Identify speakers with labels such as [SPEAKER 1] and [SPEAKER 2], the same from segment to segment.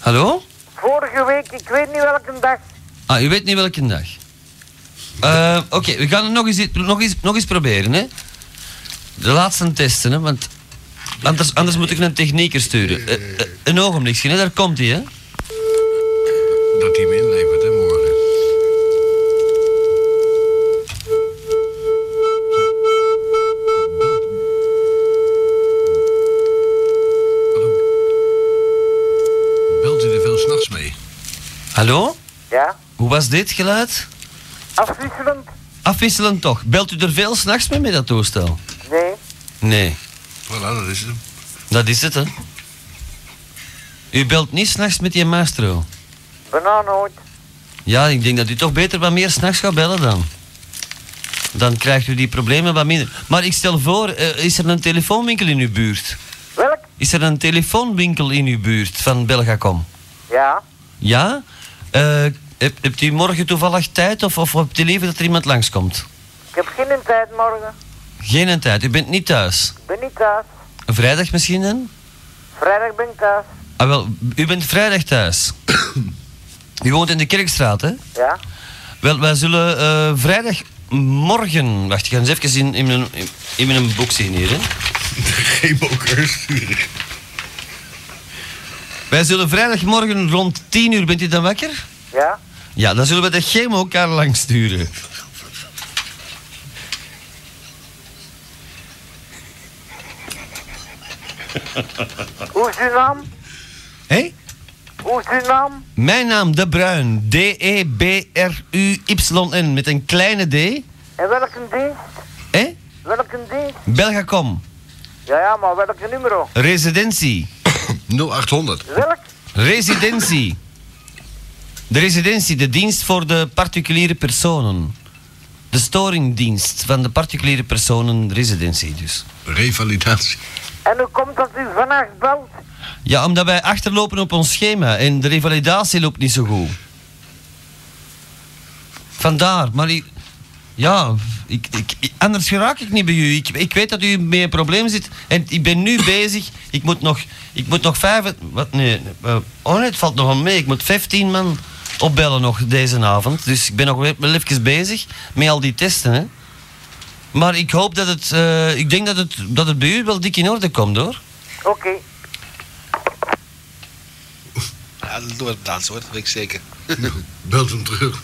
[SPEAKER 1] Hallo?
[SPEAKER 2] Vorige week, ik weet niet welke dag.
[SPEAKER 1] Ah, u weet niet welke dag. Eh, Oké, we gaan het nog eens, nog eens, nog eens proberen, hè. De laatste testen, hè, want anders, anders moet ik een technieker sturen. Eh, eh, een ogenblikje, hè, daar komt hij, hè.
[SPEAKER 3] Dat hij hem inlevert, hè, morgen. Hallo. Belt u er veel s'nachts mee?
[SPEAKER 1] Hallo?
[SPEAKER 2] Ja,
[SPEAKER 1] Hoe was dit geluid?
[SPEAKER 2] afwisselend.
[SPEAKER 1] Afwisselend toch. Belt u er veel s'nachts mee met dat toestel?
[SPEAKER 2] Nee,
[SPEAKER 1] Nee,
[SPEAKER 3] Voilà, dat is het. hem.
[SPEAKER 1] dat is het, hè. U belt niet s'nachts met die maestro.
[SPEAKER 2] bijna nooit.
[SPEAKER 1] Ja, ik denk dat u toch beter wat meer s'nachts gaat bellen dan. Dan krijgt u die problemen wat minder. Maar ik stel voor, eh, is er een telefoonwinkel in uw buurt?
[SPEAKER 2] Welk?
[SPEAKER 1] Is er een telefoonwinkel in uw buurt van Belgacom?
[SPEAKER 2] Ja,
[SPEAKER 1] Ja? Eh, heb, hebt u morgen toevallig tijd of, of hebt u liever dat er iemand langskomt?
[SPEAKER 2] ik heb geen tijd morgen.
[SPEAKER 1] Geen een tijd, u bent niet thuis.
[SPEAKER 2] Ik ben niet thuis.
[SPEAKER 1] Vrijdag misschien dan?
[SPEAKER 2] Vrijdag ben ik thuis.
[SPEAKER 1] Ah wel, u bent vrijdag thuis. u woont in de Kerkstraat, hè?
[SPEAKER 2] Ja,
[SPEAKER 1] Wel, wij zullen eh, vrijdag morgen... Wacht, ik ga eens even in, in, mijn, in, in mijn boek zien hier, hè.
[SPEAKER 3] Geen moker sturen.
[SPEAKER 1] Wij zullen vrijdagmorgen rond 10 uur, bent u dan wakker?
[SPEAKER 2] ja.
[SPEAKER 1] Ja, dan zullen we de chemo elkaar langs sturen.
[SPEAKER 2] Hoe is uw naam?
[SPEAKER 1] Hé?
[SPEAKER 2] Hoe is uw naam?
[SPEAKER 1] Mijn naam De Bruin, E D-E-B-R-U-Y-N, met een kleine D.
[SPEAKER 2] En welke dienst?
[SPEAKER 1] Hé?
[SPEAKER 2] Welke dienst?
[SPEAKER 1] Belgacom,
[SPEAKER 2] Ja, ja, maar welke nummer?
[SPEAKER 1] residentie,
[SPEAKER 3] 0800.
[SPEAKER 2] Welk?
[SPEAKER 1] residentie. De residentie, de dienst voor de particuliere personen. De storingdienst van de particuliere personen, residentie dus.
[SPEAKER 3] Revalidatie.
[SPEAKER 2] En hoe komt dat u vannacht belt?
[SPEAKER 1] Ja, omdat wij achterlopen op ons schema en de revalidatie loopt niet zo goed. Vandaar, maar ik, ja, ik, ik, ik- anders geraak ik niet bij u. Ik, ik weet dat u met een probleem zit en ik ben nu bezig. Ik moet nog, ik moet nog vijf, wat, nee, eh, oh nee, het valt nog wel mee. Ik moet 15 man opbellen nog deze avond. Dus ik ben nog wel wel even bezig met al die testen, hè. Maar ik hoop dat het, eh, ik denk dat het, dat het bij u wel dik in orde komt, hoor.
[SPEAKER 2] Oké.
[SPEAKER 4] Ja, dat doen we inderdaad zo, dat weet ik zeker.
[SPEAKER 3] Belt hem terug.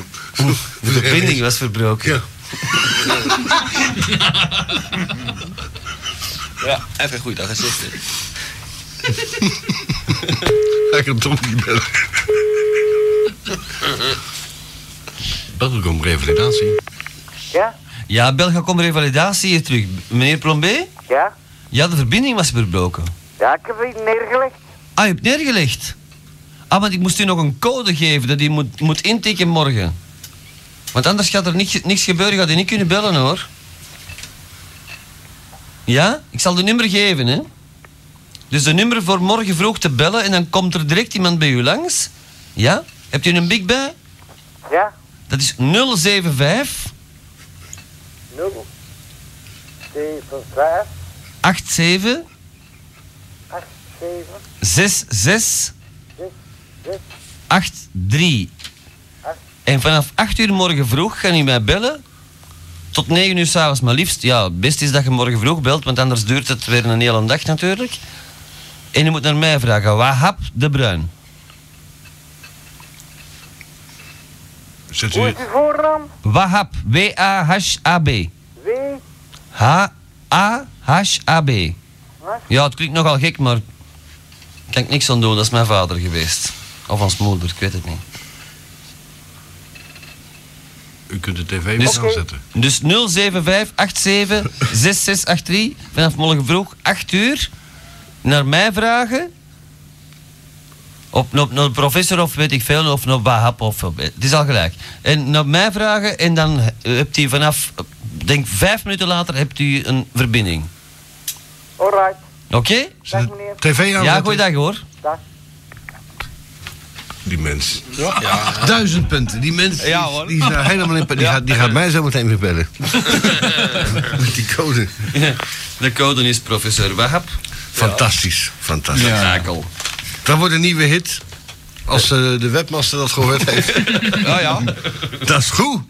[SPEAKER 1] De verbinding was verbroken.
[SPEAKER 3] Ja.
[SPEAKER 4] Ja, even een goede dag, gezicht.
[SPEAKER 3] Hij kan toch niet bellen. Bel ik om revalidatie.
[SPEAKER 2] Ja?
[SPEAKER 1] Ja, Belgacom revalidatie hier terug. Meneer Plombé?
[SPEAKER 2] Ja?
[SPEAKER 1] Ja, de verbinding was verbroken.
[SPEAKER 2] Ja, ik heb u neergelegd.
[SPEAKER 1] Ah, u hebt neergelegd. Ah, want ik moest u nog een code geven dat u moet, moet intikken morgen. Want anders gaat er niks, niks gebeuren, gaat u niet kunnen bellen hoor. Ja, ik zal de nummer geven hè. Dus de nummer voor morgen vroeg te bellen en dan komt er direct iemand bij u langs. Ja? Hebt u een big bij?
[SPEAKER 2] Ja?
[SPEAKER 1] Dat is 075
[SPEAKER 2] 0. 7, 5,
[SPEAKER 1] 87
[SPEAKER 2] 8, 7,
[SPEAKER 1] 6, 6,
[SPEAKER 2] 6, 6,
[SPEAKER 1] 8, 3. En vanaf 8 uur morgen vroeg gaan u mij bellen. Tot 9 uur s'avonds, maar liefst. Ja, het beste is dat je morgen vroeg belt, want anders duurt het weer een hele dag natuurlijk. En je moet naar mij vragen, Wahab de Bruin.
[SPEAKER 3] Zet
[SPEAKER 2] Hoe
[SPEAKER 3] u...
[SPEAKER 2] is uw voornaam?
[SPEAKER 1] Wahab, W-A-H-A-B.
[SPEAKER 2] W.
[SPEAKER 1] H-A-H-A-B.
[SPEAKER 2] Wat?
[SPEAKER 1] Ja, het klinkt nogal gek, maar... Kan ik niks aan doen, dat is mijn vader geweest. Of ons moeder, ik weet het niet.
[SPEAKER 3] U kunt de tv
[SPEAKER 1] Dus-
[SPEAKER 3] dus... aanzetten.
[SPEAKER 1] Dus 075876683 vanaf morgen vroeg 8 uur naar mij vragen. Op naar naar de professor of weet ik veel, of naar Bahap of op- het is al gelijk. En naar mij vragen en dan eh, hebt u vanaf, eh, denk vijf minuten later, hebt u een verbinding.
[SPEAKER 2] Alright.
[SPEAKER 1] Oké?
[SPEAKER 3] Zet
[SPEAKER 2] Dag, meneer.
[SPEAKER 3] de tv aanzetten.
[SPEAKER 1] Ja, goeiedag hoor.
[SPEAKER 2] Dag.
[SPEAKER 3] Die mens.
[SPEAKER 4] Ja, ja.
[SPEAKER 3] Duizend punten. Die mens die,
[SPEAKER 4] Ja, hoor.
[SPEAKER 3] die is daar helemaal in, pa- die, gaat, die gaat mij zo meteen weer bellen. Met die code.
[SPEAKER 1] De Eh, code is professor Wahab.
[SPEAKER 3] Fantastisch. Fantastisch.
[SPEAKER 1] Schakel.
[SPEAKER 3] Dat wordt een nieuwe hit. Als eh, de webmaster dat gehoord heeft.
[SPEAKER 1] Ja, ja.
[SPEAKER 3] dat is goed.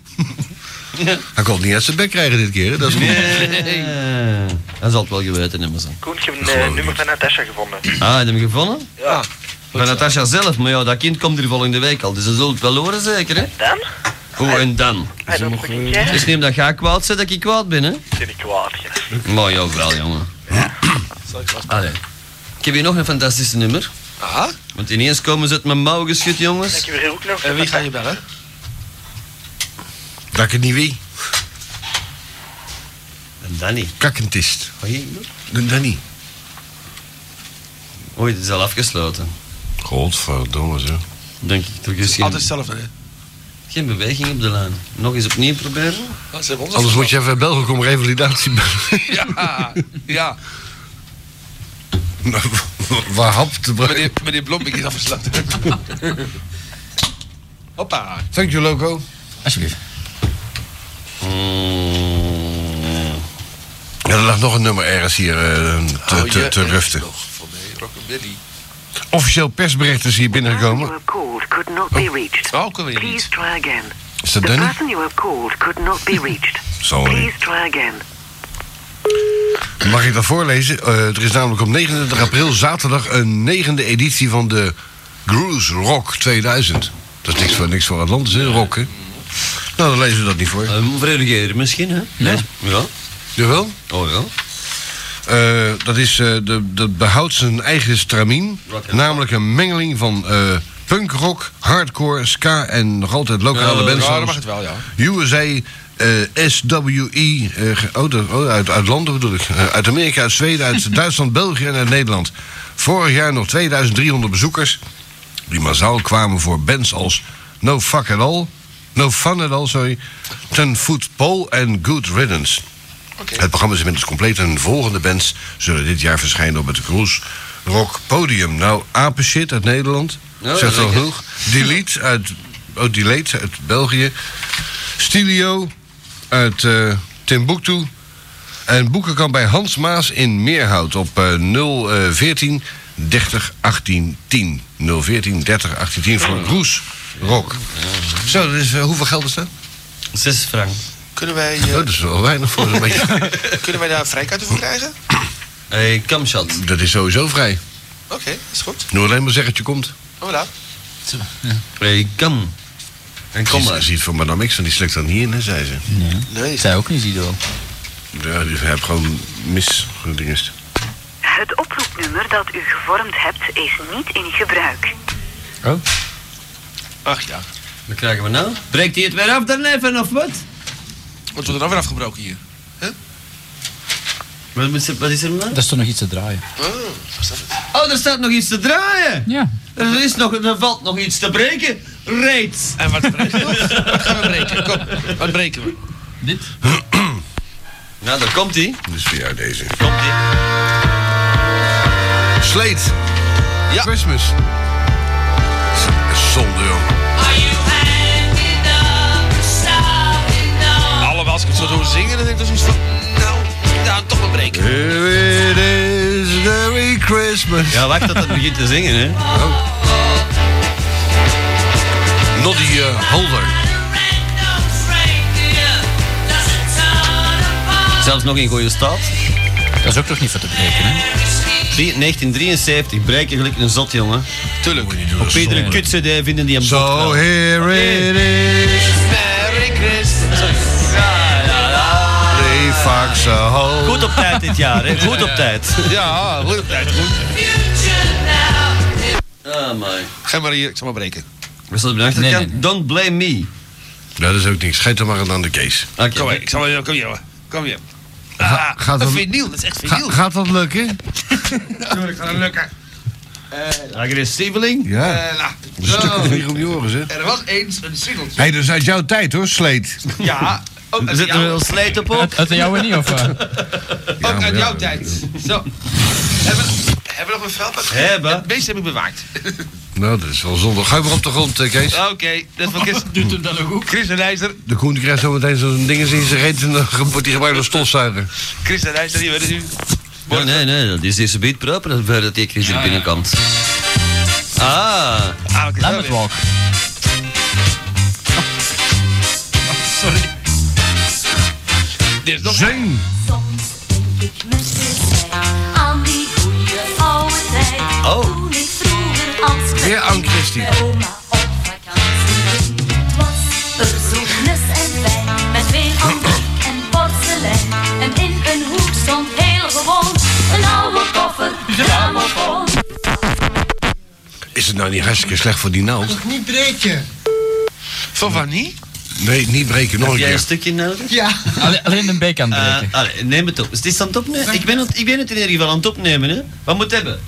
[SPEAKER 3] Hij kon het niet uit zijn bek krijgen dit keer. hè. Dat is goed.
[SPEAKER 1] Eh, Hij zal het wel geweten hebben. zo.
[SPEAKER 5] Koen, ik heb een eh, nummer van Natasha gevonden.
[SPEAKER 1] Ah, heb je hem gevonden?
[SPEAKER 4] Ja.
[SPEAKER 1] Van Natasja zelf, maar ja, dat kind komt hier volgende week al, dus ze zullen het wel horen zeker, hè?
[SPEAKER 5] Dan?
[SPEAKER 1] Hoe en dan?
[SPEAKER 5] Hij dat nog een keer.
[SPEAKER 1] Dus neem dat ga kwaad zet dat ik kwaad ben, hè?
[SPEAKER 5] Ben ik kwaad, ja.
[SPEAKER 1] Maar ja, wel, jongen. Allee. Ik heb hier nog een fantastische nummer.
[SPEAKER 4] Aha.
[SPEAKER 1] Want ineens komen ze uit mijn mouw geschud,
[SPEAKER 5] Dan heb
[SPEAKER 1] jongens.
[SPEAKER 5] je weer ook nog...
[SPEAKER 4] En wie ga je bellen?
[SPEAKER 3] Dat ik niet wie.
[SPEAKER 1] En dan niet.
[SPEAKER 3] Kakkentist. Doe dat niet.
[SPEAKER 1] Oei, dit is al afgesloten.
[SPEAKER 3] Godverdomme zo.
[SPEAKER 1] Denk ik. Er is geen,
[SPEAKER 4] Altijd hetzelfde. hè?
[SPEAKER 1] geen beweging op de lijn. Nog eens opnieuw proberen.
[SPEAKER 4] Ja, ze hebben ons
[SPEAKER 3] Anders moet je even Belgen om revalidatie bellen.
[SPEAKER 6] Ja,
[SPEAKER 4] Ah,
[SPEAKER 6] ja.
[SPEAKER 3] Waar hap te brengen.
[SPEAKER 6] Meneer, meneer Blombik is afgesloten.
[SPEAKER 4] Hoppa.
[SPEAKER 3] Thank you, Loco.
[SPEAKER 7] Alsjeblieft.
[SPEAKER 1] Mm.
[SPEAKER 3] Ja, er lag nog een nummer ergens hier eh, te,
[SPEAKER 4] Hou
[SPEAKER 3] te,
[SPEAKER 4] je
[SPEAKER 3] te
[SPEAKER 4] echt
[SPEAKER 3] ruften.
[SPEAKER 4] nog Van mij, Rockabilly.
[SPEAKER 3] Officieel persbericht is hier binnengekomen.
[SPEAKER 8] You have called could not be reached.
[SPEAKER 4] Oh, kunnen we hier
[SPEAKER 8] Please
[SPEAKER 4] niet.
[SPEAKER 8] try again.
[SPEAKER 3] Is dat
[SPEAKER 8] The
[SPEAKER 3] Danny?
[SPEAKER 8] person you have called could not be reached.
[SPEAKER 3] Sorry.
[SPEAKER 8] Please try again.
[SPEAKER 3] Mag ik dat voorlezen? Eh, er is namelijk op 29 april zaterdag een negende editie van de Cruise Rock 2000. Dat is niks voor, niks voor Atlantis, hè? Rock, hè? Nou, dan lezen we dat niet voor.
[SPEAKER 1] Eh, Vreugde misschien, hè?
[SPEAKER 7] Nee.
[SPEAKER 1] Ja.
[SPEAKER 3] Jawel.
[SPEAKER 1] Oh ja.
[SPEAKER 3] Eh, dat, is, eh, de, dat behoudt zijn eigen stramien.
[SPEAKER 1] Rock and
[SPEAKER 3] Namelijk een mengeling van eh punkrock, hardcore, ska en nog altijd lokale
[SPEAKER 1] Eh, Ja,
[SPEAKER 3] bands.
[SPEAKER 4] Ja, dat
[SPEAKER 3] zoals
[SPEAKER 4] mag het wel, ja.
[SPEAKER 3] USA, eh, SWE, eh, ge- oh, dat- oh, uit, uit landen bedoel ik. Eh, uit Amerika, uit Zweden, uit Duitsland, België en uit Nederland. Vorig jaar nog 2300 bezoekers. Die massaal kwamen voor bands als No Fuck At All, No Fun At All, sorry, Ten Foot Pole en Good Riddance.
[SPEAKER 4] Oké.
[SPEAKER 3] Het programma is inmiddels compleet en volgende bands zullen dit jaar verschijnen op het Cruise Rock Podium. Nou, Apenshit uit Nederland,
[SPEAKER 1] Ja,
[SPEAKER 3] zegt wel
[SPEAKER 1] zeker.
[SPEAKER 3] genoeg. Delete uit, oh, Delete uit België. Stilio uit eh, Timbuktu. En boeken kan bij Hans Maas in Meerhout op eh, 014 30 18 10. 014 30 18 10 voor Roes Rock. Zo, dat is, eh, hoeveel geld is dat?
[SPEAKER 1] Zes frank.
[SPEAKER 4] Kunnen wij, eh,
[SPEAKER 3] Oh, dat is wel weinig voor een beetje.
[SPEAKER 4] kunnen wij daar vrijkaarten voor krijgen?
[SPEAKER 1] Hey, kamshot.
[SPEAKER 3] Dat is sowieso vrij.
[SPEAKER 4] Oké, dat is goed.
[SPEAKER 3] Doe alleen maar zeggen dat je komt.
[SPEAKER 4] Voilà.
[SPEAKER 1] Hey, kam. En kom
[SPEAKER 3] Ze
[SPEAKER 1] maar.
[SPEAKER 3] ziet voor Madame X, en die slikt dan niet in, hè, zei ze.
[SPEAKER 7] Nee.
[SPEAKER 4] Nee.
[SPEAKER 7] Zij ook niet, Ido.
[SPEAKER 3] Ja, die heb gewoon mis. gedingest.
[SPEAKER 8] Het oproepnummer dat u gevormd hebt is niet in gebruik.
[SPEAKER 4] Ach ja.
[SPEAKER 1] Wat Oh. krijgen we nou? Breekt hij het weer af dan even, of wat?
[SPEAKER 4] Wordt er dan weer afgebroken hier?
[SPEAKER 1] Wat, moet ze- wat is er nou?
[SPEAKER 7] Daar stond nog iets te draaien.
[SPEAKER 4] Oh, was dat het?
[SPEAKER 1] Oh, er staat nog iets te draaien.
[SPEAKER 7] Ja.
[SPEAKER 1] Er, is nog, er valt nog iets te breken. Reeds.
[SPEAKER 4] En wat breken we? Wat gaan we breken? Kom, wat breken we?
[SPEAKER 7] Dit?
[SPEAKER 1] Nou, daar komt hij.
[SPEAKER 3] Dus voor jou deze.
[SPEAKER 1] Komt hij.
[SPEAKER 3] Sleet. Ja. Christmas. Zonde, joh.
[SPEAKER 4] Allemaal als ik het zo hoor zingen, dan denk ik dat zoiets van... Nou, nou, toch maar breken.
[SPEAKER 3] Here it is, Merry Christmas. Oh.
[SPEAKER 1] Ja, wacht tot het begint te zingen, hè.
[SPEAKER 3] Noddy eh, Holder.
[SPEAKER 1] Zelfs nog in goede staat.
[SPEAKER 7] Dat is ook toch niet voor te breken, hè?
[SPEAKER 1] Drie- 1973, breken gelijk een zot, jongen.
[SPEAKER 3] Tuurlijk.
[SPEAKER 1] Op Peter een kut CD vinden die een bot
[SPEAKER 3] So
[SPEAKER 1] wel.
[SPEAKER 3] here it is.
[SPEAKER 1] Merry Christmas. Ja, ja, ja.
[SPEAKER 3] They fuck so hard.
[SPEAKER 1] Goed op tijd dit jaar, hè. Goed op tijd.
[SPEAKER 4] Ja, goed op tijd, goed.
[SPEAKER 1] Ah, mooi.
[SPEAKER 4] Ga maar hier, ik zal maar breken.
[SPEAKER 1] We staan op de achterkant.
[SPEAKER 7] Nee, nee.
[SPEAKER 1] Don't blame me.
[SPEAKER 3] Dat is ook niks. Geet er maar aan de case.
[SPEAKER 1] Oké.
[SPEAKER 4] Kom maar, ik zal maar, kom hier, hoor. Kom hier.
[SPEAKER 3] Ga- gaat
[SPEAKER 4] dat
[SPEAKER 3] dat-
[SPEAKER 4] vinyl, dat is echt
[SPEAKER 3] Ga-
[SPEAKER 4] vinyl.
[SPEAKER 3] gaat dat lukken?
[SPEAKER 4] Tuurlijk gaat het lukken. Eh,
[SPEAKER 1] Agressieveling.
[SPEAKER 3] Ja.
[SPEAKER 6] Eh, nou,
[SPEAKER 3] Een stuk of vier om je oren, zeg.
[SPEAKER 6] er was eens een singeltje.
[SPEAKER 3] Hé, dat is dus uit jouw tijd, hoor, Sleet.
[SPEAKER 6] Ja, ook
[SPEAKER 1] Er
[SPEAKER 6] uit,
[SPEAKER 1] zit er wel
[SPEAKER 6] jou,
[SPEAKER 1] slijt op ook.
[SPEAKER 7] Uit, uit de jouwe niet, of... eh?
[SPEAKER 3] Ja,
[SPEAKER 6] ook
[SPEAKER 3] maar
[SPEAKER 6] uit
[SPEAKER 3] ja.
[SPEAKER 6] jouw tijd. Zo. Hebben, hebben we nog een vuilpak?
[SPEAKER 1] Hebben.
[SPEAKER 6] Het meeste heb ik bewaard.
[SPEAKER 3] Nou, dat is wel zonde. Ga je maar op de grond, eh, Kees.
[SPEAKER 6] Oké, dat was Chris. Doet hem dan nog goed? Chris de Leijzer.
[SPEAKER 3] De Koen die krijgt zo meteen zo'n ding in zijn reet en dan wordt hij gebruikt als stofzuiger.
[SPEAKER 6] Chris de Leijzer, die werd nu.
[SPEAKER 1] Ja, nee, nee, dat is deze beat proper, dat dat die Chris hier binnenkomt. Ah,
[SPEAKER 6] Ah, oké,
[SPEAKER 7] Lemon
[SPEAKER 6] zo
[SPEAKER 7] Walk.
[SPEAKER 6] weer. Oh, sorry. Dit is nog...
[SPEAKER 3] Zing!
[SPEAKER 9] Soms denk ik mezelf aan die goede oude tijd.
[SPEAKER 1] Oh.
[SPEAKER 9] Toen ik vroeger als kind
[SPEAKER 3] Weer Anne Christie.
[SPEAKER 9] met oma op vakantie ging, was er zo fris en fijn. Met veel antiek en porselein. En in een hoek stond heel gewoon een oude koffer grammofoon.
[SPEAKER 3] Is het nou niet hartstikke slecht voor die naald?
[SPEAKER 10] Niet breken.
[SPEAKER 6] Van waar niet?
[SPEAKER 3] Nee, niet breken, nog een
[SPEAKER 1] heb jij een
[SPEAKER 3] keer.
[SPEAKER 1] stukje nodig?
[SPEAKER 10] Ja.
[SPEAKER 7] Alleen, alleen een beek aan het
[SPEAKER 1] Eh,
[SPEAKER 7] breken.
[SPEAKER 1] allee, neem het op. Het is aan het opnemen. Ik ben, aan het- ik ben het in ieder geval aan het opnemen. Hè. Wat moet het hebben?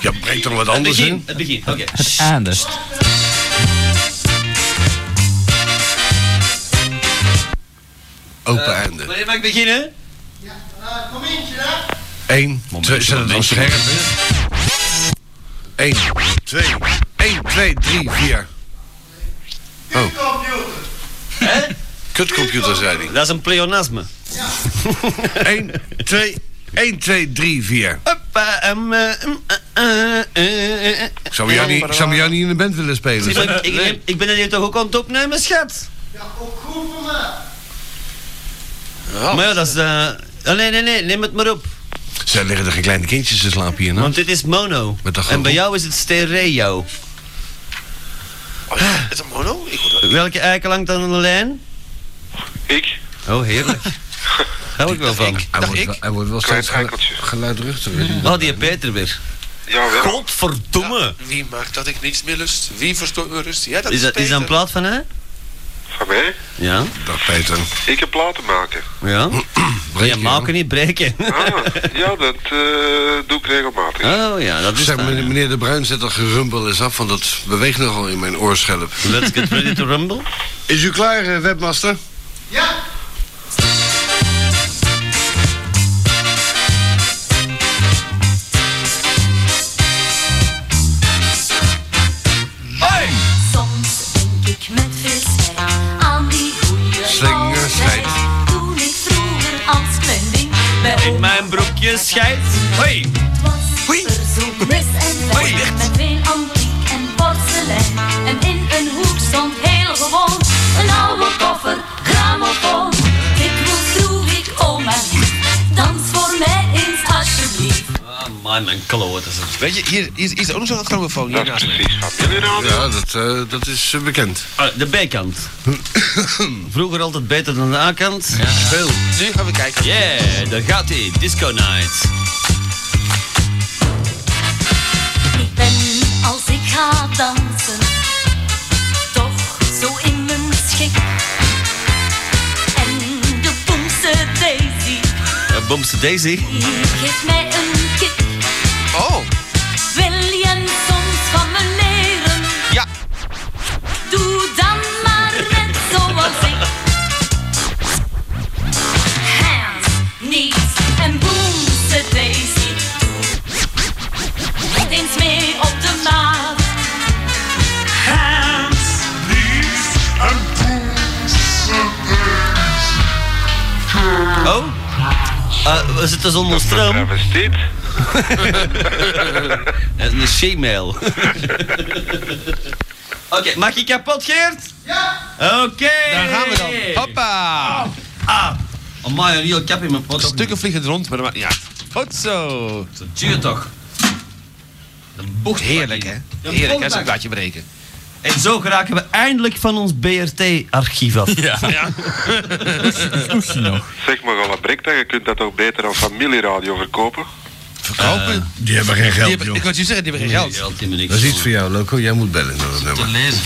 [SPEAKER 3] Ja, breek er wat
[SPEAKER 1] Het
[SPEAKER 3] anders
[SPEAKER 1] begin.
[SPEAKER 3] in.
[SPEAKER 1] Het begin. Oké.
[SPEAKER 7] Het einde.
[SPEAKER 3] Open
[SPEAKER 1] Eh, Wil
[SPEAKER 3] einde.
[SPEAKER 1] je maar beginnen?
[SPEAKER 3] Eén, twee, zet het dan scherp in. Eén, twee, één, twee, drie, vier.
[SPEAKER 1] Hè?
[SPEAKER 3] Kutcomputer, zei hij.
[SPEAKER 1] Dat is een pleonasme.
[SPEAKER 3] 1, 2, 1, 2, 3, 4.
[SPEAKER 1] Hoppa, em, eh, em, eh, eh, eh, eh.
[SPEAKER 3] Ik zou met jou niet, ik zou met jou niet in de band willen spelen.
[SPEAKER 1] Ik,
[SPEAKER 3] zeg.
[SPEAKER 1] ik, ik, ik ben er hier toch ook aan het opnemen, schat?
[SPEAKER 6] Ja.
[SPEAKER 1] Maar ja, dat is... eh, oh, nee, nee, nee, neem het maar op.
[SPEAKER 3] Zij liggen er geen kleine kindjes te slapen hier, nou?
[SPEAKER 1] Want dit is mono.
[SPEAKER 3] Met de
[SPEAKER 1] En bij
[SPEAKER 3] groep.
[SPEAKER 1] jou is het stereo.
[SPEAKER 6] Oh, ja, is dat mono? Ik hoor dat.
[SPEAKER 1] Welke eiken hangt aan de lijn?
[SPEAKER 5] Ik?
[SPEAKER 1] Oh, heerlijk. Hou ik wel van.
[SPEAKER 3] Hij wordt,
[SPEAKER 6] ik?
[SPEAKER 3] wel- hij wordt wel
[SPEAKER 5] Klein
[SPEAKER 3] steeds gelu-
[SPEAKER 5] eikeltje.
[SPEAKER 3] geluidruchtiger.
[SPEAKER 1] Oh, die Peter weer.
[SPEAKER 5] Jawel.
[SPEAKER 1] Godverdomme.
[SPEAKER 6] Wie maakt dat ik niks meer lust? Wie verstoort mijn rust? Ja, dat
[SPEAKER 1] Is dat, is dat een
[SPEAKER 6] Peter.
[SPEAKER 1] plaat van hè?
[SPEAKER 5] Van mij?
[SPEAKER 1] Ja.
[SPEAKER 3] Dag Peter.
[SPEAKER 5] Ik heb platen maken.
[SPEAKER 1] Ja.
[SPEAKER 3] Breek
[SPEAKER 1] Ja,
[SPEAKER 3] je,
[SPEAKER 1] maken niet breken.
[SPEAKER 5] Ah, ja, dat eh, doe ik regelmatig.
[SPEAKER 1] Oh ja, dat
[SPEAKER 3] hoor.
[SPEAKER 1] is
[SPEAKER 3] Zeg,
[SPEAKER 1] het.
[SPEAKER 3] meneer, meneer De Bruin zet dat gerumpel eens af, want dat beweegt nogal in mijn oorschelp.
[SPEAKER 1] Let's get ready to rumble.
[SPEAKER 3] Is u klaar, eh, webmaster?
[SPEAKER 9] Soms denk ik met veel spijt aan die goede
[SPEAKER 3] Slinger
[SPEAKER 9] oude tijd.
[SPEAKER 3] schijt.
[SPEAKER 9] Toen ik vroeger als klein ding bij
[SPEAKER 1] In
[SPEAKER 9] oma
[SPEAKER 1] mijn broekje scheidt. Hoi.
[SPEAKER 9] was
[SPEAKER 1] Oei.
[SPEAKER 9] er zo fris en
[SPEAKER 1] Oei,
[SPEAKER 9] fijn
[SPEAKER 1] echt?
[SPEAKER 9] met veel antiek en porselein. En in een hoek stond heel gewoon een oude koffer, grammofoon. Ik moest vroeg ik oma lief, dans voor mij eens alsjeblieft.
[SPEAKER 1] Ah, man, mijn kloot is het.
[SPEAKER 6] Weet je, hier, hier is- hier is ook nog zo'n grammofoon
[SPEAKER 5] Dat
[SPEAKER 6] hier
[SPEAKER 5] is
[SPEAKER 6] naast me.
[SPEAKER 5] precies van jullie radio.
[SPEAKER 3] Ja, dat, eh, dat is eh, bekend.
[SPEAKER 1] Ah, de bijkant. Vroeger altijd beter dan de A-kant.
[SPEAKER 3] Speel.
[SPEAKER 6] Nu gaan we kijken.
[SPEAKER 1] Yeah, daar gaat hij. Disco night.
[SPEAKER 9] Ik ben als ik ga dansen, toch zo in mijn schik. En de boemse Daisy,
[SPEAKER 1] Uh, Boomste Daisy.
[SPEAKER 9] die geeft mij een kick.
[SPEAKER 6] Oh,
[SPEAKER 9] Wil je soms van me leren?
[SPEAKER 6] Ja.
[SPEAKER 9] Doe dan maar net zoals ik. Hands, knees en boemse Daisy. Doe eens mee op de maan.
[SPEAKER 1] Oh? Eh, we zitten zonder stroom.
[SPEAKER 5] Travestiet.
[SPEAKER 1] En een shemale. Oké, mag je kapot, Geert? Ja! Oké!
[SPEAKER 6] daar gaan we dan. Hoppa.
[SPEAKER 1] Ah! Amai, een heel kap in mijn pot.
[SPEAKER 6] Stukken vliegen rond, maar dat maakt niet uit. Goed zo.
[SPEAKER 1] Dat duurt toch? De bocht.
[SPEAKER 6] Heerlijk, hè?
[SPEAKER 1] Een
[SPEAKER 6] Heerlijk, hè?
[SPEAKER 1] bochtbak.
[SPEAKER 6] Zo'n blaadje breken.
[SPEAKER 1] En zo geraken we eindelijk van ons BRT-archief af.
[SPEAKER 5] Zeg maar al brek dat je kunt dat ook beter aan familieradio verkopen.
[SPEAKER 6] Verkopen.
[SPEAKER 1] Eh,
[SPEAKER 11] Eh,
[SPEAKER 3] Die hebben geen
[SPEAKER 6] Die
[SPEAKER 3] geld,
[SPEAKER 6] hebben- ik
[SPEAKER 3] joh.
[SPEAKER 6] wou je zeggen, die hebben geen geld.
[SPEAKER 1] Geld in mijn niks.
[SPEAKER 3] Dat is iets voor jou, Loco. Jij moet bellen naar dat nummer.
[SPEAKER 1] lezen.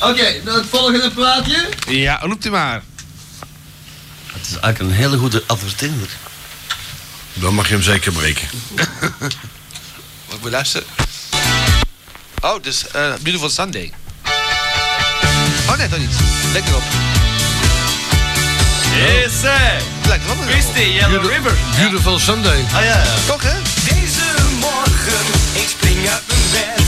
[SPEAKER 1] Oké, dan het volgende plaatje.
[SPEAKER 6] Ja, roept u maar.
[SPEAKER 1] Het is eigenlijk een hele goede adverteerder.
[SPEAKER 3] Dan mag je hem zeker breken.
[SPEAKER 6] Wat moet luisteren? Oh, dus eh Beautiful Sunday. Oh nee, dat niet. Lekker op.
[SPEAKER 1] Yes, eh,
[SPEAKER 6] Lekker op.
[SPEAKER 1] Christy, Yellow River.
[SPEAKER 3] Beautiful Sunday.
[SPEAKER 1] Ah ja.
[SPEAKER 6] Toch hè?
[SPEAKER 4] Deze morgen, ik spring uit mijn bed.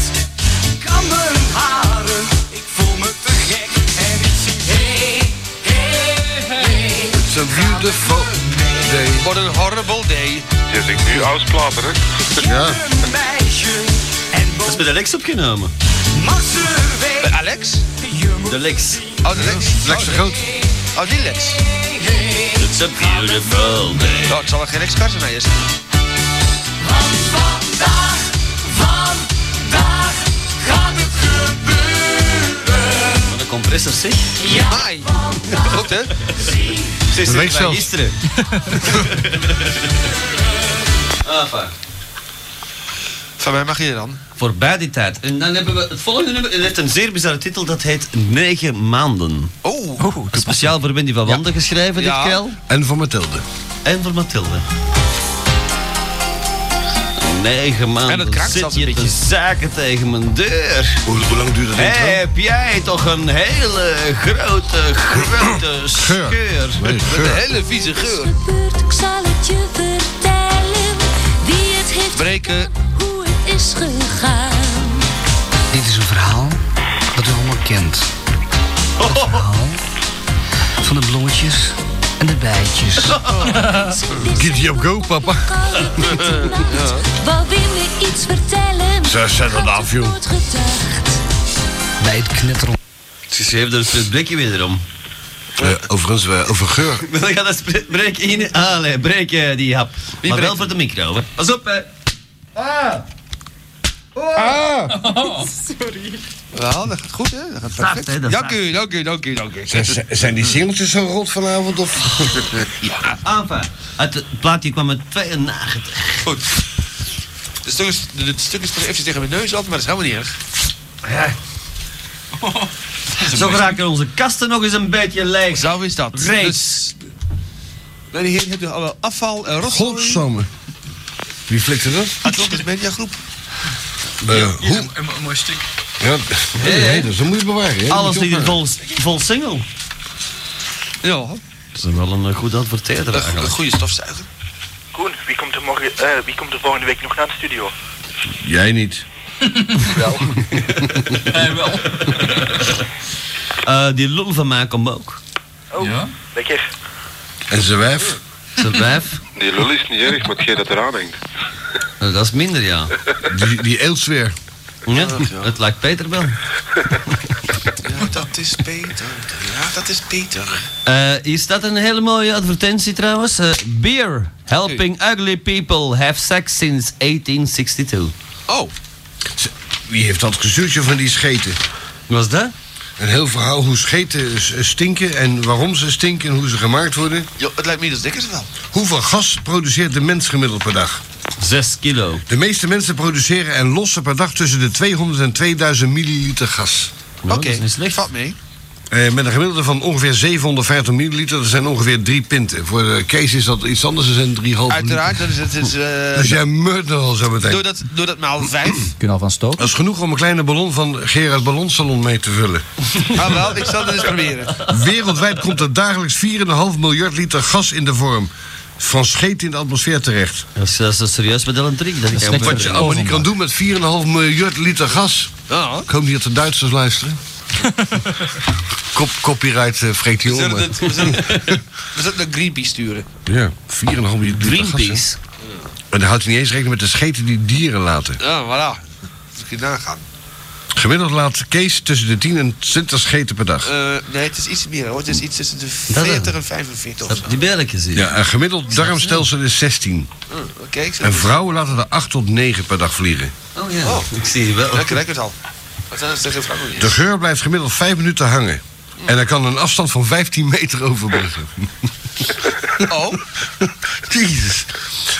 [SPEAKER 4] Ik Kam mijn haren, ik voel me te gek. En ik zing hey, hey, hey.
[SPEAKER 3] It's a beautiful day.
[SPEAKER 6] What een horrible day.
[SPEAKER 5] Je zingt nu oudsplaten, hè?
[SPEAKER 3] Ja.
[SPEAKER 4] Een meisje. En
[SPEAKER 1] Dat is met Alex opgenomen.
[SPEAKER 4] Mazerwijk,
[SPEAKER 6] Eh, Alex?
[SPEAKER 1] De Lex.
[SPEAKER 6] Oh, de Lex.
[SPEAKER 3] Lex de
[SPEAKER 6] Oh,
[SPEAKER 3] Groot.
[SPEAKER 6] Oh, die Lex.
[SPEAKER 1] It's a beautiful day.
[SPEAKER 6] Nou, het zal wel geen Lex Carson zijn.
[SPEAKER 4] want vandaag, vandaag gaat het gebeuren.
[SPEAKER 1] Wat een compressor zeg.
[SPEAKER 6] Ja. Mai. Goed, hè?
[SPEAKER 1] Zeg, zeg,
[SPEAKER 3] weegt
[SPEAKER 1] van
[SPEAKER 3] zelfs.
[SPEAKER 1] gisteren. ah, fuck.
[SPEAKER 6] Van mij mag je dan.
[SPEAKER 1] Voorbij die tijd. En dan hebben we het volgende nummer. Het heeft een zeer bizarre titel. Dat heet Negen Maanden.
[SPEAKER 6] Oh.
[SPEAKER 7] Oh,
[SPEAKER 1] Speciaal voor Wendy van Wanden geschreven,
[SPEAKER 6] Ja.
[SPEAKER 1] dit keil.
[SPEAKER 3] En van Mathilde.
[SPEAKER 1] En voor Mathilde. Negen maanden
[SPEAKER 6] En het kraakt
[SPEAKER 1] zit
[SPEAKER 6] zelfs een
[SPEAKER 1] je te zaken tegen mijn deur.
[SPEAKER 3] Hoe, hoe lang duurt het intro?
[SPEAKER 1] Heb jij toch een hele grote, grote
[SPEAKER 3] Geur.
[SPEAKER 1] scheur?
[SPEAKER 3] Nee,
[SPEAKER 6] Met een
[SPEAKER 3] geur.
[SPEAKER 6] hele vieze geur.
[SPEAKER 9] gebeurt, ik zal het je vertellen. Wie het heeft
[SPEAKER 6] Breken.
[SPEAKER 9] gedaan, hoe het is gegaan.
[SPEAKER 10] Dit is een verhaal dat u allemaal kent. Het verhaal van de blommetjes en de bijtjes.
[SPEAKER 3] Giddy up go, papa.
[SPEAKER 9] Koude witte nacht, wou weer me iets vertellen.
[SPEAKER 3] Ze zetten het
[SPEAKER 9] Had
[SPEAKER 3] af, joh.
[SPEAKER 9] nooit gedacht.
[SPEAKER 10] Bij het knetteren
[SPEAKER 1] Ze schreef er een spreekbrekje weer om.
[SPEAKER 3] Eh, overigens, eh, over geur.
[SPEAKER 1] Dan gaat dat spreek- breek in. Allee, breek eh, die hap. maar wel
[SPEAKER 6] breekt?
[SPEAKER 1] voor de micro. Hè. Pas op, hè. Ah.
[SPEAKER 6] Wel, dat gaat goed, hè? Dat gaat perfect.
[SPEAKER 1] hè, dat
[SPEAKER 6] dank
[SPEAKER 1] zacht.
[SPEAKER 6] u, dank u, dank u, dank u.
[SPEAKER 3] Z- Zijn die singeltjes zo rot vanavond? Of?
[SPEAKER 1] Enfin, uit het plaatje kwam het 92.
[SPEAKER 6] Goed. De stuk is, de, de stuk is toch even tegen mijn neus op, maar dat is helemaal niet erg.
[SPEAKER 1] Zo raken onze kasten nog eens een beetje leeg.
[SPEAKER 6] Zo is dat.
[SPEAKER 1] Reeds.
[SPEAKER 6] Dus, Mijn heer, hebt u al wel afval en rotzooi?
[SPEAKER 3] Godsamme. Wie flikte dat?
[SPEAKER 6] Atlantis Media Groep.
[SPEAKER 3] Eh, hoe? Een, mooi stuk. Ja, nee, nee, dus dat moet je bewaren. hè.
[SPEAKER 1] Alles
[SPEAKER 3] Moet je
[SPEAKER 1] ligt
[SPEAKER 3] opbouwen.
[SPEAKER 1] vol, vol single.
[SPEAKER 6] Ja,
[SPEAKER 1] Dat is wel een eh, goed adverteerder
[SPEAKER 6] een, go- een
[SPEAKER 1] eigenlijk.
[SPEAKER 6] goede stofzuiger.
[SPEAKER 2] Koen, wie komt, er morgen, eh, wie komt er volgende week nog naar de studio?
[SPEAKER 3] Jij niet.
[SPEAKER 1] Eh, die lul van mij komt ook.
[SPEAKER 2] Oh, lekker.
[SPEAKER 3] En zijn wijf?
[SPEAKER 1] Zijn wijf,
[SPEAKER 5] Die lul is niet erg, maar hetgeen dat eraan hangt.
[SPEAKER 1] eh, dat is minder ja.
[SPEAKER 3] Die, die eelt weer.
[SPEAKER 1] Ja, Het lijkt Peter wel.
[SPEAKER 6] Ja, dat is Peter. Ja, dat is Peter.
[SPEAKER 1] Eh, hier staat een hele mooie advertentie trouwens. Eh, beer, helping ugly people have sex since 1862.
[SPEAKER 6] Oh,
[SPEAKER 3] Z- Wie heeft dat gezuurtje van die scheten?
[SPEAKER 1] Was dat?
[SPEAKER 3] Een heel verhaal hoe scheten s- stinken en waarom ze stinken en hoe ze gemaakt worden.
[SPEAKER 6] joh, het lijkt me dus dat dikkers wel.
[SPEAKER 3] Hoeveel gas produceert de mens gemiddeld per dag?
[SPEAKER 1] 6 kilo.
[SPEAKER 3] De meeste mensen produceren en lossen per dag tussen de 200 en 2000 milliliter gas.
[SPEAKER 1] Nou,
[SPEAKER 6] Oké,
[SPEAKER 1] dat is niet slecht.
[SPEAKER 6] vat mee.
[SPEAKER 3] Eh, met een gemiddelde van ongeveer 750 milliliter, dat zijn ongeveer drie pinten. Voor eh, Kees is dat iets anders, dat zijn drie halve
[SPEAKER 6] Uiteraard, dat is het. Is, eh,
[SPEAKER 3] liter. Dus jij meurt er al zo meteen.
[SPEAKER 6] doe, dat, doe dat maal vijf.
[SPEAKER 7] Kunnen al van stoken.
[SPEAKER 3] Dat is genoeg om een kleine ballon van Gerard Ballonsalon mee te vullen.
[SPEAKER 6] Ah, wel, ik zal het eens proberen.
[SPEAKER 3] Wereldwijd komt er dagelijks 4,5 miljard liter gas in de vorm van scheet in de atmosfeer terecht.
[SPEAKER 1] Dat is, dat is een serieus model een trick. Dat ik
[SPEAKER 7] is
[SPEAKER 1] hem-
[SPEAKER 7] niks
[SPEAKER 3] Wat je allemaal niet kan doen met 4,5 miljard liter gas.
[SPEAKER 6] Ja.
[SPEAKER 3] Ik hoop niet dat de Duitsers luisteren. Kop, copyright eh, vreet die
[SPEAKER 6] We
[SPEAKER 3] om.
[SPEAKER 6] zullen,
[SPEAKER 3] hè.
[SPEAKER 6] het, we, zullen, we zullen het naar Greenpeace sturen.
[SPEAKER 3] Ja, 4,5 miljard liter gas.
[SPEAKER 1] Greenpeace.
[SPEAKER 3] hè. En dan houdt hij niet eens rekening met de scheten die dieren laten.
[SPEAKER 6] Ja, voilà. Moet je nagaan.
[SPEAKER 3] Gemiddeld laat Kees tussen de 10 en 20 scheten per dag.
[SPEAKER 6] Eh, nee, het is iets meer hoor. Het is iets tussen de
[SPEAKER 1] Dat-
[SPEAKER 6] 40 en 45 of
[SPEAKER 1] Heb
[SPEAKER 6] zo.
[SPEAKER 1] je die belletjes hier?
[SPEAKER 3] Ja, een gemiddeld darmstelsel is 16.
[SPEAKER 6] Eh, Oké, ik zal het
[SPEAKER 3] En
[SPEAKER 6] eens-
[SPEAKER 3] vrouwen laten er 8 tot 9 per dag vliegen.
[SPEAKER 1] Oh ja,
[SPEAKER 6] Oh.
[SPEAKER 1] ik zie je wel.
[SPEAKER 6] Lekker, lekker het al. Wat dan is tegen vrouwen
[SPEAKER 3] De geur blijft gemiddeld 5 minuten hangen. En hij kan een afstand van 15 meter overbruggen.
[SPEAKER 6] Oh,
[SPEAKER 3] Jezus.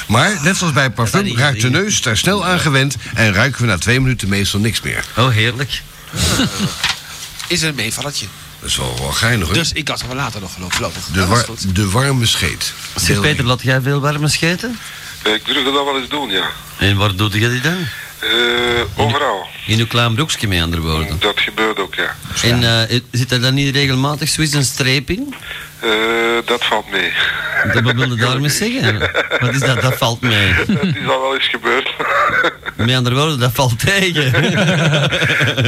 [SPEAKER 3] Maar, net zoals bij parfum, raakt de neus daar snel aan gewend... en ruiken we na twee minuten meestal niks meer.
[SPEAKER 1] Oh, heerlijk.
[SPEAKER 6] Eh, is er een meevalletje.
[SPEAKER 3] Dat is wel, wel geinig, hoor.
[SPEAKER 6] Dus ik had er wel later nog geloof voorlopig.
[SPEAKER 3] De,
[SPEAKER 6] Dat is
[SPEAKER 3] war-
[SPEAKER 6] goed.
[SPEAKER 3] de warme scheet.
[SPEAKER 1] Zeg Peter, laat jij veel warme scheten?
[SPEAKER 5] Eh, Ik durfde dat wel eens doen, ja.
[SPEAKER 1] En waar doe je die dan?
[SPEAKER 5] Eh, overal. Mm,
[SPEAKER 1] In uw klein broekje, met andere woorden.
[SPEAKER 5] Dat gebeurt ook, ja.
[SPEAKER 1] En eh, zit er dan niet regelmatig zoiets een streep in?
[SPEAKER 5] Eh, dat valt mee.
[SPEAKER 1] Dat- Wat wilde daarmee zeggen? Wat is dat? Dat valt mee.
[SPEAKER 5] Het is al wel eens gebeurd.
[SPEAKER 1] Met andere woorden, dat valt tegen.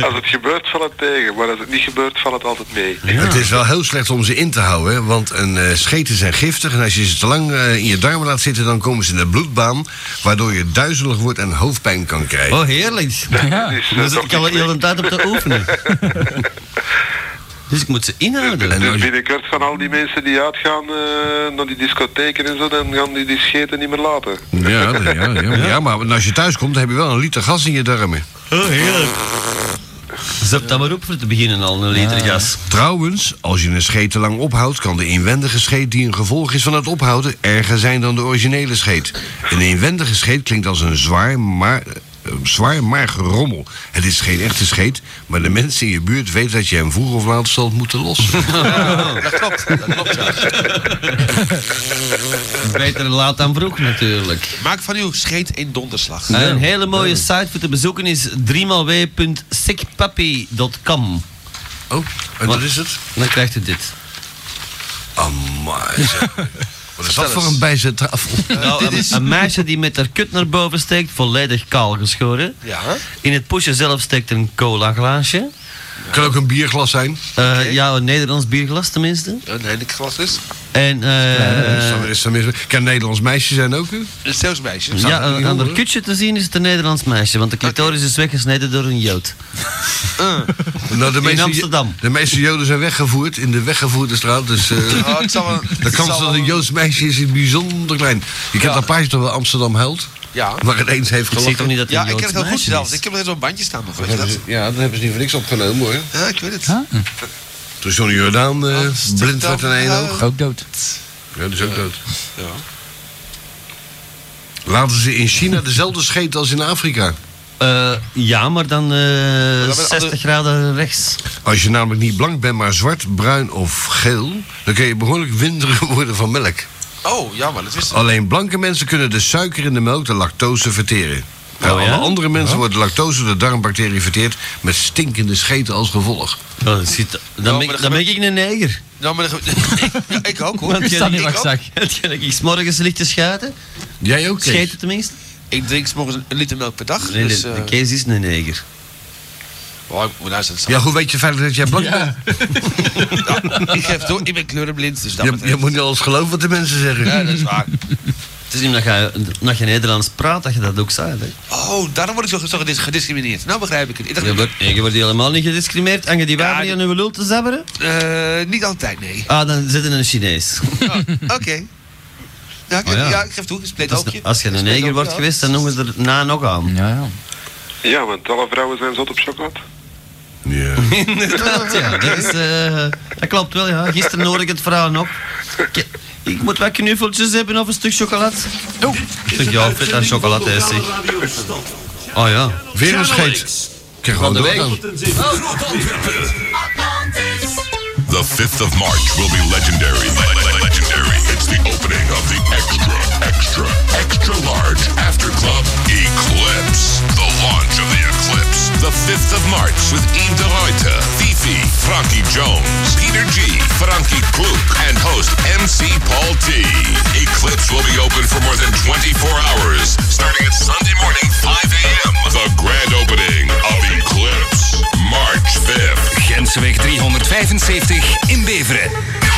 [SPEAKER 5] Als het gebeurt, valt het tegen. Maar als het niet gebeurt, valt het altijd mee.
[SPEAKER 3] Het is wel heel slecht om ze in te houden, hè, want een, eh, scheten zijn giftig. En als je ze te lang eh, in je darmen laat zitten, dan komen ze in de bloedbaan. Waardoor je duizelig wordt en hoofdpijn kan krijgen.
[SPEAKER 1] Oh, heerlijk.
[SPEAKER 5] Ja. Dus, eh,
[SPEAKER 1] Daar zit
[SPEAKER 5] toch
[SPEAKER 1] ik al
[SPEAKER 5] niet
[SPEAKER 1] heel de tijd op te oefenen. Dus ik moet ze inhouden.
[SPEAKER 5] Dus binnenkort gaan al die mensen die uitgaan eh, naar die discotheken en zo, dan gaan die die scheten niet meer laten.
[SPEAKER 3] Ja, ja, ja, ja. ja, maar als je thuis komt, dan heb je wel een liter gas in je darmen.
[SPEAKER 1] Oh, heerlijk. Zet dat maar op voor te beginnen al, een liter gas.
[SPEAKER 3] Trouwens, als je een scheet te lang ophoudt, kan de inwendige scheet die een gevolg is van het ophouden erger zijn dan de originele scheet. Een inwendige scheet klinkt als een zwaar, maar, eh, zwaar mager rommel. Het is geen echte scheet, maar de mensen in je buurt weten dat je hem vroeg of laat zal moeten lossen.
[SPEAKER 6] Dat klopt, dat klopt ja.
[SPEAKER 1] Beter laat dan vroeg natuurlijk.
[SPEAKER 6] Maak van uw scheet een donderslag.
[SPEAKER 1] Een hele mooie site voor te bezoeken is 3xw.sickpappy.com.
[SPEAKER 3] Oh, en dat is het?
[SPEAKER 1] Dan krijgt u dit.
[SPEAKER 3] Amai. zeg. Wat is dat voor een bijzettafel?
[SPEAKER 1] Nou, een, een meisje die met haar kut naar boven steekt, volledig kaal geschoren.
[SPEAKER 6] Ja, hè?
[SPEAKER 1] In het poesje zelf steekt een cola glaasje. Eh,
[SPEAKER 3] Kan ook een bierglas zijn.
[SPEAKER 1] Ja, een Nederlands bierglas tenminste.
[SPEAKER 6] een hele glas is.
[SPEAKER 1] En eh,
[SPEAKER 3] Is dat- is dat mis- Kan een Nederlands meisje zijn ook? hè?
[SPEAKER 6] Een salesmeisje.
[SPEAKER 1] ja, eh,
[SPEAKER 3] dat
[SPEAKER 1] aan
[SPEAKER 3] niet
[SPEAKER 1] haar
[SPEAKER 3] horen?
[SPEAKER 1] kutje te zien is het een Nederlands meisje, want de clitoris is weggesneden door een jood.
[SPEAKER 6] Eh,
[SPEAKER 3] Nou, de meeste-
[SPEAKER 1] Amsterdam.
[SPEAKER 3] De meeste Joden zijn weggevoerd in de weggevoerde straat. Dus, eh,
[SPEAKER 6] Oh, het zal wel,
[SPEAKER 3] De
[SPEAKER 6] het
[SPEAKER 3] kans
[SPEAKER 6] zal
[SPEAKER 3] dat
[SPEAKER 6] wel-
[SPEAKER 3] een Joods meisje is, is bijzonder klein. Je kent dat paardje toch wel Amsterdam huilt?
[SPEAKER 6] Ja.
[SPEAKER 3] Waar het eens heeft
[SPEAKER 1] Ik zeg toch
[SPEAKER 3] gelachen.
[SPEAKER 1] niet dat het
[SPEAKER 6] Ja,
[SPEAKER 1] een
[SPEAKER 6] ik ken het
[SPEAKER 1] Joods
[SPEAKER 6] heel goed
[SPEAKER 1] meisje
[SPEAKER 6] zelfs.
[SPEAKER 1] is?
[SPEAKER 6] Ik heb er zo'n bandje staan nog, weet je
[SPEAKER 3] Ja, dus- dat
[SPEAKER 6] dat?
[SPEAKER 3] is- Ja, dan hebben ze niet voor niks opgenomen hoor.
[SPEAKER 6] Ja, ik weet het.
[SPEAKER 3] Toen Johnny Jordaan eh,
[SPEAKER 6] Amsterdam
[SPEAKER 3] blind werd in één
[SPEAKER 6] huilt.
[SPEAKER 3] oog.
[SPEAKER 7] Ook dood.
[SPEAKER 3] Ja, dat is ook dood.
[SPEAKER 6] Ja.
[SPEAKER 3] Laten ze in China dezelfde scheet als in Afrika.
[SPEAKER 1] Eh, ja, maar dan eh,
[SPEAKER 6] met
[SPEAKER 1] 60
[SPEAKER 6] andere-
[SPEAKER 1] graden rechts.
[SPEAKER 3] Als je namelijk niet blank bent, maar zwart, bruin of geel... dan kun je behoorlijk winderig worden van melk.
[SPEAKER 6] Oh, jammer, dat wist ik.
[SPEAKER 3] Alleen blanke mensen kunnen de suiker in de melk, de lactose, verteren. Bij
[SPEAKER 1] Oh, ja?
[SPEAKER 3] alle andere mensen wordt de lactose door de darmbacterie verteerd... met stinkende scheten als gevolg.
[SPEAKER 1] Ja, dat zit- dan,
[SPEAKER 6] maar
[SPEAKER 1] ben, ik-
[SPEAKER 6] dat
[SPEAKER 1] dan ben ik een neger.
[SPEAKER 6] Ja, maar dat ge- Ja, ik ook hoor.
[SPEAKER 1] Want
[SPEAKER 7] Is
[SPEAKER 1] jij-
[SPEAKER 7] dat niet
[SPEAKER 1] ik
[SPEAKER 7] wat ik
[SPEAKER 1] ook.
[SPEAKER 7] zag?
[SPEAKER 1] Hetgeen dat ik s'morgens ligt te schuiten.
[SPEAKER 3] Jij ook, Kees?
[SPEAKER 1] Schijten tenminste.
[SPEAKER 6] Ik drink 's morgens een liter melk per dag.
[SPEAKER 1] Nee,
[SPEAKER 6] dus,
[SPEAKER 1] de,
[SPEAKER 6] eh,
[SPEAKER 1] de Kees is een neger.
[SPEAKER 6] oh, ik moet naar zijn
[SPEAKER 3] Ja, hoe weet je verder dat jij blank bent?
[SPEAKER 6] Ik geef door, ik ben kleurenblind, dus dat
[SPEAKER 3] Je, je
[SPEAKER 6] betreft.
[SPEAKER 3] moet niet alles geloven wat de mensen zeggen.
[SPEAKER 6] Ja, dat is waar.
[SPEAKER 1] Het is niet omdat je, omdat je Nederlands praat dat je dat ook zei. Hè?
[SPEAKER 6] Oh, daarom word ik zo, zo gedis- gediscrimineerd. Nou begrijp ik het. Ik dacht,
[SPEAKER 1] Je, wordt, je wordt helemaal niet gediscrimineerd. En je die wapen
[SPEAKER 6] Ja,
[SPEAKER 1] aan je lul te zabberen?
[SPEAKER 6] eh, niet altijd, nee.
[SPEAKER 1] Ah, dan zit er een Chinees.
[SPEAKER 6] Oh, Oké. Ja, ik,
[SPEAKER 1] Oh, ja.
[SPEAKER 6] ja, ik geef toe, een split
[SPEAKER 1] Als,
[SPEAKER 6] hoopje.
[SPEAKER 1] als je een
[SPEAKER 6] Split
[SPEAKER 1] neger
[SPEAKER 6] hoopje,
[SPEAKER 1] wordt
[SPEAKER 6] ja.
[SPEAKER 1] geweest, dan noemen ze er na nog aan.
[SPEAKER 7] Ja, ja.
[SPEAKER 5] Ja, want alle vrouwen zijn zot op chocolade.
[SPEAKER 3] Ja.
[SPEAKER 1] Inderdaad, ja. Dat, is, eh, dat klopt wel, ja. Gisteren hoorde ik het verhaal nog. Ik, ik moet wat knuffeltjes hebben of een stuk chocolade. Oh. Ik zeg, ja, vet aan chocolade is zeg. Oh ja.
[SPEAKER 3] Weer een scheet. Ik krijg gewoon
[SPEAKER 1] de week.
[SPEAKER 3] doorgaan.
[SPEAKER 12] The 5th of March will be legendary. Le- le- legendary. It's the opening of the extra, extra, extra large after club Eclipse. The launch of the Eclipse. The 5th of March with Eve de Ruyter, Fifi, Frankie Jones, Peter G, Frankie Kluk, and host MC Paul T. Eclipse will be open for more than 24 hours, starting at Sunday morning 5 a.m. The grand opening of Eclipse, March 5th.
[SPEAKER 4] Grensweg 375 in Beveren.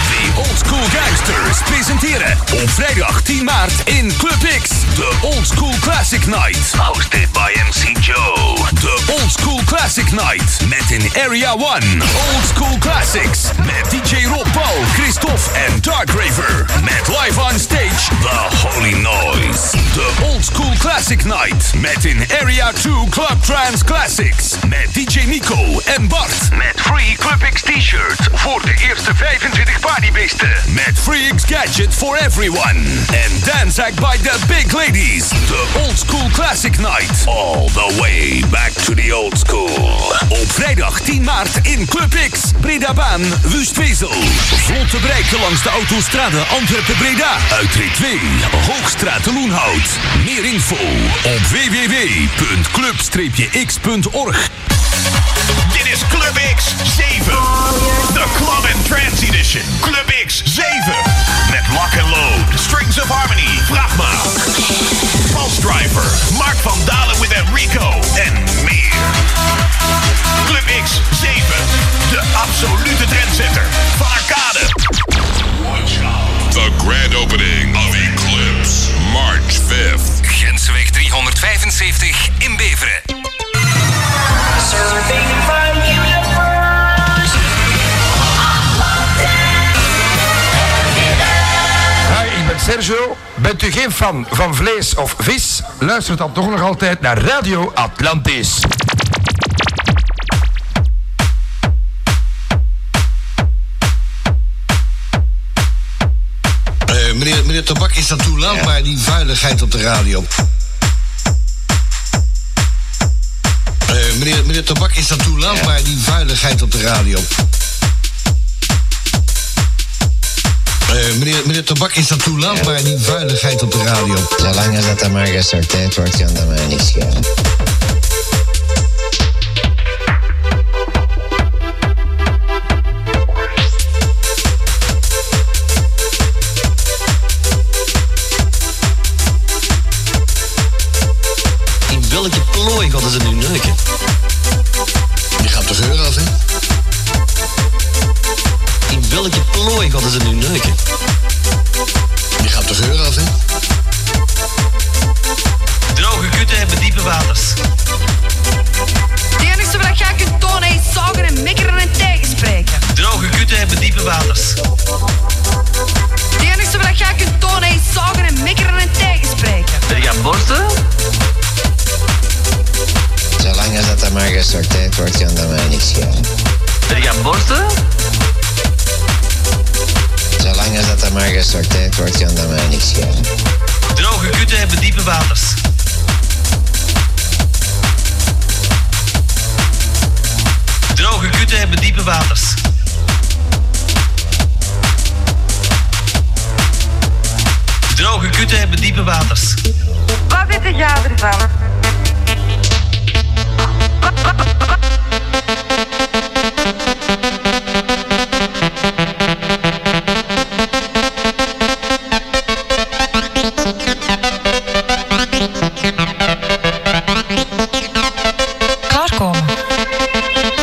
[SPEAKER 4] De Old School Gangsters presenteren op vrijdag 10 maart in Club X de Old School Classic Night. Hosted by MC Joe. De Old School Classic Night met in Area 1 Old School Classics met DJ Rob Paul, Christophe en Dark Raver. Met live on stage The Holy Noise. De Old School Classic Night met in Area 2 Club Trans Classics. Met DJ Nico en Bart. Met Free Club X T-shirt voor de eerste 25 partybeesten. Met Free X Gadget for everyone. En Danzac by the Big Ladies. De Old School Classic Night. All the way back to the old school. Op vrijdag 10 maart in Club X. Bredabaan, Wustwezel. Vlot te bereiken langs de autostrade Antwerpen-Breda. Uitrit 2, Hoogstraat de Loenhout. Meer info op www.club-x.org.
[SPEAKER 12] Dit is Club X 7. De Club and Trance Edition. Club X 7. Met Lock and Load. Driver, Mark van Dalen with Enrico en meer. Club X7, de absolute trendsetter van Arcade. Watch out. The grand opening of Eclipse, March 5th.
[SPEAKER 4] Grensweg 375 in Beveren.
[SPEAKER 9] Surfing from universe.
[SPEAKER 13] Hi, ik ben Sergio. Bent u geen fan van vlees of vis? Luister dan toch nog altijd naar Radio Atlantis.
[SPEAKER 14] Eh, meneer, meneer Tabak is dat toe laat, maar die vuiligheid op de radio. Eh, meneer, meneer Tabak is dat toe laat, maar die vuiligheid op de radio. Eh, meneer, meneer Tabak is dat toe laat, maar die vuiligheid op de radio.
[SPEAKER 15] Zolang dat er maar gesorteerd wordt, kan dat mij niet schelen.
[SPEAKER 16] In welke plooi hadden ze nu neuken?
[SPEAKER 14] Je gaat de geur af, hè?
[SPEAKER 16] In welke plooi hadden ze nu neuken?
[SPEAKER 14] Je gaat de geur af, hè?
[SPEAKER 1] Droge kutten hebben diepe waters.
[SPEAKER 17] Het enige wat jij kunt tonen is zagen en mikkeren en tegenspreken.
[SPEAKER 1] Droge kutten hebben diepe waters.
[SPEAKER 17] Het enige wat jij kunt tonen is zagen en mikkeren en tegenspreken.
[SPEAKER 16] Ben je borsten?
[SPEAKER 15] Zolang dat er maar gesorteerd wordt, kan dat mij niet schelen.
[SPEAKER 16] Ben je borsten?
[SPEAKER 15] Zolang dat er maar gesorteerd wordt, kan dat mij niet schelen.
[SPEAKER 1] Droge kutten hebben diepe waters. Droge kutten hebben diepe waters. Droge kutten hebben diepe waters.
[SPEAKER 17] Wat weet jij ervan?
[SPEAKER 9] Klaarkomen.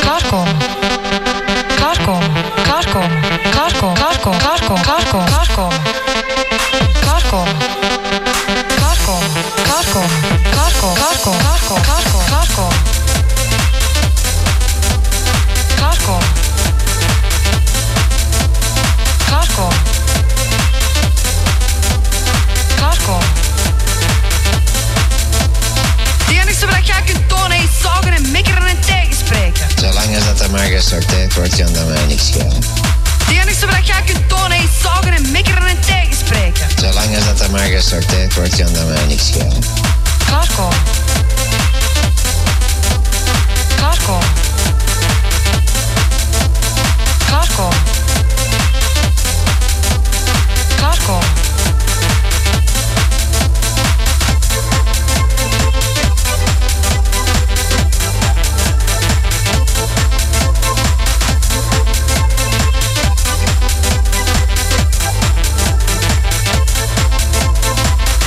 [SPEAKER 9] Klaarkomen. Klaarkomen. Klaarkomen. Klaarkomen. Klaarkomen. Klaarkomen. Klaarkomen. Klaarkomen. Klaarkomen. Klaarkomen. Klaarkomen. Klaarkomen. Klaarkomen. Klaarkomen. Klaarkomen. Klaarkomen. Klaarkomen. Klaarkomen.
[SPEAKER 17] Klaarkomen. Het enige wat jij kunt tonen is zagen en mikkeren en tegenspreken.
[SPEAKER 15] Zolang dat er maar gesorteerd wordt, kan dat mij niet schelen.
[SPEAKER 17] Het enige wat jij kunt tonen is zagen en mikkeren en tegenspreken.
[SPEAKER 15] Zolang dat er maar gesorteerd wordt, kan dat mij niet schelen.
[SPEAKER 9] Klaarkomen. Klaarkomen. Klaarkomen. Klaarkomen.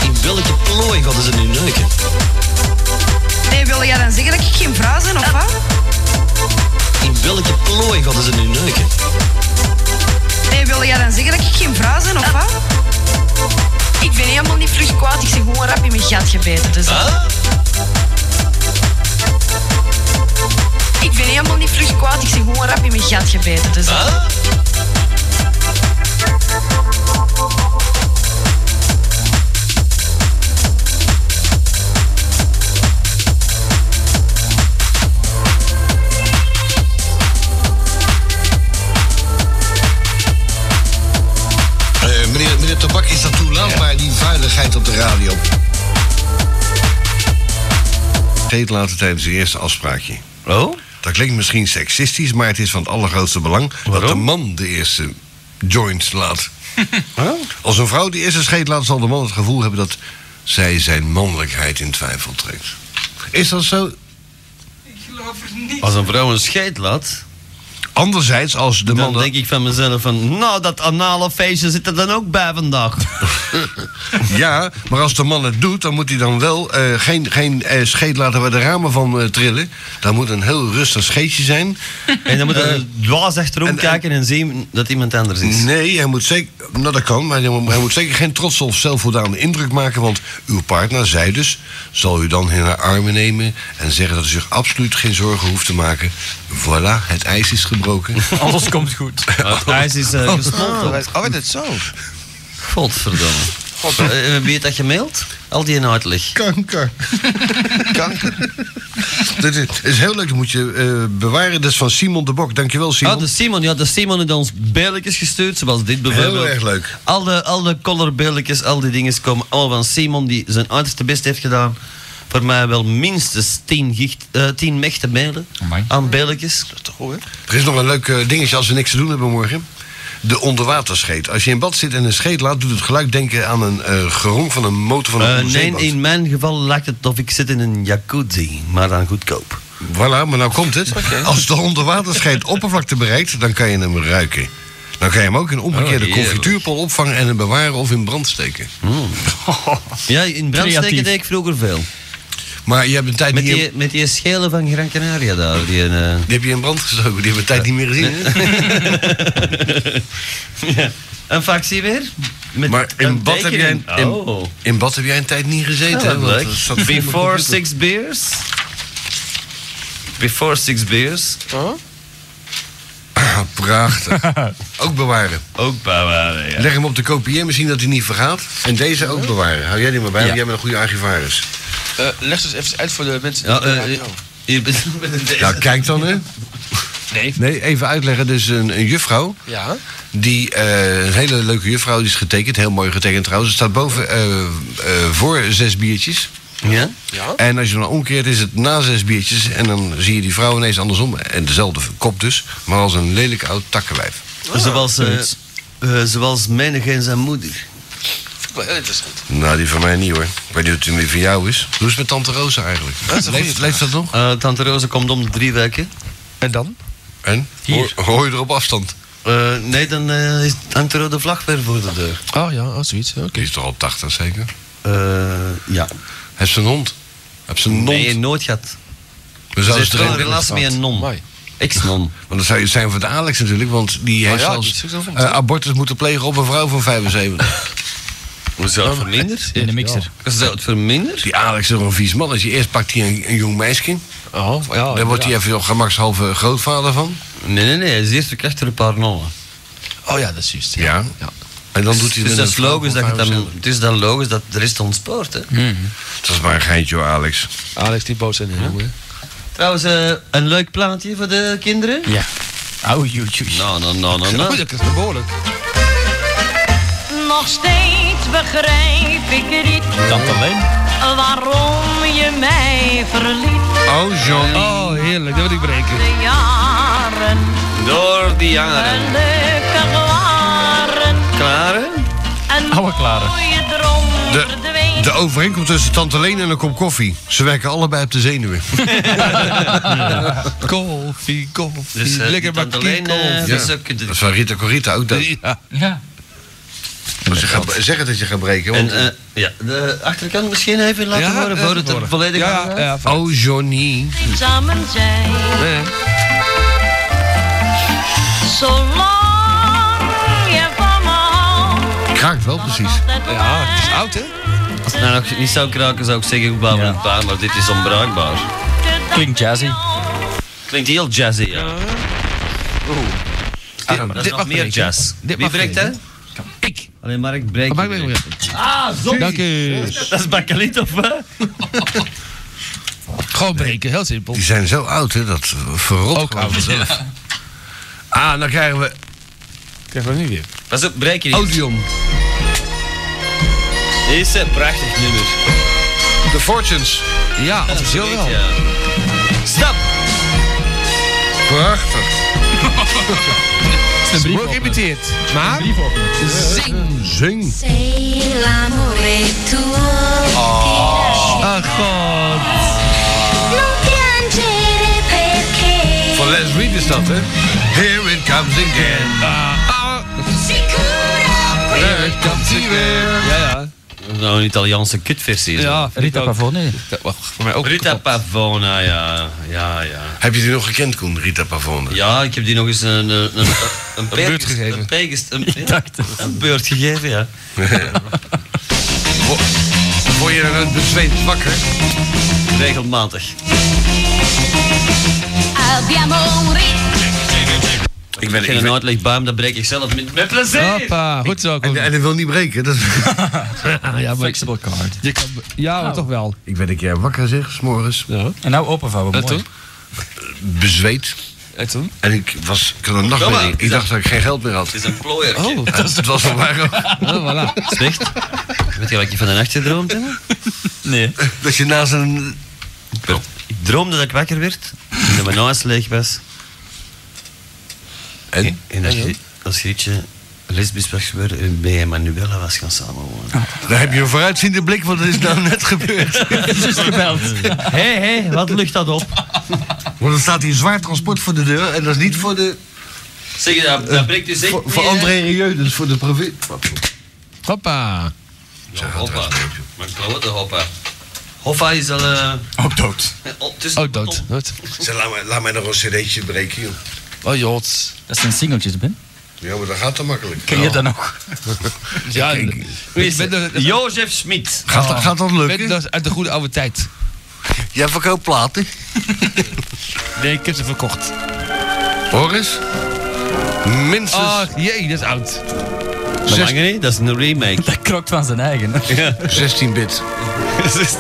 [SPEAKER 16] In welke plooi hadden ze nu neuken?
[SPEAKER 17] Nee, wil jij dan zeggen dat ik geen vrouw ben of wat?
[SPEAKER 16] In welke plooi hadden ze nu neuken?
[SPEAKER 17] Nee, wil jij dan zeggen dat ik geen vrouw ben of wat? Ik ben helemaal niet vlug kwaad, ik zeg gewoon rap in mijn gat gebeten. Dus Ik ben helemaal niet vlug kwaad, ik zeg gewoon rap in mijn gat gebeten. Dus
[SPEAKER 14] Eh, meneer, meneer Tabak is dat toe laat, maar die vuiligheid op de radio.
[SPEAKER 3] Geet laten tijdens zijn eerste afspraakje. Oh? Dat klinkt misschien seksistisch, maar het is van het allergrootste belang dat de man de eerste joint laat. Als een vrouw die eerste scheet laat, zal de man het gevoel hebben dat zij zijn mannelijkheid in twijfel trekt. Is dat zo?
[SPEAKER 1] Als een vrouw een scheid laat.
[SPEAKER 3] anderzijds, als de
[SPEAKER 1] man... Dan denk ik van mezelf van, nou, dat anale feestje zit er dan ook bij vandaag.
[SPEAKER 3] ja, maar als de man het doet, dan moet hij dan wel eh, geen, geen eh, scheet laten we de ramen van eh, trillen. Daar moet een heel rustig scheetje zijn.
[SPEAKER 1] En dan moet
[SPEAKER 3] Eh,
[SPEAKER 1] hij dwaas achterom kijken en zien dat iemand anders is.
[SPEAKER 3] Nee, hij moet zeker. Nou, dat kan, maar hij moet, hij moet zeker geen trotse of zelfvoldane indruk maken. Want uw partner, zij dus, zal u dan in haar armen nemen. en zeggen dat u zich absoluut geen zorgen hoeft te maken. Voilà, het ijs is gebroken.
[SPEAKER 7] Alles komt goed.
[SPEAKER 1] Het ijs is eh, gesmolten.
[SPEAKER 6] Oh, is het zo?
[SPEAKER 1] Godverdomme. Eh, eh, wie heeft dat gemaild? Al die in uitleg.
[SPEAKER 3] Kanker. Dit is, is heel leuk, dat moet je eh, bewaren. Dat is van Simon de Bok. Dankjewel, Simon.
[SPEAKER 1] Ah, de Simon, ja, de Simon heeft ons beeldjes gestuurd, zoals dit bijvoorbeeld.
[SPEAKER 3] Heel erg leuk.
[SPEAKER 1] Al de, al de colorbeeldjes, al die dingen komen allemaal van Simon, die zijn uiterste best heeft gedaan. Voor mij wel minstens 10, gicht, eh, 10 mechte beelden aan beeldjes. Dat is toch goed, hè?
[SPEAKER 3] Er is nog een leuk eh, dingetje als we niks te doen hebben morgen. De onderwaterscheet. Als je in bad zit en een scheet laat, doet het geluid denken aan een eh gerong van een motor van een
[SPEAKER 1] Eh, nee,
[SPEAKER 3] onderzeeboot.
[SPEAKER 1] in mijn geval lijkt het of ik zit in een jacuzzi, maar dan goedkoop.
[SPEAKER 3] Voilà, maar nou komt het. Als de onderwaterscheet oppervlakte bereikt, dan kan je hem ruiken. Dan kan je hem ook in omgekeerde
[SPEAKER 1] Oh, heerlijk. Hmm.
[SPEAKER 3] confituurpot opvangen en hem bewaren of in brand steken.
[SPEAKER 1] Ja, in brandsteken
[SPEAKER 3] Creatief.
[SPEAKER 1] deed ik vroeger veel.
[SPEAKER 3] Maar je hebt een tijd
[SPEAKER 1] met
[SPEAKER 3] niet
[SPEAKER 1] die, met die schelen van Gran Canaria daar. Die, eh,
[SPEAKER 3] heb je in brand gestoken, die hebben we tijd niet meer gezien.
[SPEAKER 1] ja. Een factie weer? Met
[SPEAKER 3] maar in
[SPEAKER 1] een
[SPEAKER 3] bad, heb
[SPEAKER 1] beker
[SPEAKER 3] jij,
[SPEAKER 1] in-
[SPEAKER 3] een- in,
[SPEAKER 1] Oh.
[SPEAKER 3] in bad heb jij een tijd niet
[SPEAKER 1] Ja,
[SPEAKER 3] gezeten. hè?
[SPEAKER 1] dat
[SPEAKER 3] want
[SPEAKER 1] leuk.
[SPEAKER 3] dat staat vol met
[SPEAKER 1] Before
[SPEAKER 3] computer.
[SPEAKER 1] six beers. Before six beers.
[SPEAKER 3] Ah, Prachtig. ook bewaren.
[SPEAKER 1] Ook bewaren, ja.
[SPEAKER 3] Leg hem op de kopieermachine dat hij niet vergaat. En deze ook bewaren. Hou jij die maar bij, want jij bent een goede archivaris.
[SPEAKER 6] Eh, leg het eens even uit voor de mensen.
[SPEAKER 3] Ja,
[SPEAKER 6] die
[SPEAKER 3] eh,
[SPEAKER 1] Hier ben met een deze.
[SPEAKER 3] Ja, kijk dan hè.
[SPEAKER 6] Nee.
[SPEAKER 3] Nee, even uitleggen. Dus een, een juffrouw.
[SPEAKER 6] Ja.
[SPEAKER 3] Die, eh, een hele leuke juffrouw, die is getekend. Heel mooi getekend trouwens. Het staat boven eh, eh, voor zes biertjes.
[SPEAKER 1] Ja?
[SPEAKER 3] En als je dan omkeert, is het na zes biertjes. En dan zie je die vrouw ineens andersom. En dezelfde kop dus, maar als een lelijk oud takkenwijf.
[SPEAKER 1] Zoals, eh, eh, zoals menig en zijn moeder.
[SPEAKER 6] Wel heel interessant.
[SPEAKER 3] Nou, die van mij niet hoor. Ik weet niet of het meer van jou is. Hoe is het met tante Rosa eigenlijk?
[SPEAKER 1] Dat is een
[SPEAKER 3] leeft,
[SPEAKER 1] goeie
[SPEAKER 3] leeft dat nog?
[SPEAKER 1] Eh, Tante Roze komt om de drie weken.
[SPEAKER 6] En dan?
[SPEAKER 3] En?
[SPEAKER 1] Hier.
[SPEAKER 3] Hoor, hoor je er op afstand?
[SPEAKER 1] Eh, nee, dan eh, is- hangt er de vlag weer voor de deur.
[SPEAKER 6] Oh ja, oh, zoiets. Oké.
[SPEAKER 3] Die is toch al 80 zeker?
[SPEAKER 1] Eh, ja.
[SPEAKER 3] Heb ze een hond? Heb ze een non?
[SPEAKER 1] Nee, nooit gehad.
[SPEAKER 3] We
[SPEAKER 1] Ze
[SPEAKER 3] zouden
[SPEAKER 1] heeft
[SPEAKER 3] ze
[SPEAKER 1] wel
[SPEAKER 3] erin
[SPEAKER 1] een
[SPEAKER 3] willen
[SPEAKER 1] relatie met
[SPEAKER 3] staan.
[SPEAKER 1] een non. Ex-non.
[SPEAKER 3] Want dat zou iets zijn voor de Alex natuurlijk, want die
[SPEAKER 1] Oh
[SPEAKER 3] heeft
[SPEAKER 1] ja, die
[SPEAKER 3] zelfs
[SPEAKER 1] is ook zo van-
[SPEAKER 3] eh, abortus moeten plegen op een vrouw van 75.
[SPEAKER 1] Hoezo? Verminderd?
[SPEAKER 7] In de mixer.
[SPEAKER 1] Zou het verminderd?
[SPEAKER 3] Die Alex is nog een vies man. Als je eerst pakt hij een, een jong meisje,
[SPEAKER 6] oh, ja,
[SPEAKER 3] dan wordt hij even op gemakshalve grootvader van.
[SPEAKER 1] Nee, nee, nee. Hij is eerst verkracht door een paar nonnen.
[SPEAKER 6] Oh ja, dat is juist.
[SPEAKER 3] Ja. En dan doet
[SPEAKER 1] dus
[SPEAKER 3] hij met
[SPEAKER 1] dat
[SPEAKER 3] een
[SPEAKER 1] is
[SPEAKER 3] vrouw
[SPEAKER 1] logisch
[SPEAKER 3] van
[SPEAKER 1] dat je dan,
[SPEAKER 3] 75.
[SPEAKER 1] Het is dan logisch dat de rest ontspoort, hè?
[SPEAKER 6] Mhm.
[SPEAKER 3] Dat is maar een geintje hoor, Alex.
[SPEAKER 6] Alex die boos zijn jongen.
[SPEAKER 1] Trouwens, eh, een leuk plaatje voor de kinderen?
[SPEAKER 7] Ja. Au, YouTube.
[SPEAKER 1] Nou, nou, nou, nou,
[SPEAKER 6] Nou,
[SPEAKER 1] nou.
[SPEAKER 6] dat is behoorlijk.
[SPEAKER 9] Nog steeds begrijp ik niet
[SPEAKER 7] Tante Leen.
[SPEAKER 9] waarom je mij verliet.
[SPEAKER 3] Oh, John.
[SPEAKER 7] Oh, heerlijk. Dat wil ik breken.
[SPEAKER 9] De jaren,
[SPEAKER 1] Door die jaren.
[SPEAKER 9] gelukkig waren
[SPEAKER 1] Klaren?
[SPEAKER 9] en
[SPEAKER 7] Oude Klaren.
[SPEAKER 9] mooie droom
[SPEAKER 3] De,
[SPEAKER 9] verdween.
[SPEAKER 3] de overeenkomst tussen Tante Leen en een kop koffie. Ze werken allebei op de zenuwen.
[SPEAKER 6] Koffie, koffie.
[SPEAKER 1] Dus, eh,
[SPEAKER 6] lekker
[SPEAKER 1] die
[SPEAKER 6] maar
[SPEAKER 1] tante Leen, eh,
[SPEAKER 3] Ja.
[SPEAKER 1] dat is ook-
[SPEAKER 3] Dat is van Rita Corita ook dat.
[SPEAKER 6] Ja.
[SPEAKER 7] Ja.
[SPEAKER 3] Maar ze gaan- Zeg het dat je gaat breken.
[SPEAKER 1] En
[SPEAKER 3] Want,
[SPEAKER 1] eh, ja, de achterkant misschien even laten
[SPEAKER 6] Ja,
[SPEAKER 1] horen
[SPEAKER 6] even
[SPEAKER 1] voor het
[SPEAKER 6] horen.
[SPEAKER 1] er volledig
[SPEAKER 6] Ja,
[SPEAKER 1] af is.
[SPEAKER 6] ja,
[SPEAKER 3] oh, Johnny.
[SPEAKER 9] Samen zijn,
[SPEAKER 6] Nee.
[SPEAKER 9] zolang je van me houdt.
[SPEAKER 3] Kraakt wel precies.
[SPEAKER 6] Ja, het is oud, hè?
[SPEAKER 1] Als het nou nog niet zou kraken, zou ik zeggen, ik bouw een paar, maar dit is onbruikbaar.
[SPEAKER 7] Klinkt jazzy.
[SPEAKER 1] Klinkt heel jazzy, ja. Ah, dat is
[SPEAKER 6] dit
[SPEAKER 1] nog
[SPEAKER 6] mag
[SPEAKER 1] meer
[SPEAKER 6] breken.
[SPEAKER 1] jazz.
[SPEAKER 6] Dit
[SPEAKER 1] Wie
[SPEAKER 6] mag
[SPEAKER 1] breekt hè?
[SPEAKER 6] breken. Ik.
[SPEAKER 1] Alleen maar ik breek.
[SPEAKER 6] Maak me
[SPEAKER 1] Ah, zo!
[SPEAKER 6] Dank u.
[SPEAKER 1] Dat is bakkeliet of wat?
[SPEAKER 6] Gewoon breken, heel simpel.
[SPEAKER 3] Die zijn zo oud, hè? Dat verrot
[SPEAKER 6] Ook
[SPEAKER 3] gewoon
[SPEAKER 6] oud.
[SPEAKER 3] vanzelf. Ah, dan krijgen we
[SPEAKER 6] Krijgen we nu weer.
[SPEAKER 1] Dat is ook breek je niet.
[SPEAKER 3] Odium.
[SPEAKER 1] Dit is een prachtig nummer.
[SPEAKER 3] The Fortunes.
[SPEAKER 6] Ja, officieel wel.
[SPEAKER 1] Ja.
[SPEAKER 7] eh,
[SPEAKER 1] Stap!
[SPEAKER 3] Prachtig.
[SPEAKER 7] Het is een brief
[SPEAKER 6] Wordt
[SPEAKER 7] openen.
[SPEAKER 6] geïmiteerd. Maar
[SPEAKER 7] Brief openen.
[SPEAKER 3] Zing.
[SPEAKER 9] Sei l'amore tuo.
[SPEAKER 3] Oh.
[SPEAKER 6] Ach, god.
[SPEAKER 9] Non piangere perché
[SPEAKER 3] Van Les Reed is dat, hè? Here comes again. Ah, ah. Daar komt hij weer.
[SPEAKER 1] Ja, ja. Nou, een Italiaanse kutversie.
[SPEAKER 7] Ja, Rita Pavone.
[SPEAKER 1] Voor mij ook Rita Pavone, ja. ja, ja.
[SPEAKER 3] Heb je die nog gekend, Koen, Rita Pavone?
[SPEAKER 1] Ja, ik heb die nog eens een, een, een, een beurt gegeven. Een, peergest- een, een beurt gegeven, ja.
[SPEAKER 3] Wo- Word je dan bezweet wakker?
[SPEAKER 1] Regelmatig.
[SPEAKER 9] Abbiamo un ritmo.
[SPEAKER 1] Ik ben geen uitlegbaar, dat breek ik zelf met, met plezier.
[SPEAKER 7] Hoppa, goed zo. En,
[SPEAKER 3] en dat wil niet breken. Dat...
[SPEAKER 7] ja, maar Flexible card. Je kan, ja, maar toch wel.
[SPEAKER 3] Nou. Ik ben een keer wakker, zeg, s'morgens.
[SPEAKER 7] En nou openvouwen, mooi.
[SPEAKER 3] toen? Bezweet.
[SPEAKER 7] En toen?
[SPEAKER 3] En ik was, ik had een
[SPEAKER 1] Kom maar.
[SPEAKER 3] nachtmerrie. Ik dacht dat ik geen geld meer had.
[SPEAKER 1] Het is een plooier.
[SPEAKER 7] Oh,
[SPEAKER 3] Ja, dat Dus was wel waar. ook.
[SPEAKER 7] voilà.
[SPEAKER 1] Oh, Slecht. Weet je wat je van de nacht gedroomd hebt?
[SPEAKER 7] Nee.
[SPEAKER 3] Dat je naast een...
[SPEAKER 1] Ik droomde dat ik wakker werd en dat mijn huis leeg was. En? En dat, je, als Grietje lesbisch was geworden en bij Manuela was gaan samenwonen.
[SPEAKER 3] Daar heb je een vooruitziende blik, want dat is nou net gebeurd.
[SPEAKER 7] Zus gebeld.
[SPEAKER 1] Hé, hé, wat dus lucht dat op?
[SPEAKER 3] Want er staat hier zwaar transport voor de deur en dat is niet voor de...
[SPEAKER 1] Zeg je, dat, dat breekt dus echt
[SPEAKER 3] Voor, voor
[SPEAKER 1] mee, hè?
[SPEAKER 3] André Rieu, dus voor de provincie.
[SPEAKER 7] Hoppa.
[SPEAKER 1] Ja, hoppa. Mijn klote hoppa. Hoppa is al... eh,
[SPEAKER 7] Ook dood.
[SPEAKER 1] op- tussen
[SPEAKER 7] Ook dood. dood.
[SPEAKER 3] Zeg, laat, mij, laat mij nog een cd'tje breken, joh.
[SPEAKER 7] Oh jods. Dat zijn singeltjes, Ben.
[SPEAKER 3] Ja, maar dat gaat dan makkelijk.
[SPEAKER 7] Ken je dat nog? ja,
[SPEAKER 1] Wie is
[SPEAKER 7] ben
[SPEAKER 1] het?
[SPEAKER 7] er-
[SPEAKER 1] Jozef Smit.
[SPEAKER 3] Gaat, dat- gaat dat
[SPEAKER 7] ben
[SPEAKER 3] lukken?
[SPEAKER 7] dat uit de goede oude tijd.
[SPEAKER 3] Jij verkoopt platen.
[SPEAKER 7] Nee, ik heb ze verkocht.
[SPEAKER 3] Hoor eens. Minstens...
[SPEAKER 7] Ach, jee, dat is oud.
[SPEAKER 1] Dat mag niet, dat is een remake.
[SPEAKER 7] Dat krokt van zijn eigen.
[SPEAKER 1] Ja.
[SPEAKER 3] 16 bit.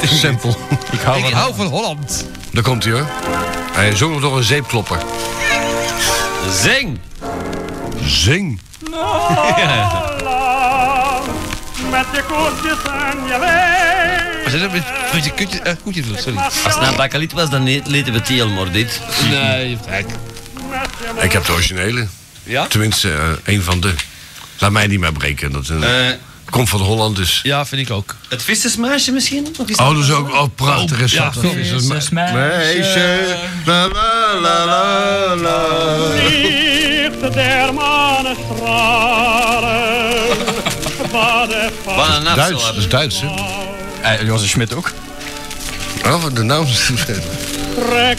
[SPEAKER 3] Simpel.
[SPEAKER 7] Ik hou
[SPEAKER 1] Ik
[SPEAKER 7] van hou van Holland.
[SPEAKER 3] Daar komt hij hoor. Hij zong nog door een zeepklopper.
[SPEAKER 1] Zing!
[SPEAKER 3] Zing.
[SPEAKER 1] Ja.
[SPEAKER 11] Met de koetjes aan je lijf.
[SPEAKER 7] Wat is dat met- met je kutje? eh, Goed, je doet, sorry.
[SPEAKER 1] Als het nou bakaliet was, dan niet- lieten we het helemaal dit.
[SPEAKER 7] Nee, gek.
[SPEAKER 3] Ik heb de originele.
[SPEAKER 7] Ja?
[SPEAKER 3] Tenminste, eh een van de. Laat mij niet meer breken. Dat eh,
[SPEAKER 1] Eh,
[SPEAKER 3] komt van Holland dus.
[SPEAKER 7] Ja, vind ik ook.
[SPEAKER 1] het vissersmaasje misschien? Of is
[SPEAKER 3] Oh, dat is ook oh, prachtig. is dat.
[SPEAKER 7] ja,
[SPEAKER 3] Is dat me-
[SPEAKER 7] Jezus, meisje.
[SPEAKER 3] Meisje. La la la la la.
[SPEAKER 11] Liefde der mannen stralen. Wat een
[SPEAKER 1] Wat een
[SPEAKER 3] Duits, dat
[SPEAKER 1] afslag.
[SPEAKER 3] is Duits hè?
[SPEAKER 7] Jozef Schmidt ook.
[SPEAKER 3] Oh, de naam is
[SPEAKER 11] trek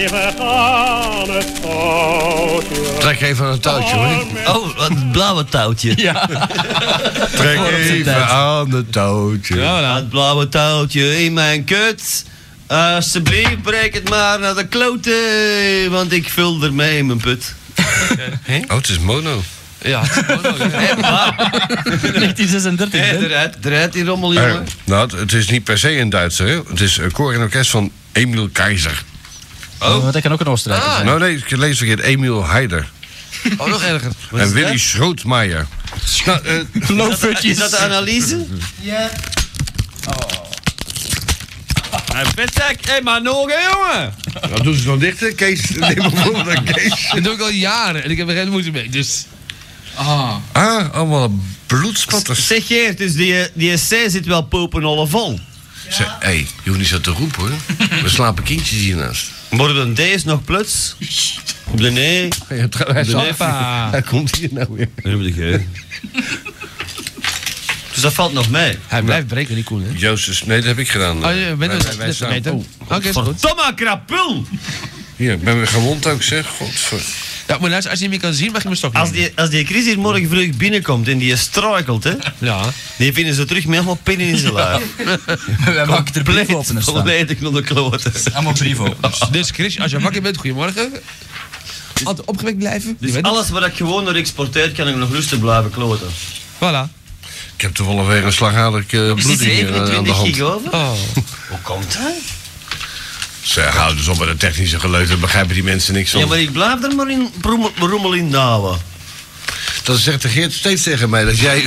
[SPEAKER 11] even aan het touwtje.
[SPEAKER 3] Trek even aan het touwtje hoor.
[SPEAKER 1] Oh, wat het blauwe touwtje.
[SPEAKER 7] Ja.
[SPEAKER 3] Trek even aan het touwtje.
[SPEAKER 7] Ja, nou.
[SPEAKER 1] Het blauwe touwtje in mijn kut. Alsjeblieft, breek het maar naar de klote, want ik vul ermee in mijn put.
[SPEAKER 3] Oh, het is mono.
[SPEAKER 7] Ja.
[SPEAKER 1] Hé, maar,
[SPEAKER 7] 1936,
[SPEAKER 1] hé,
[SPEAKER 7] Ben.
[SPEAKER 1] eruit, eruit die rommel, jongen.
[SPEAKER 3] Eh, nou, het- het is niet per se een Duitser. hè. Het is een koor en orkest van Emil Keizer.
[SPEAKER 7] Oh, dat kan ook een Oostenrijker
[SPEAKER 1] Ah.
[SPEAKER 7] zijn.
[SPEAKER 3] Nou nee, ik lees verkeerd. Emil Heider.
[SPEAKER 7] Oh, nog erger.
[SPEAKER 3] En Willy Schrootmaier. Nou, eh,
[SPEAKER 1] Is dat de analyse?
[SPEAKER 7] Ja.
[SPEAKER 1] Petak, hé, maar nog, hè, jongen.
[SPEAKER 3] dat doen Nou, ze dan dicht, hè? Kees. Neem maar voor dan Kees.
[SPEAKER 7] Dat doe ik al jaren en ik heb er geen moeite mee, dus... Ah.
[SPEAKER 3] Ah, allemaal bloedspatters.
[SPEAKER 1] Zeg Geert, dus die, die C zit wel popenolle vol.
[SPEAKER 3] Hé, hey, je hoeft niet zo te roepen hoor. We slapen kindjes hiernaast.
[SPEAKER 1] Wordt een D is nog plus? Op de nee,
[SPEAKER 3] Hij,
[SPEAKER 1] zal-
[SPEAKER 3] hij komt hier nou weer.
[SPEAKER 1] en op de G. Dus dat valt nog mee.
[SPEAKER 7] Hij blijft breken, die koen, hè?
[SPEAKER 3] Jozef, nee, dat heb ik gedaan.
[SPEAKER 7] Oh, je bent
[SPEAKER 3] Wij-
[SPEAKER 7] dus
[SPEAKER 3] wij-
[SPEAKER 7] net
[SPEAKER 3] wij
[SPEAKER 7] een
[SPEAKER 3] staan-
[SPEAKER 7] meter.
[SPEAKER 3] Oh,
[SPEAKER 7] Oké, is goed.
[SPEAKER 1] Verdomme krapul!
[SPEAKER 3] Hier, ik ben weer gewond ook zeg. Godver.
[SPEAKER 7] Ja, maar luister, als je hem niet kan zien, mag je mijn stok
[SPEAKER 1] Als
[SPEAKER 7] nemen.
[SPEAKER 1] die, als die Chris hier morgen vroeg binnenkomt en die struikelt, hè,
[SPEAKER 7] Ja.
[SPEAKER 1] die vinden ze terug met helemaal pinnen in zijn lijf.
[SPEAKER 7] We hebben ook de brief openen
[SPEAKER 1] Volledig onder de kloten.
[SPEAKER 7] Allemaal brief openen. Dus Chris, als je wakker bent, goedemorgen. Altijd opgewekt blijven. Je
[SPEAKER 1] Dus
[SPEAKER 7] weet het.
[SPEAKER 1] alles wat ik gewoon naar exporteer, kan ik nog rustig blijven kloten.
[SPEAKER 7] Voilà.
[SPEAKER 3] Ik heb toevallig weer een slagaderlijke bloeding hier, eh, aan de
[SPEAKER 1] 27
[SPEAKER 3] hand.
[SPEAKER 1] gig over?
[SPEAKER 7] Oh.
[SPEAKER 1] Hoe komt dat?
[SPEAKER 3] Ze houden dus op met de technische geleut. Daar begrijpen die mensen niks van.
[SPEAKER 1] Ja, maar ik blijf er maar in rommel, rommel in douwen.
[SPEAKER 3] Dat zegt de Geert steeds tegen mij. Dat jij...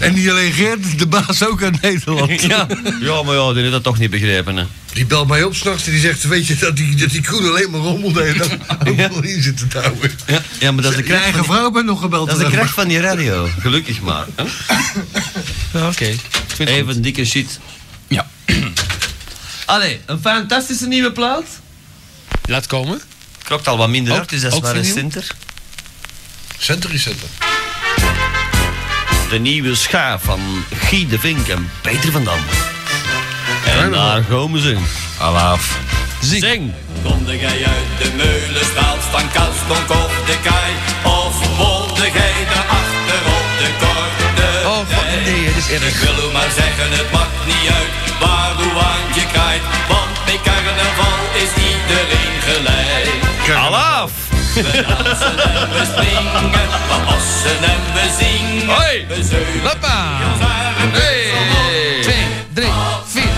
[SPEAKER 3] en niet alleen Geert, de baas ook uit Nederland.
[SPEAKER 1] Ja. ja, maar ja, die heeft dat toch niet begrepen, hè.
[SPEAKER 3] Die belt mij op s'nachts en die zegt, weet je, dat die, dat die Koen alleen maar rommel deed. Dat rommel in zitten touwen.
[SPEAKER 1] Ja, ja maar dat is de
[SPEAKER 3] Je
[SPEAKER 1] kracht
[SPEAKER 3] eigen
[SPEAKER 1] van die,
[SPEAKER 3] vrouw bent nog gebeld.
[SPEAKER 1] dat is de
[SPEAKER 3] vandaag.
[SPEAKER 1] kracht van die radio. Gelukkig maar. hè.
[SPEAKER 6] Ah,
[SPEAKER 7] Ja, Oké. Ik vind het goed.
[SPEAKER 1] Even dikke shit.
[SPEAKER 7] Ja.
[SPEAKER 1] Allee, een fantastische nieuwe plaat.
[SPEAKER 6] Laat komen.
[SPEAKER 1] Klopt al wat minder hard, dus dat is
[SPEAKER 6] ook
[SPEAKER 1] maar een
[SPEAKER 6] vernieuwd?
[SPEAKER 1] center.
[SPEAKER 3] Center is center.
[SPEAKER 1] De nieuwe schaar van Guy de Vink en Peter van Dam. En daar komen ze. Alaaf. Zing.
[SPEAKER 9] Komde gij uit de meulenstraat van Kastonk of de Kaai? Of wolde gij daarachter op de korte Oh, nee, het is erg. Ik wil u maar zeggen, het maakt niet uit waar uw handje kraait. Want bij carnaval is iedereen gelijk. Alaaf! We dansen en we springen, we ossen en we zingen. Hoi! We zeuren, ons haar en hey. twee, drie, vier.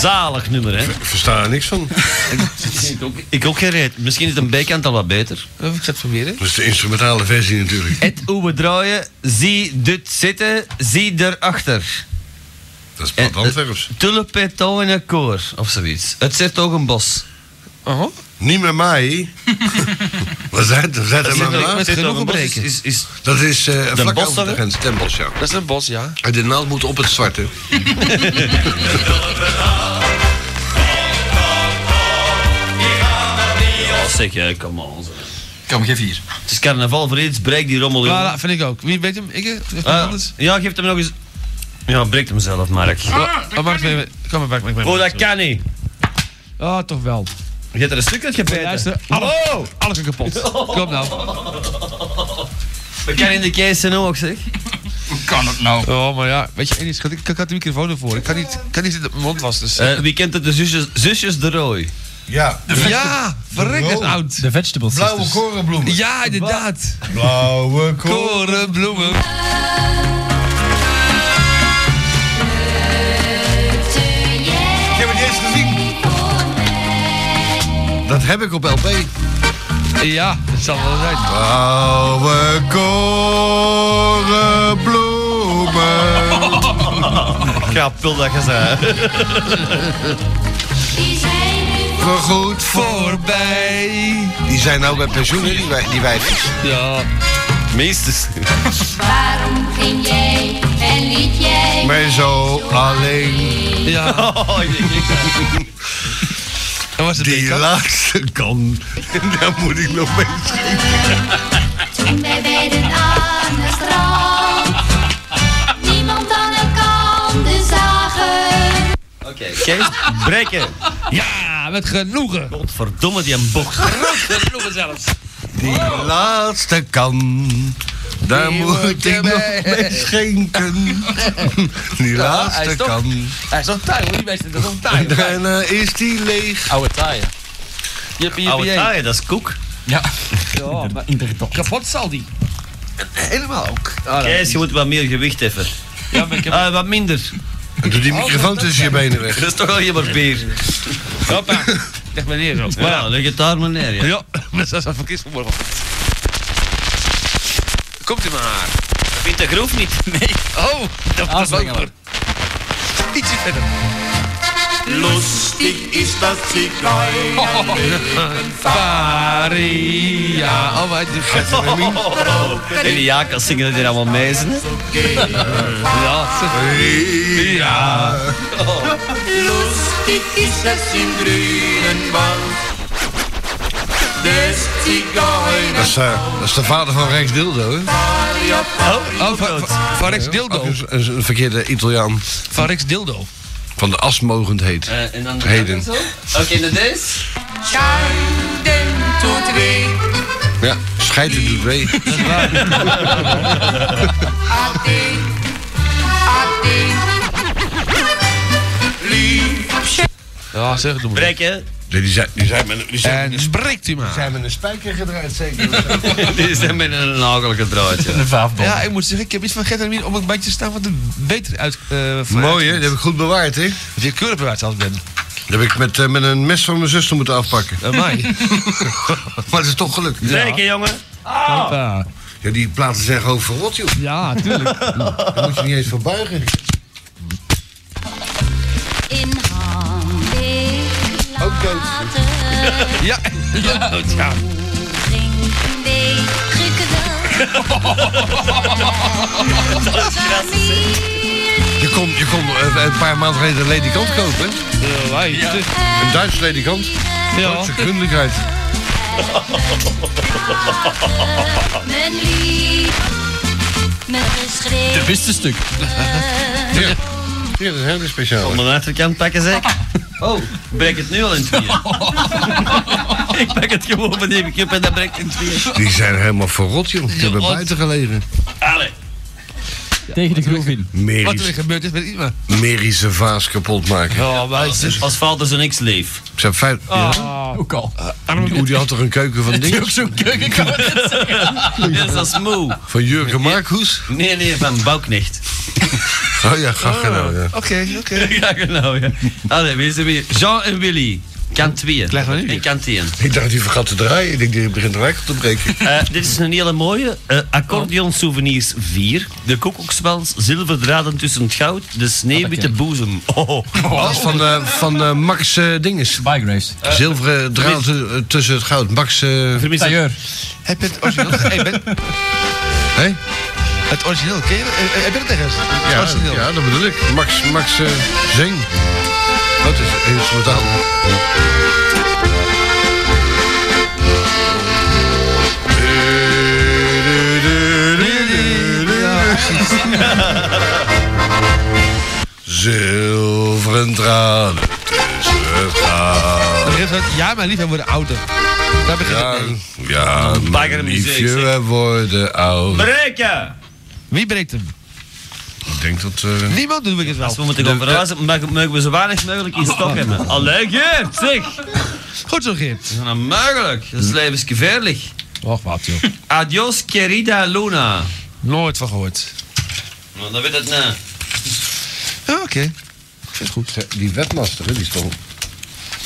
[SPEAKER 1] Zalig nummer, hè?
[SPEAKER 3] versta er niks van.
[SPEAKER 1] ik, ook, ik ook geen reet. Misschien is een bijkant al wat beter.
[SPEAKER 6] Ik ga het proberen.
[SPEAKER 3] Dat is de instrumentale versie natuurlijk.
[SPEAKER 1] Het hoe we draaien, zie dit zitten, zie Eh, erachter.
[SPEAKER 3] Dat is
[SPEAKER 1] plat Antwerps. Tulpeto in een koor, of zoiets. Het zit ook een bos. Uh-huh.
[SPEAKER 3] Niet met mij. Wat is dat? Zet
[SPEAKER 1] Dat
[SPEAKER 3] hem
[SPEAKER 1] zit
[SPEAKER 3] maar
[SPEAKER 1] nog-
[SPEAKER 3] na.
[SPEAKER 1] met Zit genoegen nog een bos, breken. is- is-
[SPEAKER 3] dat is eh
[SPEAKER 1] Den
[SPEAKER 3] vlak
[SPEAKER 1] Bosch
[SPEAKER 3] over de
[SPEAKER 1] dan,
[SPEAKER 3] grens. Den Bosch, ja.
[SPEAKER 18] Dat is een bos, ja.
[SPEAKER 3] En de naald moet op het zwarte.
[SPEAKER 1] Ja, zeg jij, kom on. Kom, geef hier. Het is carnaval voor iets, breek die rommel in.
[SPEAKER 6] Voilà, vind ik ook. Wie weet hem? Ik? eh, Of iemand
[SPEAKER 1] Eh,
[SPEAKER 6] anders?
[SPEAKER 1] ja, geef hem nog eens. Ja, breekt hem zelf, Mark.
[SPEAKER 6] Oh, Mark, nee, kom maar, Mark, Mark, Mark.
[SPEAKER 1] Oh, dat kan niet.
[SPEAKER 6] Oh, toch wel. Oh!
[SPEAKER 1] Je hebt er een stuk uit gebeten.
[SPEAKER 6] Luister, alles, alles is kapot. Kom nou.
[SPEAKER 1] We kan in de kees zijn ook, zeg.
[SPEAKER 6] Hoe kan het nou? Oh, maar ja. Weet je, en is, ik, ik had de microfoon ervoor. Ik kan niet, ik kan niet zitten mijn mond was. Dus.
[SPEAKER 1] Eh, wie kent het? De zusjes, zusjes de Rooi.
[SPEAKER 3] Ja.
[SPEAKER 6] ja, verrek het oud.
[SPEAKER 19] De vegetables.
[SPEAKER 3] Blauwe korenbloemen.
[SPEAKER 6] Ja, inderdaad.
[SPEAKER 3] Blauwe
[SPEAKER 6] korenbloemen.
[SPEAKER 3] Ik heb het niet eens gezien. Dat heb ik op LP.
[SPEAKER 6] Ja, dat zal wel zijn.
[SPEAKER 3] Blauwe korenbloemen.
[SPEAKER 1] Kapel dat je zei.
[SPEAKER 3] Goed
[SPEAKER 6] voorbij.
[SPEAKER 3] Die zijn nou bij pensioen, hè, die, wij, die wijfjes.
[SPEAKER 6] Ja.
[SPEAKER 1] Meesters.
[SPEAKER 20] Waarom ging jij en liet jij
[SPEAKER 3] Maar zo alleen.
[SPEAKER 6] Ja. was het
[SPEAKER 3] die laatste kan. Daar moet ik nog mee
[SPEAKER 20] toen wij werden aan het strand? Niemand aan elkaar zagen.
[SPEAKER 1] Oké, Kees, breken.
[SPEAKER 6] Ja, met genoegen.
[SPEAKER 1] Godverdomme, die een bocht.
[SPEAKER 6] Groot genoegen zelfs.
[SPEAKER 3] Die laatste kan, daar
[SPEAKER 6] Die
[SPEAKER 3] moet
[SPEAKER 6] moet
[SPEAKER 3] ik nog
[SPEAKER 6] erbij.
[SPEAKER 3] mee schenken.
[SPEAKER 6] Ja,
[SPEAKER 3] Die
[SPEAKER 6] hij
[SPEAKER 3] laatste
[SPEAKER 6] is toch-
[SPEAKER 3] kan, eh,
[SPEAKER 6] Hij is nog taai, hoor. Die mensen, dat is nog taai.
[SPEAKER 3] daarna is die leeg.
[SPEAKER 6] Oude taaien. Jippie, jippie,
[SPEAKER 1] Oude
[SPEAKER 6] jee.
[SPEAKER 1] taaien, dat is koek.
[SPEAKER 6] Ja. Ja, maar kapot zal die. Helemaal ook.
[SPEAKER 1] Kees, je moet wat meer gewicht heffen.
[SPEAKER 6] Ja, maar ik heb...
[SPEAKER 1] Ah, wat minder.
[SPEAKER 3] Doe die microfoon tussen je benen
[SPEAKER 1] Dat
[SPEAKER 3] weg.
[SPEAKER 1] is toch al je barbeer.
[SPEAKER 6] Hoppa. Leg maar neer zo.
[SPEAKER 1] Ja, leg het daar maar neer. Ja.
[SPEAKER 6] Ja, dat is een verkeerd vanmorgen. Komt u maar.
[SPEAKER 1] Vindt de groef niet?
[SPEAKER 6] Nee. Oh, dat was wel
[SPEAKER 19] Aansluiten.
[SPEAKER 6] Ietsje verder.
[SPEAKER 9] Lustig ist das Zigeunerleben.
[SPEAKER 6] Faria. Oh, wat
[SPEAKER 1] En die jakas zingen dat hier allemaal mee zijn. hè?
[SPEAKER 6] Ja,
[SPEAKER 3] Ja.
[SPEAKER 9] Lustig ist es im grünen Wald.
[SPEAKER 1] Dus
[SPEAKER 9] Des
[SPEAKER 3] Dat is, eh, dat is de vader van Rex Dildo, hè?
[SPEAKER 6] Oh, van, van- van Rex Dildo.
[SPEAKER 3] Ook een, een- een verkeerde Italiaan
[SPEAKER 6] Van Rex Dildo.
[SPEAKER 3] van de asmogendheid.
[SPEAKER 1] Eh, en dan
[SPEAKER 3] Heden.
[SPEAKER 1] Oké, dat is.
[SPEAKER 9] Scheiden tut weh,
[SPEAKER 3] Ja, scheiden doet wee.
[SPEAKER 9] ade, ade. Liebchen.
[SPEAKER 6] Ja, zeg het maar.
[SPEAKER 1] Breken.
[SPEAKER 3] Die die zijn, die zijn met, die zijn,
[SPEAKER 6] En spreekt u
[SPEAKER 3] die
[SPEAKER 6] maar.
[SPEAKER 3] zijn met een spijker gedraaid, zeker.
[SPEAKER 1] Dit is dan met een nagelijke draadje.
[SPEAKER 19] Een vaafbom.
[SPEAKER 6] Ja, ik moet zeggen, ik heb iets van Gert en Mien op mijn bandje staan wat er beter uit... eh, van-
[SPEAKER 3] Mooi, hè? Dat heb ik goed bewaard, hè?
[SPEAKER 6] Dat je keurig bewaard zelfs bent.
[SPEAKER 3] Dat heb ik met, eh, met een mes van mijn zuster moeten afpakken.
[SPEAKER 6] Amai.
[SPEAKER 3] Maar het is toch gelukt.
[SPEAKER 1] Breken, jongen.
[SPEAKER 6] Hoppa.
[SPEAKER 3] Ja, die platen zijn gewoon verrot, joh.
[SPEAKER 6] Ja, tuurlijk.
[SPEAKER 3] Daar moet je niet eens voor buigen.
[SPEAKER 20] In handen later
[SPEAKER 6] Ja. Ja.
[SPEAKER 20] ging de geknel.
[SPEAKER 9] Dat is
[SPEAKER 3] Je kon, je kon eh, een paar maanden geleden een ledikant kopen. Ja, Een Duits ledikant. Ja. Duitse kundigheid.
[SPEAKER 9] Mijn lief, mijn geschreeuw.
[SPEAKER 3] De beste stuk. Ja. Ja, dat is heel speciaal.
[SPEAKER 1] Om een achterkant pakken zeg. Oh, breek het nu al in tweeën.
[SPEAKER 7] Oh.
[SPEAKER 1] ik pak het gewoon van die kip en dat breekt in tweeën.
[SPEAKER 3] Die zijn helemaal verrot, joh. Die hebben buiten gelegen.
[SPEAKER 1] Allee.
[SPEAKER 3] Tegen de groef in.
[SPEAKER 7] Wat er gebeurd is met Ima.
[SPEAKER 3] Merische vaas kapot maken.
[SPEAKER 1] Ja, maar als vader zijn ex leef.
[SPEAKER 3] Ze hebben vijf... Ja.
[SPEAKER 6] Ah.
[SPEAKER 7] Ook al.
[SPEAKER 3] Oeh, die had toch een keuken van dingen?
[SPEAKER 1] ook zo'n keukenkast. Yes, dat is moe.
[SPEAKER 3] Van Jurgen Markhoes?
[SPEAKER 1] Nee, nee, van Bouwknecht.
[SPEAKER 3] Oh ja, graag gedaan, ja.
[SPEAKER 7] Oké, oké.
[SPEAKER 1] Ja, genau, ja. Allee, wie is er weer? Jean en Willy. Kant 2. En kant 1.
[SPEAKER 3] Ik dacht, die vergat te draaien. Ik denk, die begint de wijk op te breken.
[SPEAKER 1] Eh, dit is een hele mooie. eh accordeon Souvenirs 4. De koekoekswels, zilverdraden tussen het goud, de
[SPEAKER 7] Ah,
[SPEAKER 1] sneeuwwitte boezem. Oh.
[SPEAKER 3] Dat is van, eh, van eh, Max eh, Dinges.
[SPEAKER 21] Bygraves.
[SPEAKER 3] Zilveren draad eh, tussen het goud. Max... eh
[SPEAKER 1] Vermis-
[SPEAKER 21] Tailleur.
[SPEAKER 6] Heb je het origineel? hey, ben...
[SPEAKER 3] Hé?
[SPEAKER 6] Het origineel, ken je dat? Eh, eh, Heb je het ergens? Het
[SPEAKER 3] Ja,
[SPEAKER 6] origineel.
[SPEAKER 3] ja, dat bedoel ik. Max, Max eh, Zeng. Dat is instrumentaal. Zilveren draden tussen het goud.
[SPEAKER 7] Dat begint met, ja, mijn lief, wij worden ouder. Daar begint
[SPEAKER 3] Ja,
[SPEAKER 7] het mee.
[SPEAKER 3] ja, mijn
[SPEAKER 1] muziek,
[SPEAKER 3] liefje,
[SPEAKER 1] zeg.
[SPEAKER 3] we worden oud.
[SPEAKER 1] Breken!
[SPEAKER 7] Wie breekt hem?
[SPEAKER 3] Ik denk dat... eh,
[SPEAKER 7] Niemand doet het wel.
[SPEAKER 1] Als we moeten gaan verhuizen, mag- mogen we zo weinig mogelijk in stok hebben. Allee, Geert, zeg!
[SPEAKER 7] Goed zo, Geert.
[SPEAKER 1] Dat is onmogelijk.
[SPEAKER 3] Hm.
[SPEAKER 1] Dat is levensgevaarlijk.
[SPEAKER 7] Och, wat, joh.
[SPEAKER 1] Adios, querida Luna.
[SPEAKER 7] Nooit van gehoord.
[SPEAKER 1] Nou, dat weet het nou.
[SPEAKER 7] Ja, Ah, oké. Ik vind het goed.
[SPEAKER 3] Die webmaster, hè, die is toch...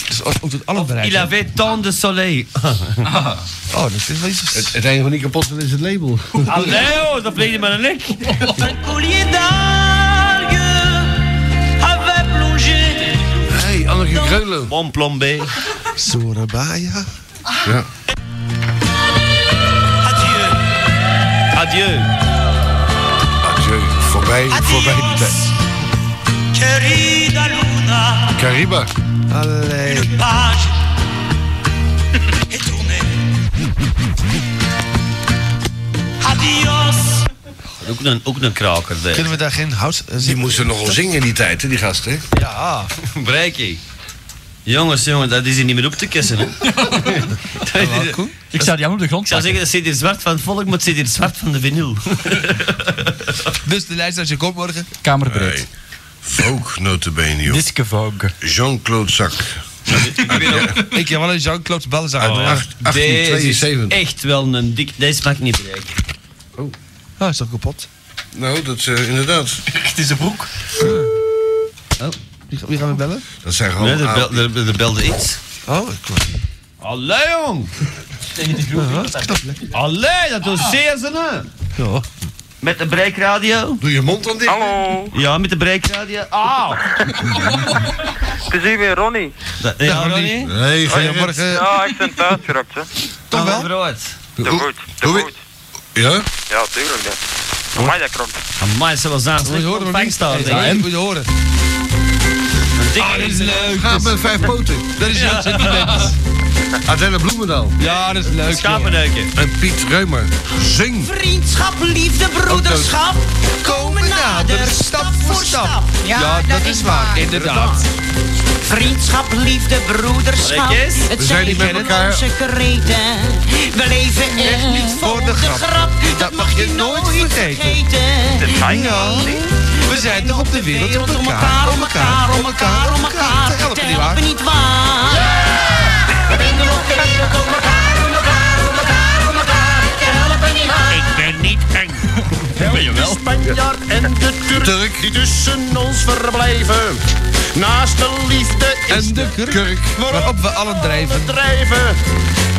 [SPEAKER 7] Dus ook ook tot alle bereiken.
[SPEAKER 1] Il avait tant de soleil.
[SPEAKER 7] Oh, dat is wel iets...
[SPEAKER 3] Het, het enige wat niet kapot is, is het label.
[SPEAKER 1] Allee, hoor, dat vliegt maar een nek.
[SPEAKER 9] Un collier d'algues avait plongé
[SPEAKER 3] hey, Anneke Greulen.
[SPEAKER 1] Bon plombé.
[SPEAKER 7] Sorabaya.
[SPEAKER 3] Ja.
[SPEAKER 1] Adieu. Adieu.
[SPEAKER 3] Adieu. Voorbij, voorbij de tijd.
[SPEAKER 9] Querida Luna,
[SPEAKER 3] Cariba.
[SPEAKER 7] Allee.
[SPEAKER 9] une page est tournée. Adios.
[SPEAKER 1] Ook een, ook een kraker, hè.
[SPEAKER 7] Kunnen we daar geen hout... eh,
[SPEAKER 3] Die
[SPEAKER 7] zien?
[SPEAKER 3] moesten nogal zingen in die tijd, hè, die gasten. hè?
[SPEAKER 7] Ja.
[SPEAKER 1] Breakie. Jongens, jongens, dat is hier niet meer op te kussen, hè. Dat is-
[SPEAKER 21] Ik zou die aan op de grond
[SPEAKER 1] Ik zou
[SPEAKER 21] pakken.
[SPEAKER 1] zeggen, dat zit hier zwart van het volk, maar het zit hier zwart van de vinyl.
[SPEAKER 7] Dus de lijst als je komt morgen.
[SPEAKER 21] Kamerbreed.
[SPEAKER 3] Nee. Vogue, notabene, joh.
[SPEAKER 21] Diske Vogue.
[SPEAKER 3] Jean-Claude Zak.
[SPEAKER 7] Ik heb wel een Jean-Claude Balzaar.
[SPEAKER 3] Uit acht-
[SPEAKER 1] Oh, Deze is
[SPEAKER 3] 1872.
[SPEAKER 1] echt wel een dik... Deze mag ik niet breken.
[SPEAKER 7] Ah, is toch kapot?
[SPEAKER 3] Nou, dat eh, inderdaad.
[SPEAKER 6] Het is een broek.
[SPEAKER 7] Oh, Wie, wie gaan we bellen?
[SPEAKER 3] Dat zijn gewoon...
[SPEAKER 1] Nee, er,
[SPEAKER 3] oude-
[SPEAKER 1] bel, er, er belde iets.
[SPEAKER 7] Oh, ik hoor-
[SPEAKER 1] Allee, jong! Allee, dat
[SPEAKER 3] Ah.
[SPEAKER 1] doen ze nou.
[SPEAKER 7] Ja.
[SPEAKER 1] Met de breekradio?
[SPEAKER 3] Doe je mond dan dicht.
[SPEAKER 2] Hallo,
[SPEAKER 1] Ja, met de breekradio. Ah!
[SPEAKER 2] het is hier weer Ronnie.
[SPEAKER 1] Dat, ja, Ronnie?
[SPEAKER 3] Nee, goedemorgen.
[SPEAKER 2] Ja, ik ben thuis geraakt, hè.
[SPEAKER 1] Toch wel?
[SPEAKER 2] De
[SPEAKER 3] Hoe-
[SPEAKER 2] goed, de
[SPEAKER 3] hoe-
[SPEAKER 2] goed.
[SPEAKER 3] Ja?
[SPEAKER 2] Ja, tuurlijk, dat. Voor mij dat klopt.
[SPEAKER 1] Amai, ze was aan het ontvangst daar, denk ik.
[SPEAKER 7] Moet je horen.
[SPEAKER 1] Ah, dit is leuk.
[SPEAKER 3] Gaat met vijf poten.
[SPEAKER 7] Dat is
[SPEAKER 1] Ja.
[SPEAKER 7] Jan Sentiment.
[SPEAKER 3] Adelle Bloemendaal.
[SPEAKER 7] Ja, dat is leuk. joh.
[SPEAKER 1] Schapenheuken.
[SPEAKER 3] En Piet Reumer. Zing.
[SPEAKER 9] Vriendschap, liefde, broederschap, komen nader, stap voor stap.
[SPEAKER 7] Ja, dat is waar. Inderdaad.
[SPEAKER 9] Vriendschap, liefde, broederschap.
[SPEAKER 1] Kijk eens.
[SPEAKER 9] Het
[SPEAKER 3] We zijn niet met elkaar.
[SPEAKER 9] onze kreten. We leven echt niet voor de grap.
[SPEAKER 7] Dat mag je nooit vergeten.
[SPEAKER 9] vergeten.
[SPEAKER 7] Ja. We zijn toch op de wereld om elkaar, om elkaar, om elkaar, om elkaar. Te helpen, nietwaar?
[SPEAKER 9] Niet waar. We winnen op de wereld om elkaar, om elkaar, om elkaar, om elkaar. Te helpen niet waar.
[SPEAKER 16] Ik ben niet eng. Ben je wel? De Spanjaard en de Turk
[SPEAKER 3] Turk.
[SPEAKER 16] die tussen ons verblijven. Naast de liefde is
[SPEAKER 7] En de kurk.
[SPEAKER 3] Kurk.
[SPEAKER 7] Waarop we allen drijven. Oh,
[SPEAKER 16] drijven.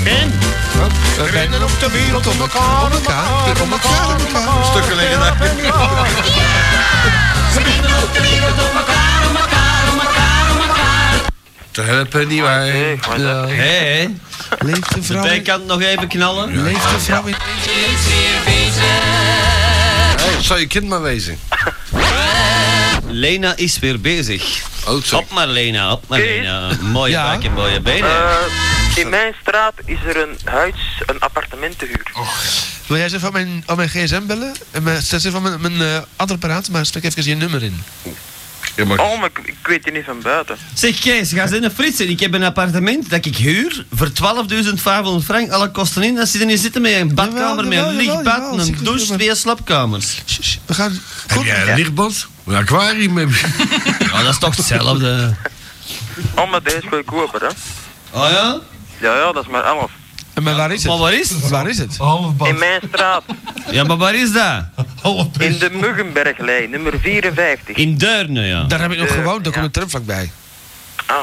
[SPEAKER 16] En
[SPEAKER 7] We zijn
[SPEAKER 16] rennen op de wereld om elkaar, om elkaar, om elkaar, om elkaar.
[SPEAKER 3] Stukken liggen daar.
[SPEAKER 16] Helpen niet waar.
[SPEAKER 9] We winnen op de wereld om elkaar, om elkaar, om elkaar, om elkaar.
[SPEAKER 3] Te helpen, nietwaar.
[SPEAKER 2] Hey, maar dat-
[SPEAKER 1] Hé, hé.
[SPEAKER 7] Leeft de
[SPEAKER 1] De
[SPEAKER 7] vrouw in...
[SPEAKER 1] bijkant nog even knallen.
[SPEAKER 7] Leeft de vrouw in...
[SPEAKER 9] Iets weer weten.
[SPEAKER 3] zou je kind maar wezen.
[SPEAKER 1] Lena is weer bezig.
[SPEAKER 3] Oh,
[SPEAKER 1] op maar Lena, op maar Lena. Mooie
[SPEAKER 2] Ja.
[SPEAKER 1] buik en mooie benen.
[SPEAKER 2] Eh, in mijn straat is er een huis, een appartement te huur.
[SPEAKER 7] Wil jij eens even aan mijn, aan mijn gsm bellen? En mijn, zet even aan mijn, mijn eh, andere apparaat, maar stek even je nummer in.
[SPEAKER 2] Oh, maar ik, ik weet je niet van buiten.
[SPEAKER 1] Zeg Kees, ga eens in de frits en ik heb een appartement dat ik huur voor 12.500 frank, alle kosten in. Dan zitten hier zitten met een badkamer, met een
[SPEAKER 7] jawel, jawel,
[SPEAKER 1] lichtbad,
[SPEAKER 7] jawel,
[SPEAKER 1] een
[SPEAKER 7] zeker,
[SPEAKER 1] douche, twee slaapkamers.
[SPEAKER 7] We gaan...
[SPEAKER 3] Heb jij een lichtbad? Een aquarium heb je.
[SPEAKER 1] Ja, dat is toch hetzelfde.
[SPEAKER 2] Oh, maar deze is goedkoper, hè?
[SPEAKER 3] Ah,
[SPEAKER 1] Oh ja?
[SPEAKER 2] Ja, ja, dat is maar 11.
[SPEAKER 7] Maar waar is het?
[SPEAKER 1] Maar waar is het?
[SPEAKER 7] Waar is het?
[SPEAKER 3] Oh,
[SPEAKER 2] In mijn straat.
[SPEAKER 1] Ja, maar waar is dat?
[SPEAKER 2] In de Muggenberglijn, nummer 54.
[SPEAKER 1] In Deurne, ja.
[SPEAKER 7] Daar heb ik nog
[SPEAKER 2] Eh,
[SPEAKER 7] gewoond, daar
[SPEAKER 2] ja.
[SPEAKER 7] komt een tram vlakbij.
[SPEAKER 2] Ah.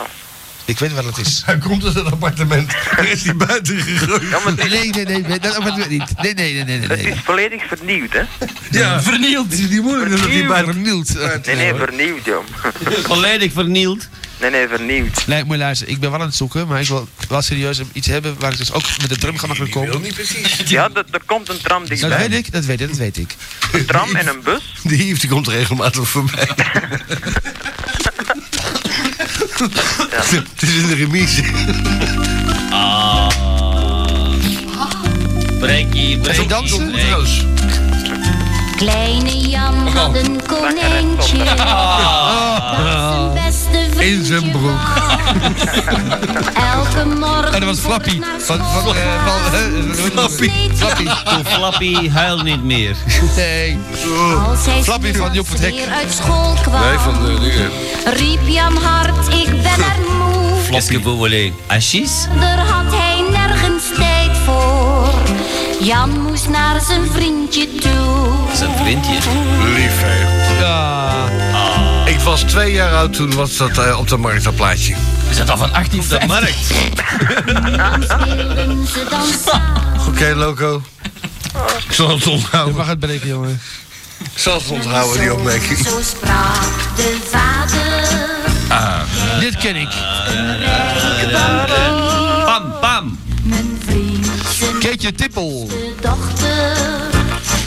[SPEAKER 7] Ik weet waar het is.
[SPEAKER 3] Oh. Hij komt uit een appartement. Er is hij buiten gegooid.
[SPEAKER 7] Nee, nee, nee, nee, dat appartement niet. Nee, nee, nee, nee, nee.
[SPEAKER 2] Het
[SPEAKER 7] nee.
[SPEAKER 2] is volledig vernieuwd, hè?
[SPEAKER 3] Ja, vernield.
[SPEAKER 7] Het is niet moeilijk dat hij bijna vernield. eh.
[SPEAKER 2] Nee,
[SPEAKER 3] eh,
[SPEAKER 2] nee, vernieuwd, joh.
[SPEAKER 1] Volledig vernield.
[SPEAKER 2] Nee, nee, vernieuwd.
[SPEAKER 7] Nee, moet je luisteren, ik ben wel aan het zoeken, maar ik wil wel serieus iets hebben waar ik dus ook met de tram ga makkelijk komen.
[SPEAKER 3] precies.
[SPEAKER 2] Ja, dat- er komt een tram
[SPEAKER 7] Dat weet
[SPEAKER 2] dichtbij.
[SPEAKER 7] ik, dat weet ik, dat weet ik.
[SPEAKER 2] Een tram en een bus.
[SPEAKER 3] Die hief die komt regelmatig voorbij. Het is in de remise.
[SPEAKER 1] Ah. Brekkie, brekkie, brekkie.
[SPEAKER 9] Kleine Jan had een konijntje.
[SPEAKER 3] Ah.
[SPEAKER 9] Beste
[SPEAKER 3] In zijn broek.
[SPEAKER 9] vriend, elke morgen.
[SPEAKER 7] En dat was Flappy. Van, van, eh, van, eh,
[SPEAKER 3] Flappy.
[SPEAKER 7] Flappy.
[SPEAKER 1] Doe Flappy, huil niet meer.
[SPEAKER 7] Nee.
[SPEAKER 9] Als hij
[SPEAKER 7] Flappy van Job het Hek.
[SPEAKER 9] weer uit school kwam,
[SPEAKER 3] Nee, van de dingen.
[SPEAKER 9] riep Jan hard, ik ben er moe.
[SPEAKER 1] Flopje boewelee. Ashies?
[SPEAKER 9] Daar had hij nergens tijd voor. Jan moest naar zijn vriendje toe.
[SPEAKER 1] Zijn vriendje.
[SPEAKER 3] Lief, hè. Ah. Ik was twee jaar oud toen was dat eh, op de markt, dat plaatje.
[SPEAKER 1] Is dat al van 18 de markt?
[SPEAKER 9] Ze
[SPEAKER 3] Ah,
[SPEAKER 9] dansen.
[SPEAKER 3] Oké, loco. Ik zal het
[SPEAKER 7] Je
[SPEAKER 3] onthouden.
[SPEAKER 7] mag het breken, jongen.
[SPEAKER 3] Ik zal het onthouden, die opmerking.
[SPEAKER 9] Zo sprak de vader.
[SPEAKER 1] Ah.
[SPEAKER 7] Dit ken ik.
[SPEAKER 1] Pam, pam.
[SPEAKER 7] Keetje Tippel.
[SPEAKER 9] De dochter.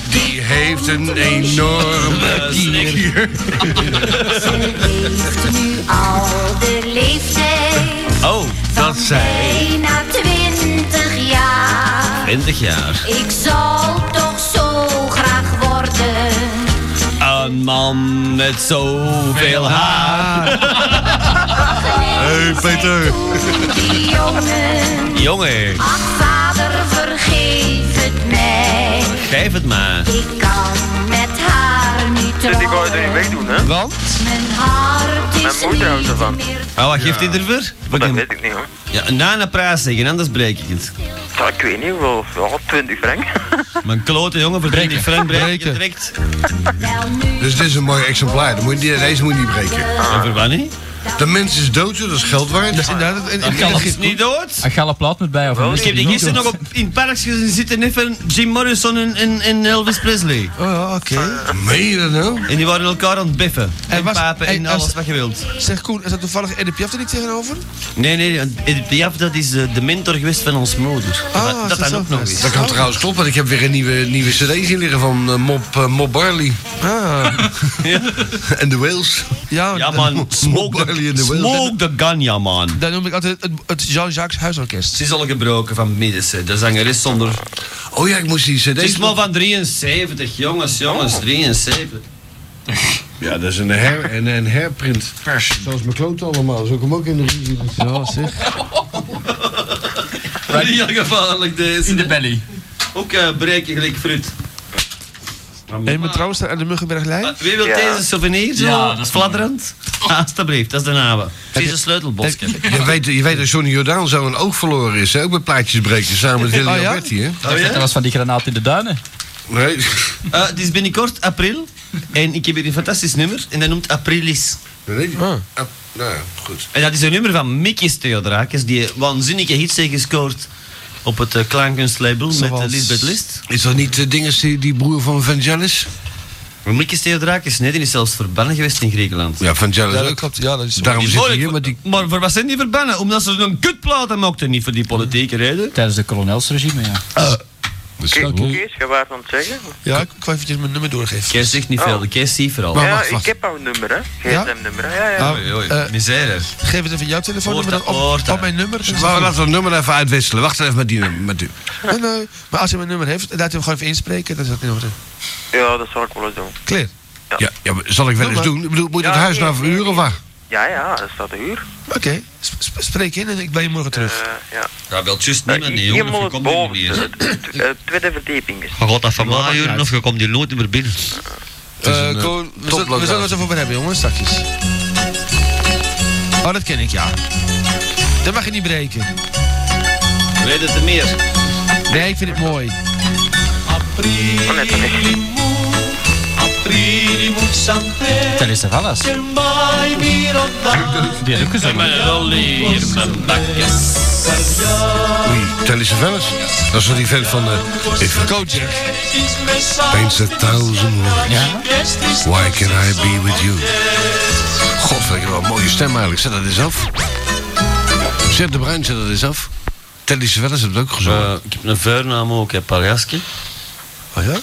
[SPEAKER 3] Die heeft een enorme kier.
[SPEAKER 9] heeft nu al de leeftijd.
[SPEAKER 1] Oh, dat zij.
[SPEAKER 9] Bijna twintig jaar.
[SPEAKER 1] 20 jaar.
[SPEAKER 9] Ik zou toch zo graag worden.
[SPEAKER 1] Een man met zoveel haar.
[SPEAKER 3] Hey, Peter.
[SPEAKER 9] Die jongen.
[SPEAKER 1] Jongen,
[SPEAKER 9] Ach, vader, vergeef het mij.
[SPEAKER 1] geef het maar.
[SPEAKER 9] Ik kan met haar niet
[SPEAKER 2] Dus die ga je er niet
[SPEAKER 9] trouwen.
[SPEAKER 2] wegdoen, hè?
[SPEAKER 1] Want?
[SPEAKER 9] Mijn hart
[SPEAKER 2] Mijn
[SPEAKER 9] is
[SPEAKER 2] moeder houdt
[SPEAKER 9] niet
[SPEAKER 2] ervan.
[SPEAKER 9] meer
[SPEAKER 1] Oh, wat geeft hij ervoor?
[SPEAKER 2] Dat weet ik niet, hoor.
[SPEAKER 1] Ja, na een prijs zeggen, anders breek ik het.
[SPEAKER 2] Ja, ik weet niet hoeveel. Ja, 20 Oh, frank.
[SPEAKER 1] Mijn klote jongen, verdrink ik frank breek je direct.
[SPEAKER 3] Dus dit is een mooi exemplaar. Dan moet je, deze moet je niet breken.
[SPEAKER 1] En voor wanneer?
[SPEAKER 3] De mens is dood, dus dat is geld waard.
[SPEAKER 7] Dat is inderdaad een,
[SPEAKER 1] Dan
[SPEAKER 7] een,
[SPEAKER 1] kan
[SPEAKER 7] een
[SPEAKER 1] het
[SPEAKER 7] gift.
[SPEAKER 1] niet dood.
[SPEAKER 21] Een galle plaat met bij of een
[SPEAKER 1] Ik heb die gisteren nog op, in het park gezien zitten even Jim Morrison en, en, en Elvis Presley.
[SPEAKER 7] Oh, ja, oké.
[SPEAKER 3] Meen je dat nou?
[SPEAKER 1] En die waren elkaar aan het beffen.
[SPEAKER 7] Hij
[SPEAKER 1] En
[SPEAKER 7] was-
[SPEAKER 1] papen
[SPEAKER 7] hij-
[SPEAKER 1] en
[SPEAKER 7] als-
[SPEAKER 1] alles wat je wilt.
[SPEAKER 7] Zeg Koen, is dat toevallig Edip Piaf er niet tegenover?
[SPEAKER 1] Nee, nee, Edith Piaf, dat is eh, de, de mentor geweest van ons moeder.
[SPEAKER 7] Ah,
[SPEAKER 1] dat
[SPEAKER 7] is dat
[SPEAKER 1] dat
[SPEAKER 7] zo?
[SPEAKER 1] ook nog eens.
[SPEAKER 3] Dat kan trouwens kloppen, want ik heb weer een nieuwe, nieuwe cd zien liggen van eh, Mob, eh, Mob Barley.
[SPEAKER 7] Ah.
[SPEAKER 3] En de Wales.
[SPEAKER 7] Ja,
[SPEAKER 1] Ja
[SPEAKER 7] dat-
[SPEAKER 1] man, smoke
[SPEAKER 3] Barley in
[SPEAKER 1] the,
[SPEAKER 3] the Wales.
[SPEAKER 1] smoke the gun, ja man.
[SPEAKER 7] Dat noem ik altijd het, het Jean-Jacques Huisorkest.
[SPEAKER 1] Ze is al gebroken van
[SPEAKER 3] eh,
[SPEAKER 1] middense, de zangeres zonder...
[SPEAKER 3] Oh ja, ik moest die cd...
[SPEAKER 1] Ze is maar van 73, jongens, jongens, 73.
[SPEAKER 3] Ja, dat is een, her, en een herprint. Zoals mijn kloot allemaal, zo ik hem ook in de review.
[SPEAKER 7] Ja, zeg.
[SPEAKER 1] Heel gevaarlijk deze.
[SPEAKER 21] In de belly.
[SPEAKER 1] Ook eh breken gelijk fruit.
[SPEAKER 7] En met trouwens aan de Muggenberglijn?
[SPEAKER 1] Wie wil
[SPEAKER 2] Ja.
[SPEAKER 1] Ah, deze souvenir zo?
[SPEAKER 21] Ja, dat is
[SPEAKER 1] fladderend. Alsjeblieft, dat is de naam. Het is een sleutelbosje.
[SPEAKER 3] Je weet, je weet dat Johnny Jordaan zo een oog verloren is, hè? ook met plaatjes breken, samen met Willy
[SPEAKER 7] Oh ja?
[SPEAKER 3] Alberti. Hè?
[SPEAKER 21] Dat was van die granaat in de duinen.
[SPEAKER 3] Nee.
[SPEAKER 1] Eh, het is binnenkort april. En ik heb hier een fantastisch nummer. En dat noemt Aprilis.
[SPEAKER 3] nee.
[SPEAKER 7] Ah.
[SPEAKER 3] Ah, nou ja, goed.
[SPEAKER 1] En dat is een nummer van Mikis Theodorakis. Die waanzinnige hits heeft gescoord op het uh, klaankunstlabel met eh,
[SPEAKER 7] Zoals-
[SPEAKER 1] Lisbeth List.
[SPEAKER 3] Is dat niet de dinges die, die broer van Vangelis?
[SPEAKER 1] Maar Mikis Theodorakis, nee, die is zelfs verbannen geweest in Griekenland.
[SPEAKER 3] Ja, Vangelis
[SPEAKER 7] Ja, dat
[SPEAKER 3] ook.
[SPEAKER 7] klopt. Ja, dat is zo.
[SPEAKER 3] Daarom
[SPEAKER 1] Die
[SPEAKER 3] zit hij
[SPEAKER 1] vorige-
[SPEAKER 3] hier, maar die...
[SPEAKER 1] Maar voor wat zijn die verbannen? Omdat ze een kutplaten mochten, niet voor die politieke reden. Ah.
[SPEAKER 21] Tijdens de kolonelsregime, ja.
[SPEAKER 2] Kees, Kees, je waart aan het zeggen.
[SPEAKER 6] Ja, Oh. ik wou eventjes mijn nummer doorgeven.
[SPEAKER 1] Kees zegt niet veel, de Kees ziet vooral.
[SPEAKER 6] Maar
[SPEAKER 2] ja,
[SPEAKER 6] wacht, wacht.
[SPEAKER 2] ik heb jouw nummer, hè.
[SPEAKER 6] Ja?
[SPEAKER 2] GSM-nummer, hè. Ja, ja.
[SPEAKER 6] Ah, eh,
[SPEAKER 1] Misère.
[SPEAKER 6] Geef het even jouw telefoonnummer
[SPEAKER 1] Hoort
[SPEAKER 6] dan
[SPEAKER 1] dat,
[SPEAKER 6] op, op mijn nummer.
[SPEAKER 3] Laten we laten dat nummer even uitwisselen. Wacht even met die nummer. Met u.
[SPEAKER 6] Oh, Nee, nee. Maar als hij mijn nummer heeft, laat hem gewoon even inspreken. Dat is dat in orde.
[SPEAKER 2] Ja, dat zal ik wel eens doen.
[SPEAKER 6] Clear.
[SPEAKER 3] Ja, ja, maar zal ik wel
[SPEAKER 6] Doe
[SPEAKER 3] eens
[SPEAKER 6] maar.
[SPEAKER 3] doen? Ik bedoel, moet je
[SPEAKER 6] Ja,
[SPEAKER 3] het huis
[SPEAKER 6] nee,
[SPEAKER 3] nou verhuren of wat?
[SPEAKER 2] Ja, ja, dat staat de huur. Eh,
[SPEAKER 6] Oké, sp- sp- spreek in en ik ben je morgen terug.
[SPEAKER 2] ja. Eh,
[SPEAKER 1] Ja, wel juist niemand, nee,
[SPEAKER 2] Hier
[SPEAKER 1] jongen, of je
[SPEAKER 2] moet het
[SPEAKER 1] komt er
[SPEAKER 2] boven,
[SPEAKER 1] niet eens.
[SPEAKER 2] de tweede verdieping is.
[SPEAKER 1] Je gaat dat van mij huren of je komt hier nooit meer binnen.
[SPEAKER 6] Eh, Koen, we zullen we zullen het even over hebben, jongens, straks. Oh, dat ken ik, ja. Dat mag je niet breken.
[SPEAKER 1] Weet het er meer?
[SPEAKER 6] Nee, ik vind het mooi.
[SPEAKER 2] Oh,
[SPEAKER 21] Dat is toch alles? Die had ook
[SPEAKER 3] Oei, Telly Savalas. Dat is wel die vent van... eh if
[SPEAKER 6] Kojak.
[SPEAKER 3] paints a thousand words, why can I be with you? God, wat heb je wel een mooie stem eigenlijk. Zet dat eens af. Zet de Bruin, zet dat eens af. Telly Savalas heeft het ook gezongen.
[SPEAKER 1] Eh, ik heb een vuurnaam ook, hè, Paljaski.
[SPEAKER 6] Oh ja?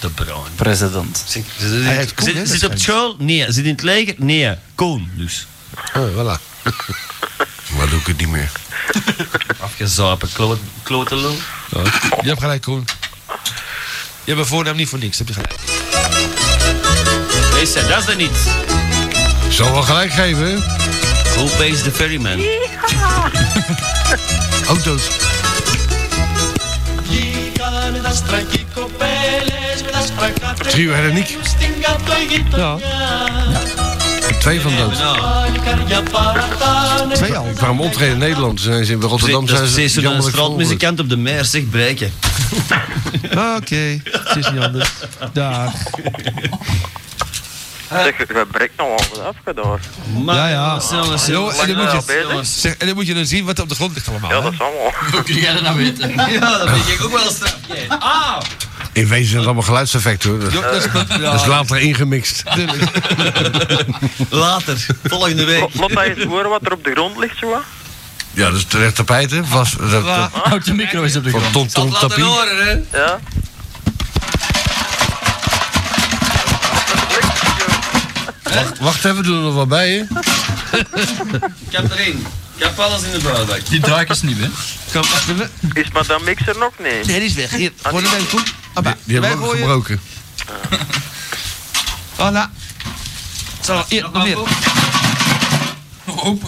[SPEAKER 1] De Bruin.
[SPEAKER 21] President.
[SPEAKER 1] Zit, zit- zit-
[SPEAKER 21] Hij heeft Koen,
[SPEAKER 1] zit-
[SPEAKER 21] hè,
[SPEAKER 1] zit op
[SPEAKER 21] waarschijnlijk.
[SPEAKER 1] school? Nee. Zit in het leger? Nee. Koen, dus.
[SPEAKER 6] Oh, voilà.
[SPEAKER 3] maar doe ik het niet meer.
[SPEAKER 1] Afgezapen, klo- klotenlul.
[SPEAKER 6] Oh, Je hebt gelijk, Koen. Je hebt een voornaam niet voor niks, heb je gelijk.
[SPEAKER 1] Deze, dat is er niet.
[SPEAKER 3] Zal wel gelijk geven.
[SPEAKER 1] Who pays the ferryman?
[SPEAKER 3] Ook dood. Trio Helleniek.
[SPEAKER 6] Ja.
[SPEAKER 3] Twee van dood. Twee
[SPEAKER 1] nou.
[SPEAKER 3] al. Ik kwam optreden in Nederland. Ze Zijn ze in Rotterdam
[SPEAKER 1] Dat is
[SPEAKER 3] zijn ze
[SPEAKER 1] precies zo'n
[SPEAKER 3] jammerlijk verongelukt.
[SPEAKER 1] straatmuzikant op de meer, zeg, breken.
[SPEAKER 6] Oké, het is niet anders. Dag.
[SPEAKER 2] Zeg, we breken nog wel wat afgedaan.
[SPEAKER 1] Maar,
[SPEAKER 6] Ja, ja.
[SPEAKER 1] Jongens,
[SPEAKER 6] Jongens, en dan moet
[SPEAKER 2] Ja,
[SPEAKER 6] je,
[SPEAKER 2] beter.
[SPEAKER 6] zeg, en dan moet je dan zien wat er op de grond ligt allemaal.
[SPEAKER 2] Ja,
[SPEAKER 6] hè?
[SPEAKER 2] dat is allemaal.
[SPEAKER 1] Hoe kun jij dat nou weten? Ja, dat vind ik ook wel een strafje. Ah!
[SPEAKER 3] In wezen zijn het allemaal geluidseffecten hoor. Dat,
[SPEAKER 6] Jo, dat is-
[SPEAKER 3] dat is later ingemixt.
[SPEAKER 1] Later, volgende week.
[SPEAKER 2] Laat dat eens horen wat er op de grond ligt, zo wat.
[SPEAKER 3] Ja, dat is terecht tapijt hè. Was, dat, dat,
[SPEAKER 21] Houd je micro eens op de
[SPEAKER 3] van
[SPEAKER 21] grond.
[SPEAKER 3] Tom Tom Tapie.
[SPEAKER 1] horen, hè?
[SPEAKER 2] Ja.
[SPEAKER 3] Wacht, wacht even, doen we er nog wat bij hè.
[SPEAKER 1] Ik heb erin. Ik heb alles in de vuilbak.
[SPEAKER 21] Die draak is niet, hè?
[SPEAKER 6] Kom, wacht even.
[SPEAKER 2] Is madame Mix er nog? Nee.
[SPEAKER 6] Nee, die is weg. Hier,
[SPEAKER 2] Ah,
[SPEAKER 6] gewoon een Koen. Abba,
[SPEAKER 3] Die hebben we ook
[SPEAKER 6] gooien.
[SPEAKER 3] gebroken.
[SPEAKER 1] Oh, nou.
[SPEAKER 6] Voilà. Zo, hier, nog meer.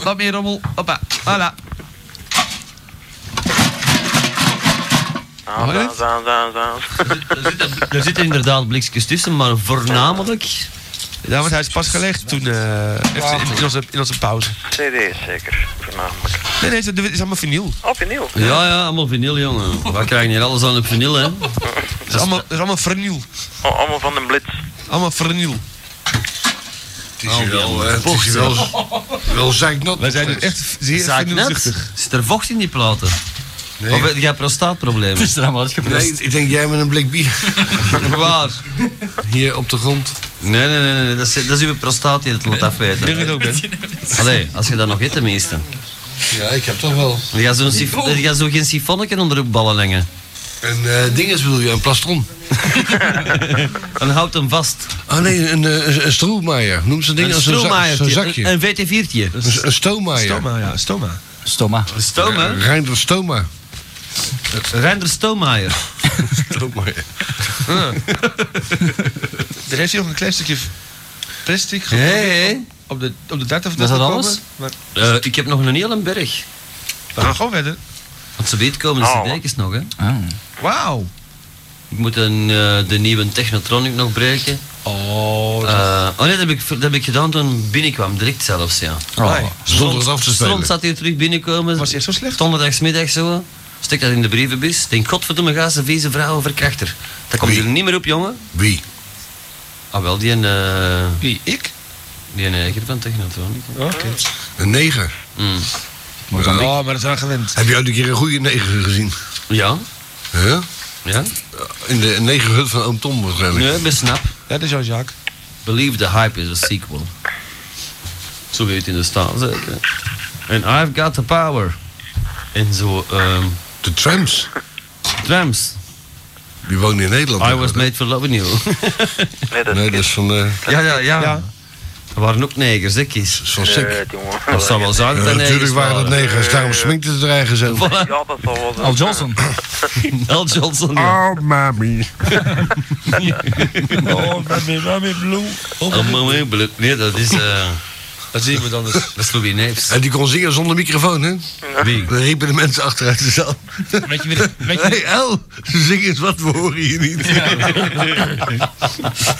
[SPEAKER 6] Wat meer rommel. Hoppa, voilà.
[SPEAKER 2] Ah, zaan, zaan, zaan, zaan.
[SPEAKER 1] Er zitten inderdaad blikjes tussen, maar voornamelijk...
[SPEAKER 6] Ja, want hij is pas gelegd toen, eh, even in, in onze, in onze pauze.
[SPEAKER 2] CD's zeker, voornamelijk.
[SPEAKER 6] Nee, nee, dat is allemaal vinyl.
[SPEAKER 2] Oh, vinyl.
[SPEAKER 1] Ja, ja, allemaal vinyl, jongen. We krijgen hier alles aan op vinyl, hè?
[SPEAKER 6] Dat is allemaal, dat is allemaal vernieuw.
[SPEAKER 2] Oh, allemaal van de blitz.
[SPEAKER 6] Allemaal vernieuw.
[SPEAKER 3] Het
[SPEAKER 1] Oh,
[SPEAKER 3] is hier wel, eh, het is hier wel, wel zeiknat.
[SPEAKER 6] Wij zijn dus echt zeer
[SPEAKER 1] Zaak net.
[SPEAKER 6] vernieuwzuchtig.
[SPEAKER 1] Zit er vocht in die platen?
[SPEAKER 3] Nee.
[SPEAKER 1] Of heb jij prostaatproblemen?
[SPEAKER 21] is er allemaal uitgeprest.
[SPEAKER 3] Nee, ik denk jij met een blik bier
[SPEAKER 1] Waar?
[SPEAKER 3] hier op de grond.
[SPEAKER 1] Nee, nee, nee, nee. Dat, is, dat is uw prostaat die het laat
[SPEAKER 6] Ik denk
[SPEAKER 1] afweten.
[SPEAKER 6] het ook, hè.
[SPEAKER 1] Allee, als je dat nog eet tenminste.
[SPEAKER 3] Ja, ik heb toch wel.
[SPEAKER 1] Je gaat zo'n sif- je gaat zo geen sifonnetje onder uw ballen lengen.
[SPEAKER 3] Een eh ding is bedoel je, een plastron.
[SPEAKER 1] Dan houdt hem vast.
[SPEAKER 3] Ah nee, een, eh, een, een stroelmaaier. Noem ze dingen
[SPEAKER 1] Een
[SPEAKER 3] als zo'n za- zo'n
[SPEAKER 1] stroomaaiertje.
[SPEAKER 3] zakje.
[SPEAKER 1] Een, een VT4'tje.
[SPEAKER 3] Een, een stoomaaier.
[SPEAKER 6] Stoma, ja, stoma.
[SPEAKER 21] Stomma.
[SPEAKER 1] Een stoom, hè?
[SPEAKER 3] Reinder stoma.
[SPEAKER 1] Reinder Stoomaier.
[SPEAKER 3] Stoomaaier.
[SPEAKER 6] Er heeft hier nog een klein stukje plastic
[SPEAKER 1] Hé,
[SPEAKER 6] gevonden
[SPEAKER 1] hé.
[SPEAKER 6] op, de, op de data van
[SPEAKER 21] Was dat
[SPEAKER 6] de
[SPEAKER 21] alles?
[SPEAKER 6] Maar
[SPEAKER 1] Eh, Ik heb nog een hele berg.
[SPEAKER 6] we gaan gewoon verder.
[SPEAKER 1] Want ze weet komen de
[SPEAKER 2] Oh.
[SPEAKER 1] dekens nog, hè?
[SPEAKER 21] Ah.
[SPEAKER 6] Wauw.
[SPEAKER 1] Ik moet een, eh, de nieuwe Technotronic nog breken.
[SPEAKER 6] Oh, dat-
[SPEAKER 1] Eh, oh nee, dat heb, ik, dat heb ik gedaan toen ik binnenkwam, direct zelfs, ja.
[SPEAKER 6] Amai.
[SPEAKER 3] Zonder het af te spelen.
[SPEAKER 1] Oh. Stront zat hier terug binnenkomen.
[SPEAKER 6] Was hij echt zo slecht?
[SPEAKER 1] Donderdagsmiddag zo. Stek dat in de brievenbus. Denk, godverdomme, ga ze vieze vrouwen verkrachter. Dat komt
[SPEAKER 3] Wie?
[SPEAKER 1] hier niet meer op, jongen.
[SPEAKER 3] Wie?
[SPEAKER 1] Ah wel, die en... eh,
[SPEAKER 6] Wie, ik?
[SPEAKER 1] die en eiger van Technotronic.
[SPEAKER 6] Oké.
[SPEAKER 3] Een neger.
[SPEAKER 1] Mm.
[SPEAKER 6] Oh, maar dat is aan gewend.
[SPEAKER 3] Heb je ooit een keer een goede neger gezien?
[SPEAKER 1] Ja,
[SPEAKER 3] Huh? Eh,
[SPEAKER 1] ja.
[SPEAKER 3] In de negerhut van oom Tom waarschijnlijk.
[SPEAKER 1] Nee, best snap.
[SPEAKER 6] Ja, dat is jouw zaak.
[SPEAKER 1] Believe the Hype is a sequel. Zo weet het in de staat zeker. En I've Got the Power. En zo, ehm
[SPEAKER 3] De trams.
[SPEAKER 1] drums.
[SPEAKER 3] Die woont in Nederland.
[SPEAKER 1] I was made for loving you.
[SPEAKER 3] Nee, dat is, van... eh,
[SPEAKER 1] Ja, ja, ja. Er waren ook negers, hè, Kies?
[SPEAKER 3] Zo'n sik.
[SPEAKER 1] Dat zou wel zijn
[SPEAKER 3] Ja,
[SPEAKER 1] dat er negers
[SPEAKER 3] natuurlijk waren dat negers, daarom sminkte het er eigen zo.
[SPEAKER 1] Voilà.
[SPEAKER 2] Ja, dat zal wel zijn.
[SPEAKER 1] Al Johnson.
[SPEAKER 3] Oh, mami.
[SPEAKER 1] oh, mami, mami, blue. Oh, mami, blue. Nee, dat is... eh dat is iemand anders. Dat is Louis Neefs.
[SPEAKER 3] En die kon zingen zonder microfoon, hè?
[SPEAKER 1] Wie?
[SPEAKER 3] Dan riepen de mensen achteruit de zaal.
[SPEAKER 21] Weet je weer... Weet je
[SPEAKER 3] hey, El, zing eens wat, we horen je niet.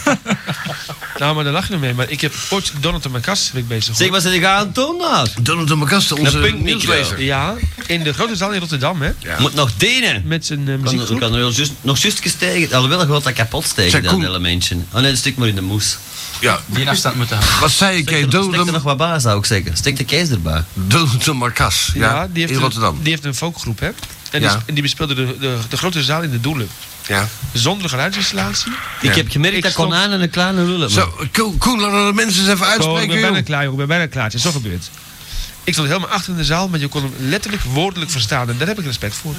[SPEAKER 7] Nou, maar daar lach je nog mee. Maar ik heb ooit Donald en McCas ben ik bezig.
[SPEAKER 1] Zeg, wat zit ik aan het doen daar?
[SPEAKER 3] Donald de McCast, onze
[SPEAKER 1] Pink
[SPEAKER 3] nieuwslezer.
[SPEAKER 7] Ja, in de grote zaal in Rotterdam, hè?
[SPEAKER 1] Moet nog denen.
[SPEAKER 7] Met zijn eh,
[SPEAKER 1] Kan,
[SPEAKER 7] muziekgroep.
[SPEAKER 1] kan er wel juist- nog juist stijgen. Alhoewel, je wilt dat kapot steken,
[SPEAKER 3] Zeg,
[SPEAKER 1] dat
[SPEAKER 3] Koen.
[SPEAKER 1] hele mensje. Oh nee, dat stik maar in de moes.
[SPEAKER 3] Ja,
[SPEAKER 21] Die afstand moeten houden.
[SPEAKER 3] wat zei ik? hè?
[SPEAKER 1] Stik er nog wat bij, zou ik zeggen. Stik de kees erbij.
[SPEAKER 3] Donald de Marcas, ja,
[SPEAKER 7] Ja, die heeft
[SPEAKER 3] in Rotterdam.
[SPEAKER 7] Een, die heeft een folkgroep, hè? En,
[SPEAKER 3] Ja.
[SPEAKER 7] die, en die bespeelde de, de, de grote zaal in de Doelen.
[SPEAKER 3] Ja.
[SPEAKER 7] Zonder geluidsinstallatie.
[SPEAKER 1] Ik heb gemerkt
[SPEAKER 7] Ik
[SPEAKER 1] dat kon
[SPEAKER 7] stond-
[SPEAKER 1] aan en een kleine lullen.
[SPEAKER 3] Zo, Ko- Koen, laten we de mensen eens even
[SPEAKER 7] Kom, ik
[SPEAKER 3] uitspreken,
[SPEAKER 7] ben bijna
[SPEAKER 3] joh.
[SPEAKER 7] klaar, joh. Ik ben bijna klaar. Het is zo gebeurd. Ik stond helemaal achter in de zaal, maar je kon hem letterlijk woordelijk verstaan. En daar heb ik respect voor.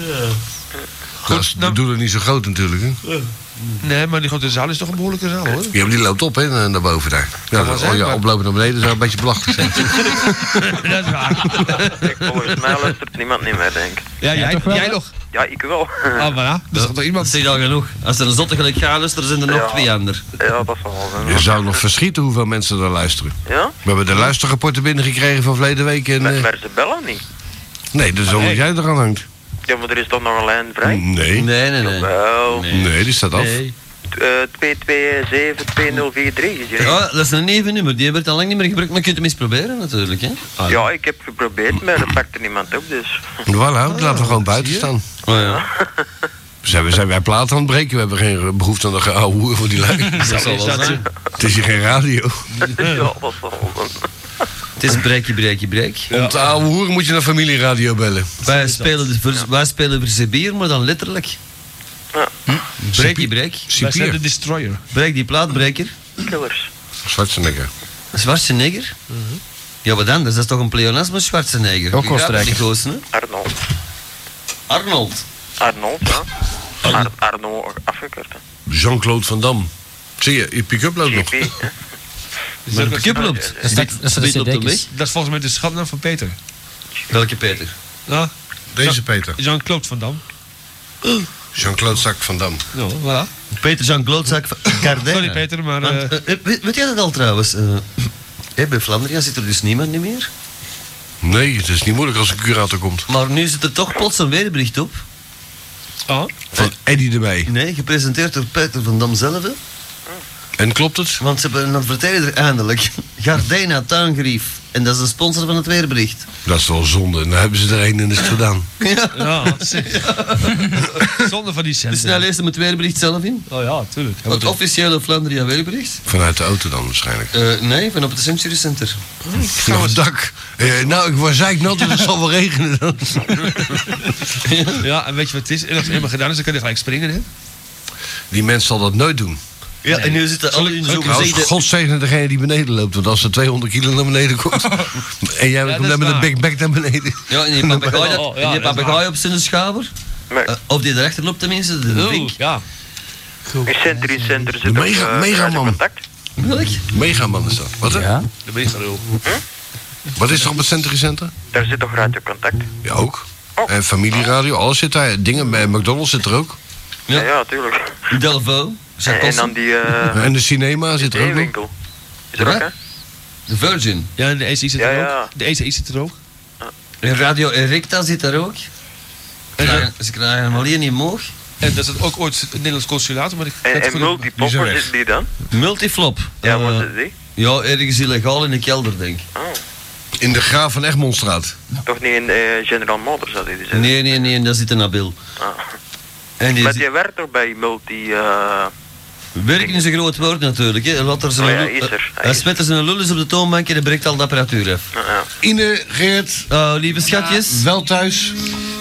[SPEAKER 3] Dat is- Die doet het niet zo groot natuurlijk, hè?
[SPEAKER 7] Nee, maar die grote zaal is toch een behoorlijke zaal, hoor.
[SPEAKER 3] Ja, maar die loopt op, hè, naar naar boven daar. Ja,
[SPEAKER 7] wel
[SPEAKER 3] dat-
[SPEAKER 7] zijn,
[SPEAKER 3] oh, ja
[SPEAKER 7] maar-
[SPEAKER 3] oplopen naar beneden zou een beetje belachelijk zijn.
[SPEAKER 7] dat is waar.
[SPEAKER 2] Volgens mij luistert niemand niet meer, denk ik.
[SPEAKER 7] Ja, jij, jij nog.
[SPEAKER 2] Ja, ik wel.
[SPEAKER 7] Ah, voilà. Dus
[SPEAKER 1] toch iemand? Dat is al genoeg. Als er een zotte gelijk gaat, is, er zijn er nog
[SPEAKER 2] Ja.
[SPEAKER 1] twee ander.
[SPEAKER 2] Ja, dat zal wel zijn.
[SPEAKER 3] Je zou nog verschieten hoeveel mensen daar luisteren.
[SPEAKER 2] Ja?
[SPEAKER 3] We hebben de luisterrapporten binnengekregen van verleden week. En, eh,
[SPEAKER 2] Maar, maar ze bellen niet. Ah,
[SPEAKER 3] nee, dat is omdat jij er aan hangt.
[SPEAKER 2] Ja, maar er is dan nog een lijn vrij.
[SPEAKER 3] Nee.
[SPEAKER 1] Nee, nee, nee.
[SPEAKER 2] Wel,
[SPEAKER 1] Nee.
[SPEAKER 3] Nee, die staat af.
[SPEAKER 1] Nee.
[SPEAKER 2] eh 227-2043 is hier.
[SPEAKER 1] Ja, dat is een even nummer. Die hebben het al lang niet meer gebruikt, maar je kunt hem eens proberen natuurlijk. Hè? Ah,
[SPEAKER 2] Ja, ik heb geprobeerd, maar er pakte niemand op, dus...
[SPEAKER 3] Voilà, dat laten we gewoon buiten staan.
[SPEAKER 1] Oh, ja.
[SPEAKER 3] Zijn, we, zijn wij plaat aan het breken? We hebben geen behoefte aan de oude hoer van die lui.
[SPEAKER 1] Dat zal wel zijn.
[SPEAKER 3] Het is hier geen radio.
[SPEAKER 2] Ja, dat zal wel zijn.
[SPEAKER 1] Het is een breekje, breekje, breek.
[SPEAKER 3] Om de oude hoer moet je naar familieradio bellen.
[SPEAKER 1] Wij, spelen de- voor, wij spelen voor Sibir, maar dan letterlijk. Hm? Breekje, breek.
[SPEAKER 7] Wij zijn de
[SPEAKER 3] Cipier,
[SPEAKER 7] destroyer.
[SPEAKER 1] Breek die plaatbreker.
[SPEAKER 2] Killers. Mhm.
[SPEAKER 3] Schwarzenegger.
[SPEAKER 1] Schwarzenegger? Ja, wat anders? Dat is toch een pleonasme, Schwarzenegger?
[SPEAKER 13] Ook
[SPEAKER 1] Die gaat
[SPEAKER 13] Oostenrijker.
[SPEAKER 1] die gozer, hè?
[SPEAKER 2] Arnold.
[SPEAKER 1] Arnold.
[SPEAKER 2] Arnold, ja. Ar Arnold afgekort, hè.
[SPEAKER 3] Jean-Claude Van Dam. Zie je, je pick-up loopt nog.
[SPEAKER 2] GP.
[SPEAKER 1] Met een pick-up loopt.
[SPEAKER 21] Dat is dat- dat is dat
[SPEAKER 1] Bit op de
[SPEAKER 21] CD's.
[SPEAKER 1] weg.
[SPEAKER 7] Dat is volgens mij de schatnaam van Peter.
[SPEAKER 1] Welke Peter?
[SPEAKER 7] Ja,
[SPEAKER 3] Deze Peter.
[SPEAKER 7] Jean-Claude Van Dam.
[SPEAKER 3] Jean-Claude Zak Van Dam.
[SPEAKER 7] Ja, voilà.
[SPEAKER 1] Peter Jean Klootzak van Cardin.
[SPEAKER 7] Sorry, Peter, maar,
[SPEAKER 1] Want,
[SPEAKER 7] eh,
[SPEAKER 1] eh, weet, weet jij dat al trouwens? eh, hè, bij Vlaanderen zit er dus niemand niet meer.
[SPEAKER 3] Nee, het is niet moeilijk als een curator komt.
[SPEAKER 1] Maar nu zit er toch plots een weerbericht op.
[SPEAKER 7] Oh,
[SPEAKER 3] Van Eddie erbij.
[SPEAKER 1] Nee, gepresenteerd door Peter van Dam zelf. hè.
[SPEAKER 3] En klopt het?
[SPEAKER 1] Want ze hebben een adverteerder eindelijk. Gardena Tuingrief. En dat is de sponsor van het weerbericht.
[SPEAKER 3] Dat is wel zonde. Nou hebben ze er één en is het gedaan.
[SPEAKER 7] ja. Eh, Zonder van die
[SPEAKER 1] Dus snel
[SPEAKER 7] centen.
[SPEAKER 1] leest hem het weerbericht zelf in.
[SPEAKER 7] Oh ja, tuurlijk.
[SPEAKER 1] Het officiële Flandria weerbericht.
[SPEAKER 3] Vanuit de auto dan waarschijnlijk.
[SPEAKER 1] Eh, nee, van op het Century Center.
[SPEAKER 3] Nou, het dak. Eh, nou, ik was zeiknat, dus het zal wel regenen. Dan.
[SPEAKER 7] Ja, en weet je wat het is? En als het helemaal gedaan is, dan kan je gelijk springen, hè?
[SPEAKER 3] Die mens zal dat nooit doen.
[SPEAKER 1] Ja, en nu zitten alle in zo'n
[SPEAKER 3] Nou,
[SPEAKER 1] gezeten-
[SPEAKER 3] godzegen degene die beneden loopt. Want als ze 200 kilo naar beneden komt... en jij
[SPEAKER 7] dat
[SPEAKER 3] komt
[SPEAKER 7] is
[SPEAKER 3] dan met een
[SPEAKER 7] waar.
[SPEAKER 3] big bag naar beneden.
[SPEAKER 1] Ja, en die papegaai dat-
[SPEAKER 7] Oh, ja,
[SPEAKER 1] en die
[SPEAKER 7] dat is
[SPEAKER 1] papegaai op zijn schouder.
[SPEAKER 2] Maar
[SPEAKER 1] Eh, of die erachter loopt tenminste, de vink.
[SPEAKER 7] Oh, ja.
[SPEAKER 2] in Center in Center zit ook...
[SPEAKER 3] Mega-
[SPEAKER 2] eh,
[SPEAKER 3] Megaman.
[SPEAKER 2] Radio Contact.
[SPEAKER 1] Welk?
[SPEAKER 3] Megaman is dat. Wat, hè?
[SPEAKER 21] Ja?
[SPEAKER 7] De meeste rul.
[SPEAKER 3] Wat is er op het Century Center?
[SPEAKER 2] Daar zit toch Oh. Radio Contact?
[SPEAKER 3] Ja, ook. En familieradio, alles zit daar. Dingen bij McDonald's zit er ook.
[SPEAKER 1] Ja.
[SPEAKER 2] Ja, ja tuurlijk.
[SPEAKER 1] Delvo.
[SPEAKER 2] En, en dan
[SPEAKER 1] Sarkozy.
[SPEAKER 2] die... eh
[SPEAKER 3] En de cinema zit er ook nog.
[SPEAKER 2] winkel. Is er ook, hè?
[SPEAKER 1] De Virgin.
[SPEAKER 7] Ja, en de ECI zit
[SPEAKER 2] Ja,
[SPEAKER 7] er
[SPEAKER 2] ja.
[SPEAKER 7] ook. De ECI zit er ook.
[SPEAKER 1] En Radio Erecta zit daar ook. Krijgen- Ze krijgen hem alleen niet moog.
[SPEAKER 7] En dat is ook ooit het Nederlands consulaat, maar ik...
[SPEAKER 2] En,
[SPEAKER 7] dat
[SPEAKER 2] en
[SPEAKER 7] kon ik-
[SPEAKER 3] die zijn
[SPEAKER 2] Multipopper
[SPEAKER 3] weg.
[SPEAKER 2] zit die dan?
[SPEAKER 1] Multiflop.
[SPEAKER 2] Ja,
[SPEAKER 1] Eh,
[SPEAKER 2] wat is die?
[SPEAKER 1] ja, ergens illegaal in de kelder, denk ik.
[SPEAKER 2] Oh,
[SPEAKER 3] In de Graaf van Egmondstraat.
[SPEAKER 2] toch niet in eh, General Motors dat die zit?
[SPEAKER 1] Nee, nee, nee, daar zit een Nabil.
[SPEAKER 2] Ah.
[SPEAKER 1] En die
[SPEAKER 2] Maar
[SPEAKER 1] zit-
[SPEAKER 2] die werkt toch bij Multi... eh
[SPEAKER 1] werken is een groot woord natuurlijk. Hè. Laat er zijn
[SPEAKER 2] Oh ja,
[SPEAKER 1] lul-
[SPEAKER 2] is er.
[SPEAKER 1] eh,
[SPEAKER 2] Hij
[SPEAKER 1] Hij
[SPEAKER 2] is-
[SPEAKER 1] smet er zijn lulles op de toonbank en hij breekt al de apparatuur af.
[SPEAKER 2] nou ja.
[SPEAKER 3] Ine, Geert,
[SPEAKER 1] Eh, lieve schatjes.
[SPEAKER 3] wel thuis.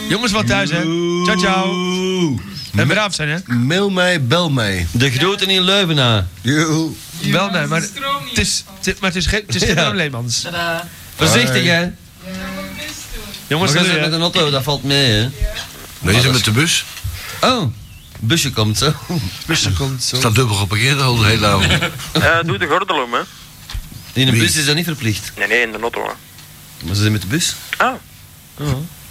[SPEAKER 7] Jongens, wat thuis, hè? Ciao, ciao. En braaf zijn, hè?
[SPEAKER 3] Mail mij, bel mij.
[SPEAKER 1] De groeten in Leuvenaar.
[SPEAKER 3] Joe.
[SPEAKER 7] Wel, nee, maar het is, het is- maar het is geen, het is geen
[SPEAKER 1] Ja.
[SPEAKER 7] Willem Leemans.
[SPEAKER 1] Voorzichtig,
[SPEAKER 3] Hoi.
[SPEAKER 1] hè.
[SPEAKER 7] Jongens,
[SPEAKER 1] Maar
[SPEAKER 7] dat
[SPEAKER 1] je zit met een auto, dat valt mee, hè.
[SPEAKER 3] Nee, ze met de bus.
[SPEAKER 1] Oh, Busje komt zo.
[SPEAKER 6] Busje komt zo.
[SPEAKER 3] Staat dubbel geparkeerd al de hele avond.
[SPEAKER 2] Eh, doe de gordel om, hè.
[SPEAKER 1] In een bus is dat niet verplicht.
[SPEAKER 2] Nee, nee, in de auto. hè.
[SPEAKER 1] Maar ze zijn met de bus.
[SPEAKER 2] Ah.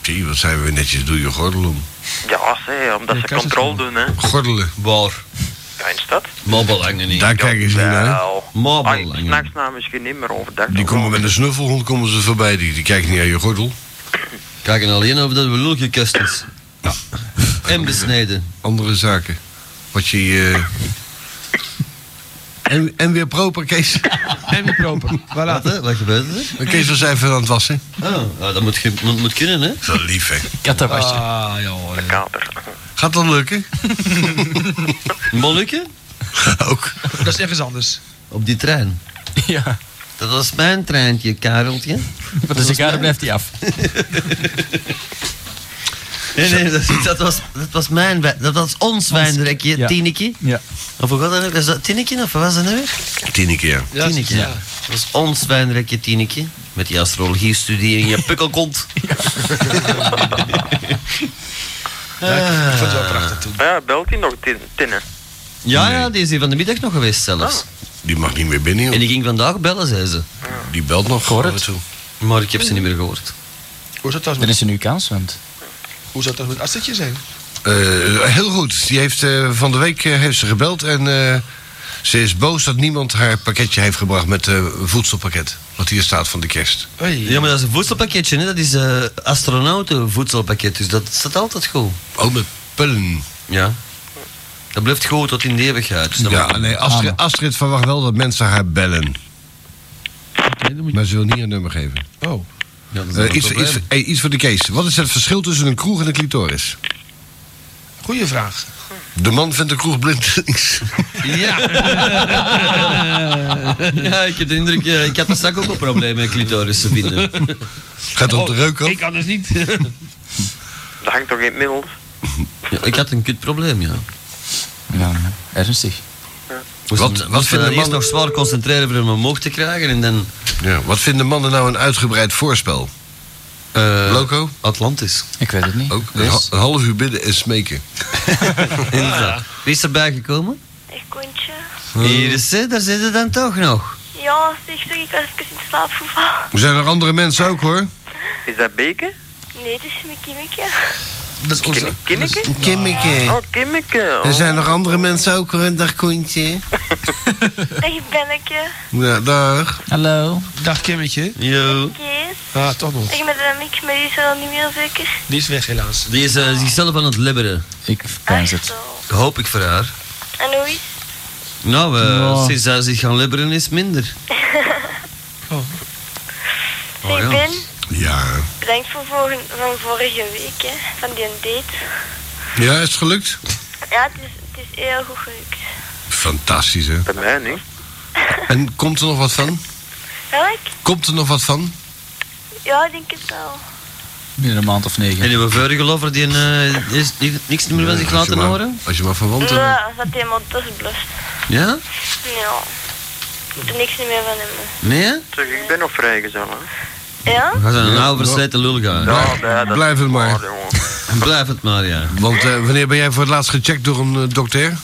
[SPEAKER 3] Zie, wat zijn we netjes. Doe je gordel om.
[SPEAKER 2] Ja, zeg, omdat ze controle doen, hè.
[SPEAKER 3] Gordelen.
[SPEAKER 1] Waar?
[SPEAKER 2] Ja, in stad.
[SPEAKER 1] Mobbelangen niet.
[SPEAKER 3] Daar kijken ze niet naar.
[SPEAKER 1] Mobbelangen.
[SPEAKER 2] S'nachts na misschien niet meer overdag.
[SPEAKER 3] Die komen met een snuffelhond komen ze voorbij. Die, die kijken niet aan je gordel.
[SPEAKER 1] Kijken alleen of dat we lulgekast is. En besneden.
[SPEAKER 3] Andere zaken. Wat je... eh, En, en weer proper, Kees.
[SPEAKER 7] En weer proper.
[SPEAKER 1] Wat, hè? Wat gebeurt er?
[SPEAKER 3] Maar Kees was even aan het wassen.
[SPEAKER 1] Oh, nou, dat moet, ge- moet, moet kunnen, hè?
[SPEAKER 3] Zo lief, hè?
[SPEAKER 1] Kattenwasje.
[SPEAKER 3] Ah, ja, hoor.
[SPEAKER 2] kater.
[SPEAKER 3] Gaat dat lukken?
[SPEAKER 1] Molukken?
[SPEAKER 3] Ook.
[SPEAKER 1] Dat is ergens anders. Op die trein? Ja. Dat was mijn treintje, Kareltje.
[SPEAKER 21] Dus de
[SPEAKER 1] was
[SPEAKER 21] kader
[SPEAKER 1] mijn-
[SPEAKER 21] blijft hij af.
[SPEAKER 1] Nee, nee, dat, dat, was, dat was mijn wijn. Dat was ons wijnrekje,
[SPEAKER 21] ja.
[SPEAKER 1] Tineke. Ja. Of hoe gaat dat ook? Is dat Tineke of wat was dat nou weer?
[SPEAKER 3] Tien keer.
[SPEAKER 1] Ja, Tineke.
[SPEAKER 3] ja.
[SPEAKER 1] Dat was ons wijnrekje, Tineke. Met die astrologie-studie in je pukkelkont.
[SPEAKER 2] Ja,
[SPEAKER 1] ik vond het wel
[SPEAKER 2] prachtig toen. Ja, belt hij nog tin- tinnen?
[SPEAKER 1] Ah. Ja, ja, die is hier van de middag nog geweest zelfs.
[SPEAKER 3] Ah. Die mag niet meer binnen, joh. Ah.
[SPEAKER 1] En die ging vandaag bellen, zei ze.
[SPEAKER 3] Die belt nog
[SPEAKER 1] Hoor
[SPEAKER 3] af en toe.
[SPEAKER 1] Maar ik heb ze niet meer gehoord.
[SPEAKER 6] Hoe zou dat
[SPEAKER 21] Dan is er nu kans, want...
[SPEAKER 6] Hoe zou dat met Astridje zijn?
[SPEAKER 3] Eh, heel goed. Die heeft, eh, van de week eh, heeft ze gebeld en eh, ze is boos dat niemand haar pakketje heeft gebracht met eh, een voedselpakket. Wat hier staat van de kerst.
[SPEAKER 1] Ja, maar dat is een voedselpakketje, hè? dat is een astronautenvoedselpakket, dus dat staat altijd goed.
[SPEAKER 3] Oh, met pullen.
[SPEAKER 1] Ja. Dat blijft goed tot in de eeuwigheid. Dus dat
[SPEAKER 3] Ja,
[SPEAKER 1] moet-
[SPEAKER 3] nee, Astrid, Astrid verwacht wel dat mensen haar bellen. Maar ze wil niet haar nummer geven.
[SPEAKER 7] Oh.
[SPEAKER 1] Ja, dat is
[SPEAKER 3] Eh,
[SPEAKER 1] een
[SPEAKER 3] iets,
[SPEAKER 1] probleem.
[SPEAKER 3] iets, hey, iets voor de Kees. Wat is het verschil tussen een kroeg en een clitoris?
[SPEAKER 6] Goeie vraag.
[SPEAKER 3] De man vindt de kroeg blindelings.
[SPEAKER 1] Ja. ja, ik heb de indruk, eh, ik had de zak ook een probleem met clitoris te vinden.
[SPEAKER 3] Gaat op de
[SPEAKER 6] Oh,
[SPEAKER 3] reuk ook?
[SPEAKER 7] Ik kan dus niet.
[SPEAKER 2] Dat hangt toch in het middel?
[SPEAKER 1] Ja, ik had een kut probleem, ja.
[SPEAKER 21] Ja, ernstig.
[SPEAKER 1] Moest
[SPEAKER 3] Wat-
[SPEAKER 1] wat,
[SPEAKER 3] wat
[SPEAKER 1] moest me
[SPEAKER 3] vinden
[SPEAKER 1] dan eerst
[SPEAKER 3] mannen-
[SPEAKER 1] nog zwaar concentreren voor hem omhoog te krijgen en dan...
[SPEAKER 3] Ja, wat vinden mannen nou een uitgebreid voorspel?
[SPEAKER 1] eh,
[SPEAKER 3] Loco?
[SPEAKER 1] Atlantis.
[SPEAKER 21] Ik weet het niet.
[SPEAKER 3] Ook een, ha- een half uur bidden en smeken.
[SPEAKER 1] Inderdaad. Wie is erbij gekomen? Hm.
[SPEAKER 22] Zeg, Koentje.
[SPEAKER 1] Hier is ze, daar zit ze dan toch nog.
[SPEAKER 22] Ja, zeg, zeg, ik was even in slaap gevallen.
[SPEAKER 3] Er zijn er andere mensen ook hoor.
[SPEAKER 2] Is dat Beke?
[SPEAKER 22] Nee, het is mijn kimmetje.
[SPEAKER 3] Dat is onze...
[SPEAKER 2] Kimmeke?
[SPEAKER 3] Kimmeke.
[SPEAKER 2] Oh, Kimmeke.
[SPEAKER 3] Er zijn nog andere mensen ook hoor, een dag Koentje.
[SPEAKER 22] Dag, Benneke.
[SPEAKER 3] Ja, dag.
[SPEAKER 21] Hallo.
[SPEAKER 6] Dag Kimmetje.
[SPEAKER 1] Yo.
[SPEAKER 22] Kees.
[SPEAKER 6] Ah, toch nog.
[SPEAKER 22] Zeg, met de mik, maar die is er al niet meer zeker.
[SPEAKER 6] Die is weg helaas.
[SPEAKER 1] Die is eh, zichzelf aan het libberen.
[SPEAKER 21] Ik pijns het.
[SPEAKER 1] Hoop ik voor haar.
[SPEAKER 22] En hoe is
[SPEAKER 1] Nou, eh,
[SPEAKER 21] Ja.
[SPEAKER 1] sinds hij zich gaan libberen is minder.
[SPEAKER 22] Zeg, Ben.
[SPEAKER 3] Oh, Ja.
[SPEAKER 22] Bedankt voor vorige, van vorige week, hè. Van die date.
[SPEAKER 3] Ja, is het gelukt?
[SPEAKER 22] Ja, het is, het is heel goed gelukt.
[SPEAKER 3] Fantastisch hè.
[SPEAKER 2] Bij mij niet.
[SPEAKER 3] En komt er nog wat van?
[SPEAKER 22] Welk?
[SPEAKER 3] Komt er nog wat van?
[SPEAKER 22] Ja, ik denk het wel.
[SPEAKER 21] Binnen een maand of negen.
[SPEAKER 1] En uw vorige lover, die eh, is ni- niks meer van zich
[SPEAKER 3] als je
[SPEAKER 1] laten
[SPEAKER 3] maar-
[SPEAKER 1] horen?
[SPEAKER 3] Als je maar verwant
[SPEAKER 22] Nou,
[SPEAKER 3] bent.
[SPEAKER 22] ja, dat hij helemaal tussen blust.
[SPEAKER 1] Ja?
[SPEAKER 22] Ja. Ik doe niks meer van hem.
[SPEAKER 1] Nee? hè?
[SPEAKER 2] Zeg, ik ben nog vrijgezel, hè.
[SPEAKER 22] Ja?
[SPEAKER 1] We gaan ze een oude versleten lul gaan.
[SPEAKER 2] Ja, nee, dat
[SPEAKER 3] Blijf het maar.
[SPEAKER 2] Ja, jongen.
[SPEAKER 1] En blijf het maar, ja.
[SPEAKER 3] Want eh, wanneer ben jij voor het laatst gecheckt door een eh, dokter?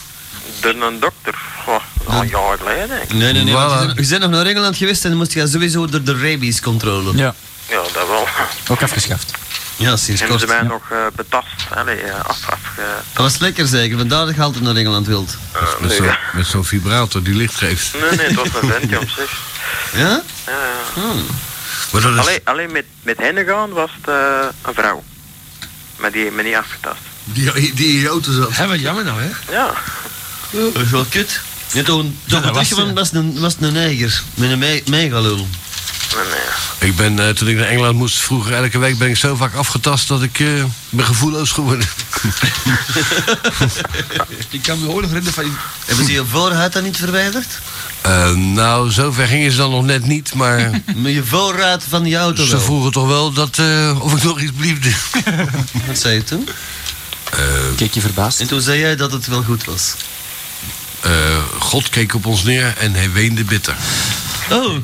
[SPEAKER 2] Ben een dokter. Goh, al een jaar geleden, denk ik.
[SPEAKER 1] Nee, nee, nee. want
[SPEAKER 3] Voilà.
[SPEAKER 1] Je bent- je bent nog naar Engeland geweest en dan moest je sowieso door de rabiescontrole.
[SPEAKER 21] Ja,
[SPEAKER 2] Ja, dat wel.
[SPEAKER 21] ook afgeschaft.
[SPEAKER 1] Ja, sinds
[SPEAKER 2] Hebben
[SPEAKER 1] kort.
[SPEAKER 2] ze mij
[SPEAKER 1] Dat
[SPEAKER 2] nog eh, betast. Allee, eh, af, af, eh,
[SPEAKER 1] was lekker zeker, vandaar dat je altijd naar Engeland wilt.
[SPEAKER 2] eh,
[SPEAKER 3] Met
[SPEAKER 2] nee,
[SPEAKER 3] zo'n
[SPEAKER 2] ja.
[SPEAKER 3] met zo'n vibrator die licht geeft.
[SPEAKER 2] nee, nee, het was een ventje op zich.
[SPEAKER 1] Ja?
[SPEAKER 2] Ja, ja.
[SPEAKER 1] Hmm.
[SPEAKER 3] Maar dat is...
[SPEAKER 2] Alleen, alleen met, met hen gaan was het eh, een vrouw. Maar die heeft me niet afgetast.
[SPEAKER 3] Die, die in je auto zat.
[SPEAKER 7] Hé, wat jammer nou, hè?
[SPEAKER 2] Ja.
[SPEAKER 1] Dat is wel kut. Net toen
[SPEAKER 7] dat was
[SPEAKER 1] was
[SPEAKER 7] ze.
[SPEAKER 1] van was een, was een neger met een me- megalul.
[SPEAKER 2] Nee, nee.
[SPEAKER 3] Ik ben, eh, toen ik naar Engeland moest, vroeger elke week ben ik zo vaak afgetast dat ik eh, ben gevoelloos geworden.
[SPEAKER 7] Ik kan me ook nog herinneren van... die-
[SPEAKER 1] Hebben ze je voorruit dan niet verwijderd?
[SPEAKER 3] Eh, nou, zover gingen ze dan nog net niet, maar
[SPEAKER 1] Met je voorruit van die auto
[SPEAKER 3] ze
[SPEAKER 1] wel.
[SPEAKER 3] vroegen toch wel dat, eh, of ik nog iets bliefde.
[SPEAKER 1] Wat zei je toen?
[SPEAKER 21] Kijk je verbaasd?
[SPEAKER 1] En toen zei jij dat het wel goed was.
[SPEAKER 3] Eh, God keek op ons neer en hij weende bitter.
[SPEAKER 1] Oh,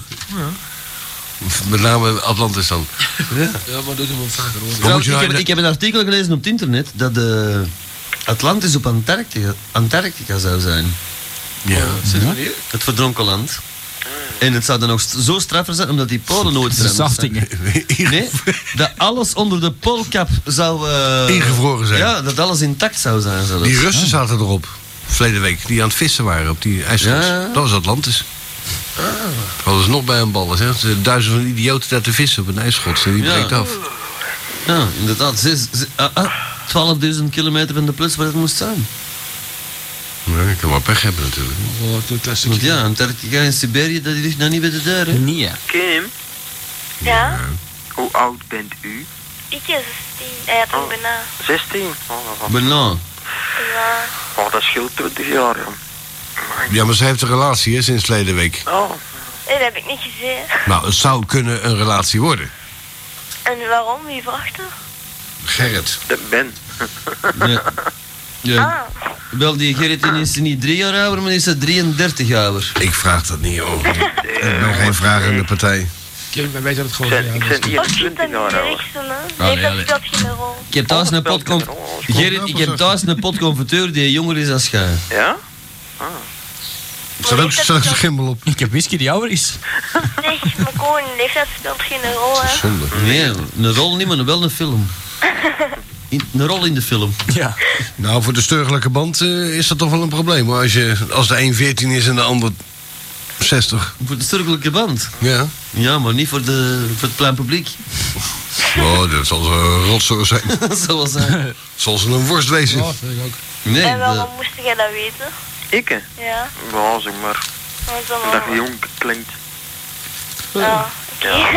[SPEAKER 3] Met name Atlantis dan.
[SPEAKER 6] Ja, maar doe hem wel vaker hoor.
[SPEAKER 3] Wat moet
[SPEAKER 1] Trouwens,
[SPEAKER 3] je
[SPEAKER 1] ik,
[SPEAKER 3] nou
[SPEAKER 1] heb,
[SPEAKER 3] in-
[SPEAKER 1] ik heb een artikel gelezen op het internet dat de Atlantis op Antarctica, Antarctica zou zijn. Oh, Ja. Het verdronken land. En het zou dan nog st- zo straffer zijn, omdat die polen nooit
[SPEAKER 21] De zachtingen.
[SPEAKER 1] Nee, dat alles onder de poolkap zou... eh,
[SPEAKER 3] Ingevroren zijn.
[SPEAKER 1] Ja, dat alles intact zou zijn zelfs.
[SPEAKER 3] Die Russen zaten erop, verleden week, die aan het vissen waren op die ijsland.
[SPEAKER 1] Ja.
[SPEAKER 3] Dat was Atlantis. Hadden ze nog bij een ballen, zeg. Ze- Duizenden van idioten daar te vissen op een ijsschot. En die
[SPEAKER 1] Ja.
[SPEAKER 3] breekt af.
[SPEAKER 1] Ja, inderdaad. Zes, ze- ah, ah, 12.000 kilometer van de plus waar het moest zijn.
[SPEAKER 3] Nee, ik kan maar pech hebben natuurlijk.
[SPEAKER 1] Want ja, Antarctica en Siberië, dat ligt nou niet bij de deur, hè?
[SPEAKER 21] Nee, ja.
[SPEAKER 2] Kim,
[SPEAKER 22] Ja?
[SPEAKER 2] hoe oud bent u?
[SPEAKER 22] Ik is 16. Hij had ook bijna.
[SPEAKER 2] 16. Oh, wat-
[SPEAKER 1] Bijna.
[SPEAKER 22] Ja.
[SPEAKER 2] oh, dat scheelt 20 jaar, jong.
[SPEAKER 3] Ja, maar ze heeft een relatie hè, sinds verleden week.
[SPEAKER 2] Oh.
[SPEAKER 22] Nee, dat heb ik niet gezien.
[SPEAKER 3] Nou, het zou kunnen een relatie worden.
[SPEAKER 22] En waarom? Wie vraagt dat?
[SPEAKER 3] Gerrit.
[SPEAKER 2] Dat ben. Ah.
[SPEAKER 1] Ja.
[SPEAKER 22] Ah,
[SPEAKER 1] ja. Wel, die Gerrit die is niet drie jaar ouder, maar die is hij 33 ouder.
[SPEAKER 3] Ik vraag dat niet, hoor. Ik ben geen vragende partij.
[SPEAKER 7] Kim, wij weten dat het gewoon.
[SPEAKER 2] Ik ben
[SPEAKER 22] Oh, shit,
[SPEAKER 2] 21
[SPEAKER 22] dan
[SPEAKER 2] jaar, ouder.
[SPEAKER 22] rechts dan, hè? Oh, Nee,
[SPEAKER 1] nee,
[SPEAKER 22] dat nou?
[SPEAKER 1] Oh, nee.
[SPEAKER 22] speelt geen rol.
[SPEAKER 1] Ik heb thuis een pot... con- Gerrit, ik heb thuis een pot confiteur die jonger is dan jij.
[SPEAKER 2] Ja? Ah.
[SPEAKER 3] Zat ook zelfs een gimbal op.
[SPEAKER 21] Ik heb whisky die ouder is.
[SPEAKER 22] Nee, maar gewoon, leeftijd speelt geen rol, hè?
[SPEAKER 1] Nee, een rol niet, maar wel een film. In, een rol in de film.
[SPEAKER 21] Ja.
[SPEAKER 3] Nou, voor de steurgelijke band eh, is dat toch wel een probleem. hoor. Als, je, als de een 14 is en de ander 60.
[SPEAKER 1] Voor de sterkelijke band.
[SPEAKER 3] Ja.
[SPEAKER 1] Ja, maar niet voor, de, voor het plein publiek.
[SPEAKER 3] Oh, dat zal een rotzooi zijn.
[SPEAKER 1] Zoals hij.
[SPEAKER 3] Zal ze een worst wezen?
[SPEAKER 7] Ja, vind ik ook.
[SPEAKER 1] Nee,
[SPEAKER 22] en waarom
[SPEAKER 1] de-
[SPEAKER 22] moest jij dat weten?
[SPEAKER 2] Ik, hè?
[SPEAKER 22] Ja,
[SPEAKER 2] Ja, zeg maar.
[SPEAKER 22] want dan
[SPEAKER 2] Dat je jong klinkt.
[SPEAKER 22] Ja,
[SPEAKER 2] Ja.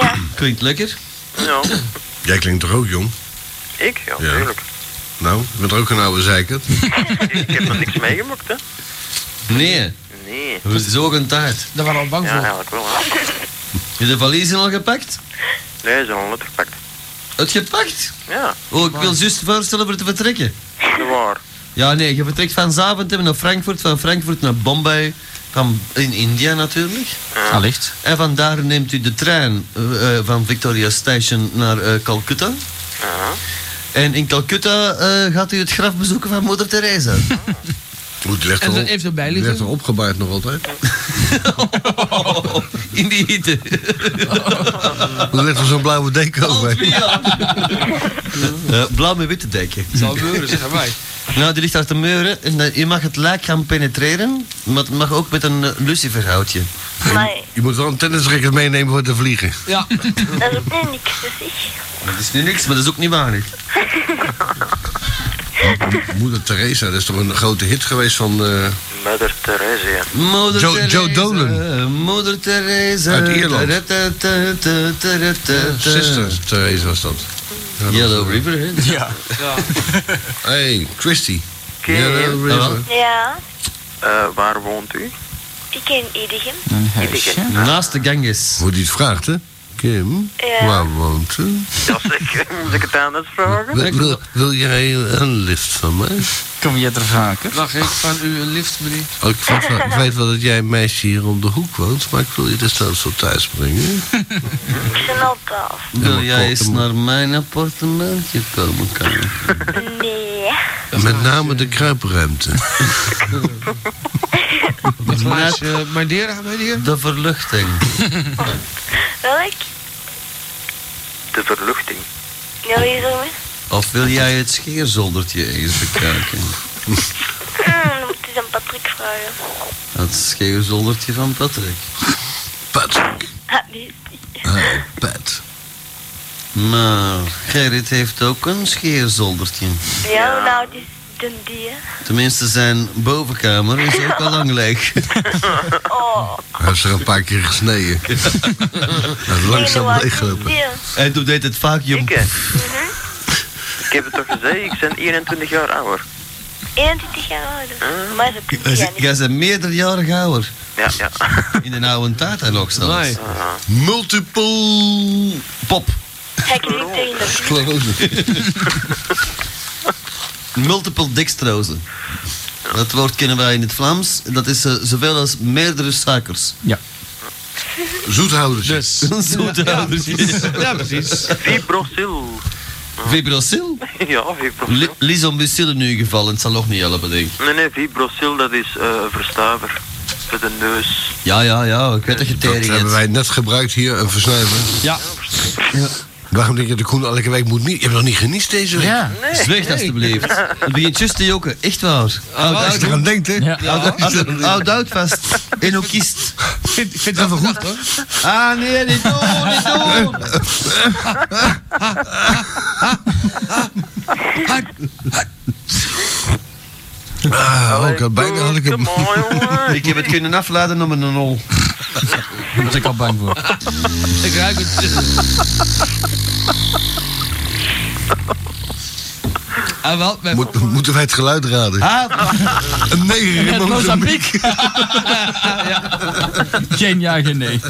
[SPEAKER 22] ja.
[SPEAKER 1] klinkt lekker.
[SPEAKER 2] Ja.
[SPEAKER 3] Jij klinkt toch ook jong?
[SPEAKER 2] Ik? Ja,
[SPEAKER 3] Ja.
[SPEAKER 2] natuurlijk.
[SPEAKER 3] Nou, je bent ook een oude zeikert.
[SPEAKER 2] Ik heb nog niks meegemaakt, hè?
[SPEAKER 1] Nee,
[SPEAKER 2] Nee.
[SPEAKER 1] we zijn zo een taart.
[SPEAKER 7] Daar waren we al bang
[SPEAKER 2] Ja,
[SPEAKER 7] voor.
[SPEAKER 2] eigenlijk wel, hè?
[SPEAKER 1] Je de valiezen al gepakt?
[SPEAKER 2] Nee, ze zijn al net gepakt.
[SPEAKER 1] Uitgepakt?
[SPEAKER 2] Ja,
[SPEAKER 1] Oh, ik wil juist voorstellen voor te vertrekken.
[SPEAKER 2] dat waar.
[SPEAKER 1] Ja, nee, je vertrekt vanavond hebben naar Frankfurt, van Frankfurt naar Bombay, van in India natuurlijk.
[SPEAKER 21] Allicht.
[SPEAKER 1] En vandaar neemt u de trein eh, eh, van Victoria Station naar eh, Calcutta.
[SPEAKER 2] Ja.
[SPEAKER 1] En in Calcutta eh, gaat u het graf bezoeken van moeder Teresa.
[SPEAKER 3] Moet ligt
[SPEAKER 7] En
[SPEAKER 3] er,
[SPEAKER 7] dan
[SPEAKER 3] op,
[SPEAKER 7] even erbij
[SPEAKER 3] die ligt er
[SPEAKER 7] liggen.
[SPEAKER 3] opgebaard nog altijd.
[SPEAKER 1] in die hitte.
[SPEAKER 3] Er ligt er zo'n blauwe deken over.
[SPEAKER 1] Eh, blauw met witte deken.
[SPEAKER 7] Zal gebeuren, zeggen wij.
[SPEAKER 1] Nou, die ligt achter de muren. En eh, je mag het lijk gaan penetreren, maar het mag ook met een eh, luciferhoutje.
[SPEAKER 22] maar
[SPEAKER 3] Je moet wel een tennisracket meenemen voor te vliegen.
[SPEAKER 7] Ja.
[SPEAKER 22] dat is ook niet niks, dus ik.
[SPEAKER 1] Dat is nu niks, maar dat is ook niet waar. hè.
[SPEAKER 3] Moeder Teresa, dat is toch een grote hit geweest van... eh,
[SPEAKER 2] Mother Therese.
[SPEAKER 1] Moeder
[SPEAKER 3] Joe-
[SPEAKER 1] Teresa,
[SPEAKER 3] Joe Dolan.
[SPEAKER 1] Moeder Teresa.
[SPEAKER 3] Uit Ierland.
[SPEAKER 1] Sister.
[SPEAKER 3] Sister Teresa was dat.
[SPEAKER 1] Yellow River, hè?
[SPEAKER 21] Ja.
[SPEAKER 3] Hey, Christy.
[SPEAKER 2] Kim,
[SPEAKER 3] Yellow River.
[SPEAKER 22] Ja,
[SPEAKER 2] eh, waar woont u?
[SPEAKER 22] ik ken Edichem.
[SPEAKER 21] Een
[SPEAKER 2] huisje.
[SPEAKER 1] Naast de Ganges.
[SPEAKER 3] Hoe die het vraagt, hè? Kim,
[SPEAKER 22] Ja.
[SPEAKER 3] waar woont u?
[SPEAKER 2] Ja, zeker. Moet ik het aan het vragen?
[SPEAKER 3] Wil, wil, wil jij een lift van mij?
[SPEAKER 21] Kom je er vaker?
[SPEAKER 7] Mag ik van u een lift, meneer?
[SPEAKER 3] Oh, ik, weet wel, ik weet wel dat jij een meisje hier om de hoek woont, maar ik wil je desnoods wel thuis brengen.
[SPEAKER 22] Ik ben al twaalf.
[SPEAKER 1] Wil
[SPEAKER 3] maar
[SPEAKER 1] jij
[SPEAKER 3] kort,
[SPEAKER 1] eens
[SPEAKER 3] hem-
[SPEAKER 1] naar mijn appartementje komen kijken?
[SPEAKER 22] Nee.
[SPEAKER 3] Met name de kruipruimte.
[SPEAKER 7] Een glaasje Madeira aan mij liggen?
[SPEAKER 1] De verluchting.
[SPEAKER 22] Welk?
[SPEAKER 2] De verluchting.
[SPEAKER 22] Ja, wie is er mee?
[SPEAKER 1] Of wil jij het scheerzoldertje eens bekijken?
[SPEAKER 22] Hmm, dan moet je dan Patrick vragen.
[SPEAKER 1] Het scheerzoldertje van Patrick. Oh,
[SPEAKER 3] Patrick.
[SPEAKER 22] Ah, die.
[SPEAKER 3] Ah, Pat.
[SPEAKER 1] Maar Nou, Gerrit heeft ook een scheerzoldertje.
[SPEAKER 22] Ja, hoe nou, die is dan die, hè?
[SPEAKER 1] Tenminste, zijn bovenkamer is ook al lang leeg.
[SPEAKER 22] Oh,
[SPEAKER 3] Hij heeft er een paar keer gesneden. Hij heeft langzaam
[SPEAKER 22] Eduard,
[SPEAKER 3] leeggelopen.
[SPEAKER 22] die.
[SPEAKER 1] En toen deed het vacuüm.
[SPEAKER 2] Ik, hè?
[SPEAKER 22] Mhm.
[SPEAKER 2] Ik heb het toch gezegd, ik ben 21 jaar ouder.
[SPEAKER 22] 21 jaar
[SPEAKER 2] Ah.
[SPEAKER 22] ouder. Maar ze piekt ja niet.
[SPEAKER 1] Jij bent meerderjarig ouder.
[SPEAKER 2] Ja, ja.
[SPEAKER 1] In een oude taart en ook zelfs.
[SPEAKER 7] Nee.
[SPEAKER 3] Multiple
[SPEAKER 1] Pop.
[SPEAKER 22] Hij knikt tegen de muur.
[SPEAKER 3] sclerose.
[SPEAKER 1] Multiple dextrose. Dat woord kennen wij in het Vlaams. Dat is eh, zoveel als meerdere suikers.
[SPEAKER 3] Zoethouders.
[SPEAKER 7] Dus.
[SPEAKER 1] Zoete ouders.
[SPEAKER 7] Ja, precies.
[SPEAKER 2] Fibrosil.
[SPEAKER 1] Fibrocil?
[SPEAKER 2] ja, vibrosil.
[SPEAKER 1] Li Lies om Lucille in uw geval, en het zal nog niet helpen, denk ik.
[SPEAKER 2] Nee, nee, vibrosil, dat is eh, een verstuiver. Voor de neus.
[SPEAKER 1] Ja, ja, ja, ik weet dat je
[SPEAKER 3] Dat
[SPEAKER 1] tering
[SPEAKER 3] hebben
[SPEAKER 1] hebt.
[SPEAKER 3] wij net gebruikt hier, een versnuiver.
[SPEAKER 1] Ja.
[SPEAKER 3] Waarom denk je de Koen elke week moet niet? Je hebt nog niet geniet deze week.
[SPEAKER 1] Ja. Is weg, alstublieft. Het begint juist te jokken, echt waar. Houd
[SPEAKER 3] als je
[SPEAKER 1] uit,
[SPEAKER 3] eraan denkt, hè?
[SPEAKER 1] houd- Houd uit vast. En ook kist. Ik vind, vind dat wel goed, hoor. Ah, nee, niet doen, niet doen.
[SPEAKER 3] Ah,
[SPEAKER 1] eh,
[SPEAKER 3] ook, al bijna had ik hem.
[SPEAKER 1] Ik heb het kunnen afladen om een nol. Daar was ik al bang voor.
[SPEAKER 7] Ik ruik het. Ah, wel, mijn
[SPEAKER 3] Moet- moeten wij het geluid raden? Een neger in
[SPEAKER 21] Met
[SPEAKER 3] Mozambique.
[SPEAKER 1] Geen ja, geen nee.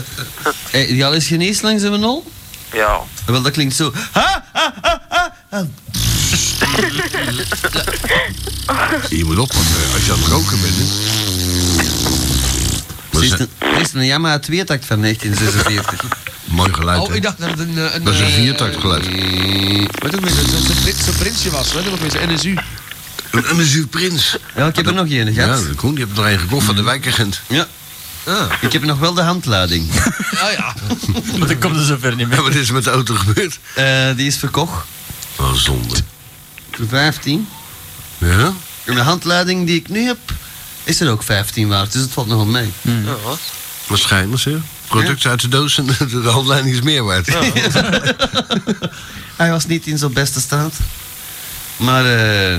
[SPEAKER 1] Hey, Eh, die al is geneest langs een nol?
[SPEAKER 2] Ja.
[SPEAKER 1] Wel, dat klinkt zo. Ha, ha, ha, ha, ha.
[SPEAKER 3] Je moet op, want eh, als je aan het roken bent. hè.
[SPEAKER 1] Er is een- er is een Yamaha tweetakt van 1946.
[SPEAKER 3] Mooi geluid.
[SPEAKER 7] Oh, ik dacht dat het een... eh, een
[SPEAKER 3] Dat is een
[SPEAKER 7] eh,
[SPEAKER 3] viertakt geluid.
[SPEAKER 7] Weet ook weer, dat dat zo'n prins- zo'n prinsje was, weet je nog weer, zo'n NSU.
[SPEAKER 3] Een, een zuur prins.
[SPEAKER 1] Ja, ik heb er nog één
[SPEAKER 3] Ja,
[SPEAKER 1] gehad.
[SPEAKER 3] de Koen, je hebt er een gekocht van de wijkagent. Ah.
[SPEAKER 1] Ja. Ik heb nog wel de handlading.
[SPEAKER 7] Ah ja.
[SPEAKER 1] Maar dan komt er zover niet meer.
[SPEAKER 3] wat is er met de auto gebeurd?
[SPEAKER 1] Eh, die is verkocht.
[SPEAKER 3] Oh, zonde.
[SPEAKER 1] Voor 15.
[SPEAKER 3] Ja?
[SPEAKER 1] En de handlading die ik nu heb, is er ook 15 waard. Dus het valt nog wel mee.
[SPEAKER 3] Waarschijnlijk, hè? Producten uit de doos en de handleiding is meer waard.
[SPEAKER 1] Hij was niet in zijn beste staat. Maar... eh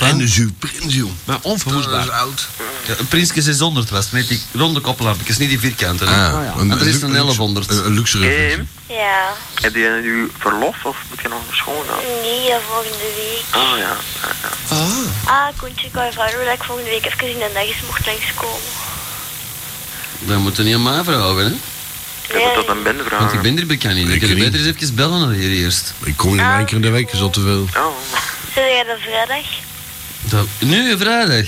[SPEAKER 3] en de zuur prins, joh.
[SPEAKER 7] Maar onverwoestbaar.
[SPEAKER 3] Dat is oud.
[SPEAKER 1] ja, een Prinsje 600 was het, met die ronde koppelhampjes, niet die vierkante. hè.
[SPEAKER 2] Oh,
[SPEAKER 3] Ah, een-
[SPEAKER 1] Want er is een
[SPEAKER 3] een-
[SPEAKER 1] 1100.
[SPEAKER 3] Een luxe
[SPEAKER 2] Ehm,
[SPEAKER 22] Ja.
[SPEAKER 2] heb je nu verlof of moet je nog naar school gaan?
[SPEAKER 22] Nee, ja, volgende week.
[SPEAKER 2] Ah ja.
[SPEAKER 22] Ah, Koentje, ik wou vragen dat ik volgende week even in de nachts mocht langskomen.
[SPEAKER 1] Dan moeten we niet aan mij vragen, hè?
[SPEAKER 2] Ik moet dat aan Ben
[SPEAKER 1] Want ik
[SPEAKER 2] vragen.
[SPEAKER 1] ben er bekend in. Ik kan beter eens even bellen naar hier eerst.
[SPEAKER 3] Ik kom
[SPEAKER 2] Ah.
[SPEAKER 3] hier maar één keer in de week, is al te veel.
[SPEAKER 2] Oh.
[SPEAKER 22] Zit jij dan vrijdag?
[SPEAKER 1] Dat, nu, vrijdag?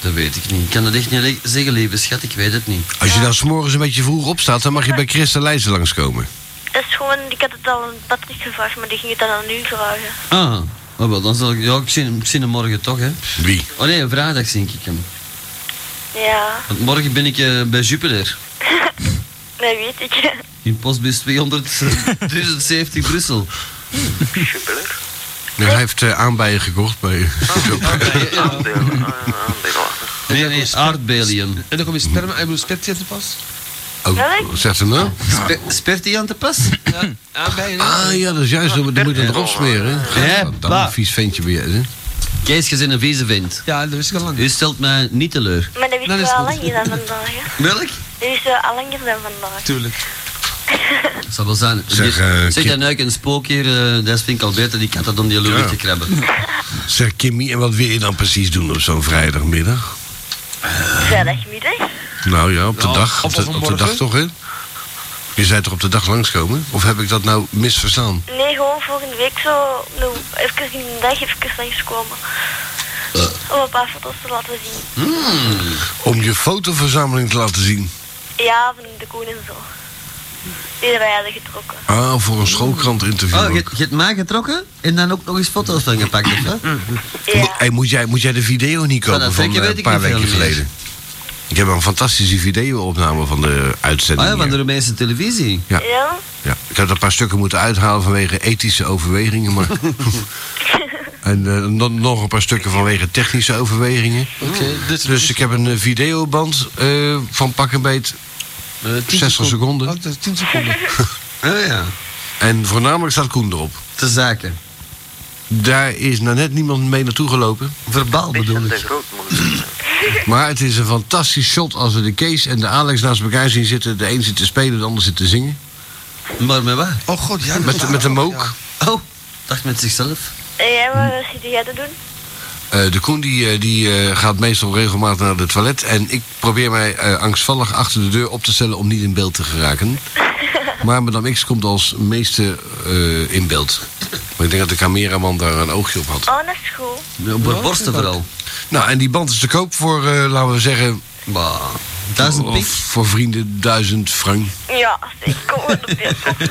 [SPEAKER 1] Dat weet ik niet. Ik kan dat echt niet le- zeggen, lieve schat. Ik weet het niet.
[SPEAKER 3] Als je dan s'morgens een beetje vroeg opstaat, dan mag je bij Christa Leijzen langskomen.
[SPEAKER 22] Dat is gewoon, ik had het al aan Patrick gevraagd, maar die ging het dan aan u vragen.
[SPEAKER 1] Ah, oh wel, dan zal ik... Ja, ik zie, hem- ik zie hem morgen toch, hè?
[SPEAKER 3] Wie?
[SPEAKER 1] Oh nee, vrijdag zie ik hem.
[SPEAKER 22] Ja,
[SPEAKER 1] Want morgen ben ik eh, bij Jupiter.
[SPEAKER 22] dat weet ik.
[SPEAKER 1] In postbus 270 Brussel.
[SPEAKER 3] Nee, hij heeft eh, aanbijen gekocht bij...
[SPEAKER 1] Ah.
[SPEAKER 7] Ah,
[SPEAKER 1] Nee, nee, aardbelien.
[SPEAKER 7] En dan kom je sperma, ik bedoel, spertje te pas.
[SPEAKER 3] Oh, wat zegt hem nou?
[SPEAKER 1] Spe Spertie aan te pas?
[SPEAKER 7] Aanbijen, hè?
[SPEAKER 3] Ah ja, dat is juist, dan moet je hem erop smeren.
[SPEAKER 1] Ja,
[SPEAKER 3] hè? Dat
[SPEAKER 1] pa.
[SPEAKER 3] een vies ventje weer, hè?
[SPEAKER 1] Kees, je bent een vieze vent.
[SPEAKER 7] Ja, dat wist ik al lang.
[SPEAKER 1] U stelt mij niet teleur.
[SPEAKER 22] Maar dat wisten
[SPEAKER 1] is
[SPEAKER 22] we al
[SPEAKER 1] goed.
[SPEAKER 22] langer dan vandaag. hè.
[SPEAKER 1] Welk?
[SPEAKER 22] Dat wisten we al langer dan vandaag.
[SPEAKER 1] Tuurlijk. Dat zal wel zijn.
[SPEAKER 3] Zeg, eh,
[SPEAKER 1] Je- zeg
[SPEAKER 3] Kip-
[SPEAKER 1] dan ook een spook hier, eh, dat vind ik al beter, die kat had om die lul
[SPEAKER 3] Ja.
[SPEAKER 1] te krabben.
[SPEAKER 3] Zeg, Kimmy, en wat wil je dan precies doen op zo'n vrijdagmiddag?
[SPEAKER 22] Vrijdagmiddag?
[SPEAKER 3] Nou ja, op de
[SPEAKER 7] Nou,
[SPEAKER 3] dag. Op
[SPEAKER 7] of op
[SPEAKER 3] de,
[SPEAKER 7] een
[SPEAKER 3] op de dag
[SPEAKER 7] morgen.
[SPEAKER 3] toch, hè? Je zei toch op de dag langskomen? Of heb ik dat nou misverstaan?
[SPEAKER 22] Nee, gewoon volgende week zo nou, even in de dag even langskomen. Om een paar foto's te laten zien.
[SPEAKER 1] Hmm.
[SPEAKER 3] Om je fotoverzameling te laten zien.
[SPEAKER 22] Ja, van de koning en zo. Die wij hadden getrokken.
[SPEAKER 3] Ah, voor een schoolkrantinterview.
[SPEAKER 1] Oh, je,
[SPEAKER 3] interview.
[SPEAKER 1] hebt- je hebt mij getrokken en dan ook nog eens foto's van gepakt, of wat?
[SPEAKER 22] Ja.
[SPEAKER 3] Hey, moet, jij, moet jij de video niet kopen
[SPEAKER 1] nou, dat
[SPEAKER 3] van
[SPEAKER 1] trekje
[SPEAKER 3] eh,
[SPEAKER 1] weet
[SPEAKER 3] een
[SPEAKER 1] ik
[SPEAKER 3] paar
[SPEAKER 1] niet
[SPEAKER 3] weken
[SPEAKER 1] veel meer. Ah,
[SPEAKER 3] geleden? Ik heb een fantastische video-opname van de
[SPEAKER 1] Ah
[SPEAKER 3] uitzending.
[SPEAKER 1] ja, van de
[SPEAKER 3] hier.
[SPEAKER 1] Roemeense televisie.
[SPEAKER 3] Ja.
[SPEAKER 22] Ja?
[SPEAKER 3] Ja, ik had een paar stukken moeten uithalen vanwege ethische overwegingen. Maar... en eh, dan nog een paar stukken vanwege technische overwegingen. Dus ik heb een eh, videoband eh, van pak en beet 60 seconden.
[SPEAKER 7] Oh, dat is 10 seconden.
[SPEAKER 1] Oh ja,
[SPEAKER 3] En voornamelijk staat Koen erop.
[SPEAKER 1] te zaken.
[SPEAKER 3] Daar is nou net niemand mee naartoe gelopen.
[SPEAKER 1] Verbaal bedoel
[SPEAKER 2] De
[SPEAKER 1] ik.
[SPEAKER 2] grootmoeder.
[SPEAKER 3] Maar het is een fantastisch shot als we de Kees en de Alex naast elkaar zien zitten. De een zit te spelen, de ander zit te zingen.
[SPEAKER 1] Maar met wat?
[SPEAKER 7] Oh god, ja. dat is
[SPEAKER 3] Met,
[SPEAKER 7] waar.
[SPEAKER 3] met de mook.
[SPEAKER 1] Oh, dacht met zichzelf.
[SPEAKER 22] En jij, wat zit jij te doen?
[SPEAKER 3] Eh, de Koen die, eh, die eh, gaat meestal regelmatig naar het toilet. En ik probeer mij eh, angstvallig achter de deur op te stellen om niet in beeld te geraken. Maar Madame X komt als meeste eh, in beeld. Maar ik denk dat de cameraman daar een oogje op had.
[SPEAKER 22] Oh, dat is goed.
[SPEAKER 1] Op haar borsten vooral.
[SPEAKER 3] Nou, en die band is te koop voor, eh, laten we zeggen...
[SPEAKER 1] Bah, duizend
[SPEAKER 3] of
[SPEAKER 1] piek.
[SPEAKER 3] voor vrienden, duizend frank.
[SPEAKER 22] Ja, ik kom op de beeld.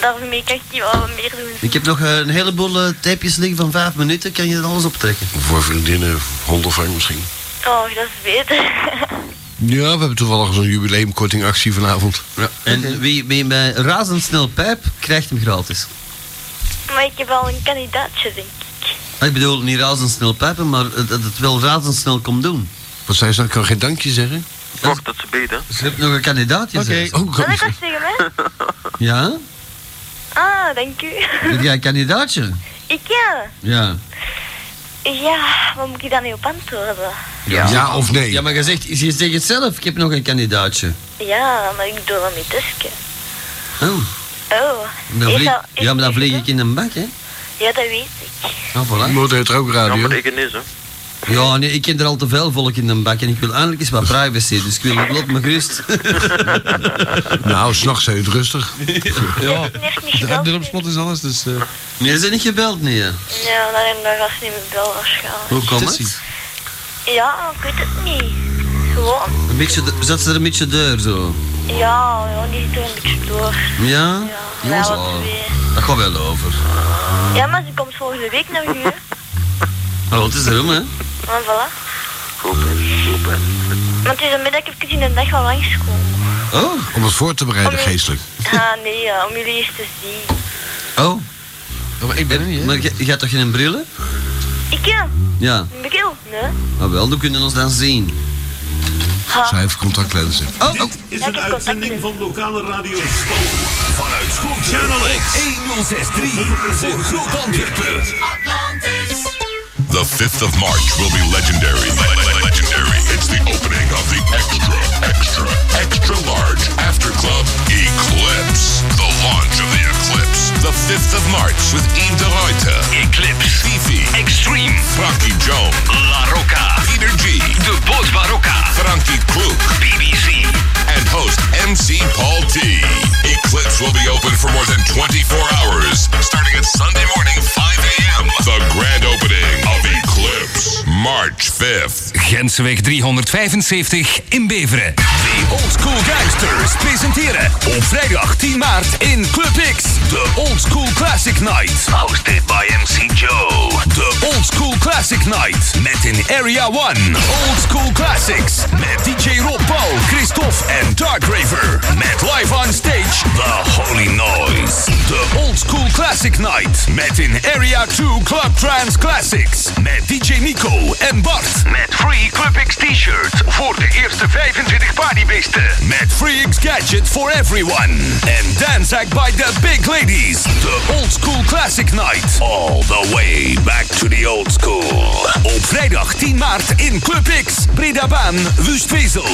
[SPEAKER 22] daarmee kan ik hier wel wat meer doen.
[SPEAKER 1] Ik heb nog eh, een heleboel eh, tapejes liggen van vijf minuten. Kan je dat alles optrekken?
[SPEAKER 3] Voor vriendinnen, hondenvang misschien.
[SPEAKER 22] Oh, dat is beter.
[SPEAKER 3] Ja, we hebben toevallig zo'n jubileumkortingactie vanavond. Ja.
[SPEAKER 1] En wie, wie mij razendsnel pijp, krijgt hem gratis.
[SPEAKER 22] maar ik heb wel een kandidaatje, denk ik.
[SPEAKER 1] Ik bedoel, niet razendsnel pijpen, maar eh, dat het wel razendsnel komt doen.
[SPEAKER 3] Wat zei ze? Ik kan geen dankje zeggen. Oh,
[SPEAKER 1] Wacht, dat ze beter. Ze hebt nog een kandidaatje, zegt ze.
[SPEAKER 22] Ah, dat kan je zeggen, hè?
[SPEAKER 1] Ja?
[SPEAKER 22] Ah, dank u.
[SPEAKER 1] Heb jij een kandidaatje?
[SPEAKER 22] ik ja.
[SPEAKER 1] Ja.
[SPEAKER 22] Ja, wat moet ik daar nu op antwoorden?
[SPEAKER 1] Ja. of nee? Ja, maar je zegt, je zegt het zelf, ik heb nog een kandidaatje.
[SPEAKER 22] Ja, maar ik doe dat niet tusken.
[SPEAKER 1] Oh,
[SPEAKER 22] Oh,
[SPEAKER 1] dan
[SPEAKER 22] is
[SPEAKER 1] vlieg,
[SPEAKER 22] dat- is-
[SPEAKER 1] ja, maar dan vlieg ik in een bak, hè?
[SPEAKER 22] ja, dat weet ik.
[SPEAKER 1] Ah, voilà.
[SPEAKER 3] Moet het ook radio?
[SPEAKER 1] Ja,
[SPEAKER 2] Ik is, hè.
[SPEAKER 1] nee, ik ken er al te veel volk in een bak en ik wil eindelijk eens wat privacy, dus ik wil laat me gerust.
[SPEAKER 3] nou, s'nachts zijn het rustig.
[SPEAKER 7] Ja, de Durmspot is alles, dus... eh
[SPEAKER 1] Nee, ze zijn niet gebeld, nee. hè?
[SPEAKER 22] Ja, dan, dan gaat ze niet meer bellen waarschijnlijk.
[SPEAKER 1] Hoe komt het?
[SPEAKER 22] Ja, ik weet het niet. Gewoon.
[SPEAKER 1] Een beetje, de- zat ze er een beetje deur zo?
[SPEAKER 22] Ja, ja die zit er een beetje door.
[SPEAKER 1] Ja? Jongens,
[SPEAKER 22] Ja, wat
[SPEAKER 1] oh,
[SPEAKER 22] weer.
[SPEAKER 1] dat gaat wel over.
[SPEAKER 22] Ja, maar ze komt volgende week naar u, hè.
[SPEAKER 1] Oh, het is erom, hè?
[SPEAKER 22] Maar voilà. Want het is een middag even in de dag wel langskomen.
[SPEAKER 3] Oh. Om het voor te bereiden geestelijk.
[SPEAKER 22] Ah, nee, ja, om jullie eens te zien.
[SPEAKER 1] Oh. maar ik ben er niet, Maar je, je hebt toch geen brillen?
[SPEAKER 22] Ik ja.
[SPEAKER 1] Ja.
[SPEAKER 22] Een bril, nee.
[SPEAKER 1] Maar wel, dan kunnen we ons dan zien.
[SPEAKER 22] Ha.
[SPEAKER 3] heeft contactlenzen.
[SPEAKER 1] Dit
[SPEAKER 22] is een uitzending
[SPEAKER 23] van lokale radio Vanuit Schoten. Channel X. 1063 voor Groot Antwerpen.
[SPEAKER 12] The 5th of March will be legendary. Le- le- Legendary. It's the opening of the extra, extra, extra large after club Eclipse. The launch of the Eclipse. The 5th of March with Yves de Ruyter. Eclipse. Fifi. Extreme. Frankie Jones. La Roca. Peter G. De Boot Barocca. Frankie Kloek. BBC. And host MC Paul T. Eclipse will be open for more than 24 hours starting at Sunday morning 5 a.m. The grand opening of Eclipse, March 5th.
[SPEAKER 4] Gensenweg 375 in Beveren. De Old School Gangsters presenteren op vrijdag 10 maart in Club X de Old School Classic Night. Hosted by MC Joe. De Old School Classic Night met in Area 1 Old School Classics met DJ Rob Paul, Christophe en Dark Raver. Met live on stage The Holy Noise. De Old School Classic Night met in Area 2 Club Trans Classics. Met DJ Nico en Bart. Met Free Club X T-shirt voor de eerste 25 partybeesten. Met Free X Gadget for everyone. En Danzac by the Big Ladies. De Old School Classic Night. All the way back to the old school. Op vrijdag 10 maart in Club X. Bredabaan, Wustwezel.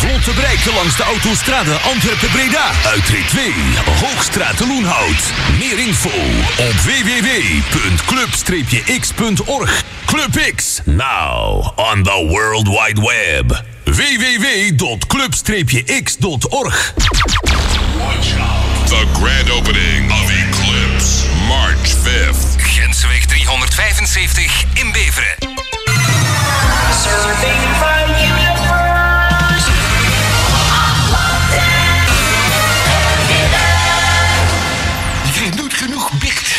[SPEAKER 4] Vlot te bereiken langs de autostrade Antwerpen-Breda. Uitrit 2, Hoogstraat de Loenhout. Meer info op www.club-x.org. Club X, now on the World Wide Web. www.club-x.org
[SPEAKER 12] Watch out. The grand opening of Eclipse, March 5th.
[SPEAKER 4] Gensenweg 375 in Beveren.
[SPEAKER 23] Surfing from universe.
[SPEAKER 16] Je krijgt nooit genoeg bikt.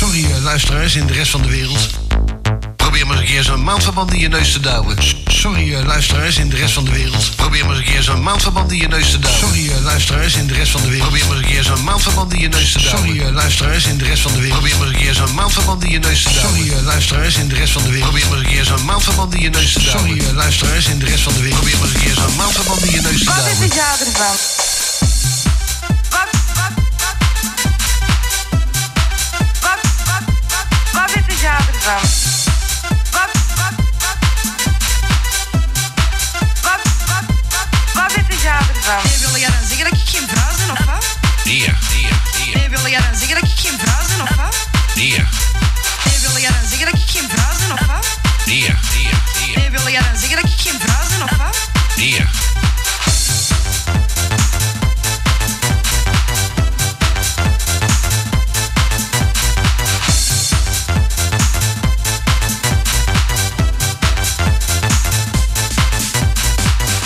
[SPEAKER 14] eh, luisteraars in de rest van de wereld. Probeer maar eens een keer zo'n maandverband in je neus te douwen. S- Sorry, eh, luisteraars in de rest van de wereld. Probeer maar eens een keer zo'n maandverband in je neus te douwen. Sorry, eh, luisteraars in de rest van de wereld. Probeer maar eens een keer zo'n maandverband in je neus te douwen. Sorry, eh, luisteraars in de rest van de wereld. Probeer maar eens een keer zo'n maandverband in je neus te douwen. Sorry, eh, luisteraars in de rest van de wereld. Probeer maar eens een keer zo'n maandverband in je neus te douwen. Sorry, eh, luisteraars in de rest van de wereld. Probeer maar eens een keer zo'n maandverband in je neus te
[SPEAKER 17] Wat
[SPEAKER 14] douwen.
[SPEAKER 17] is de jaar ervan? Wat, wat, wat? Wat, wat, wat? Wat is de jaar ervan? Wat, wat, wat? Wat, wat, wat? Wat is de jaar ervan? Nee, wil jij dan zeggen dat ik geen vrouw ben, of wat?
[SPEAKER 3] Dia, dia,
[SPEAKER 17] Nee, wil jij dan zeggen dat ik geen vrouw ben, of wat?
[SPEAKER 3] dia,
[SPEAKER 17] Nee, wil jij dan zeggen dat ik geen vrouw ben, of wat?
[SPEAKER 3] dia, dia,
[SPEAKER 17] Nee, wil jij dan zeggen dat ik geen vrouw ben, of wat?
[SPEAKER 3] dia.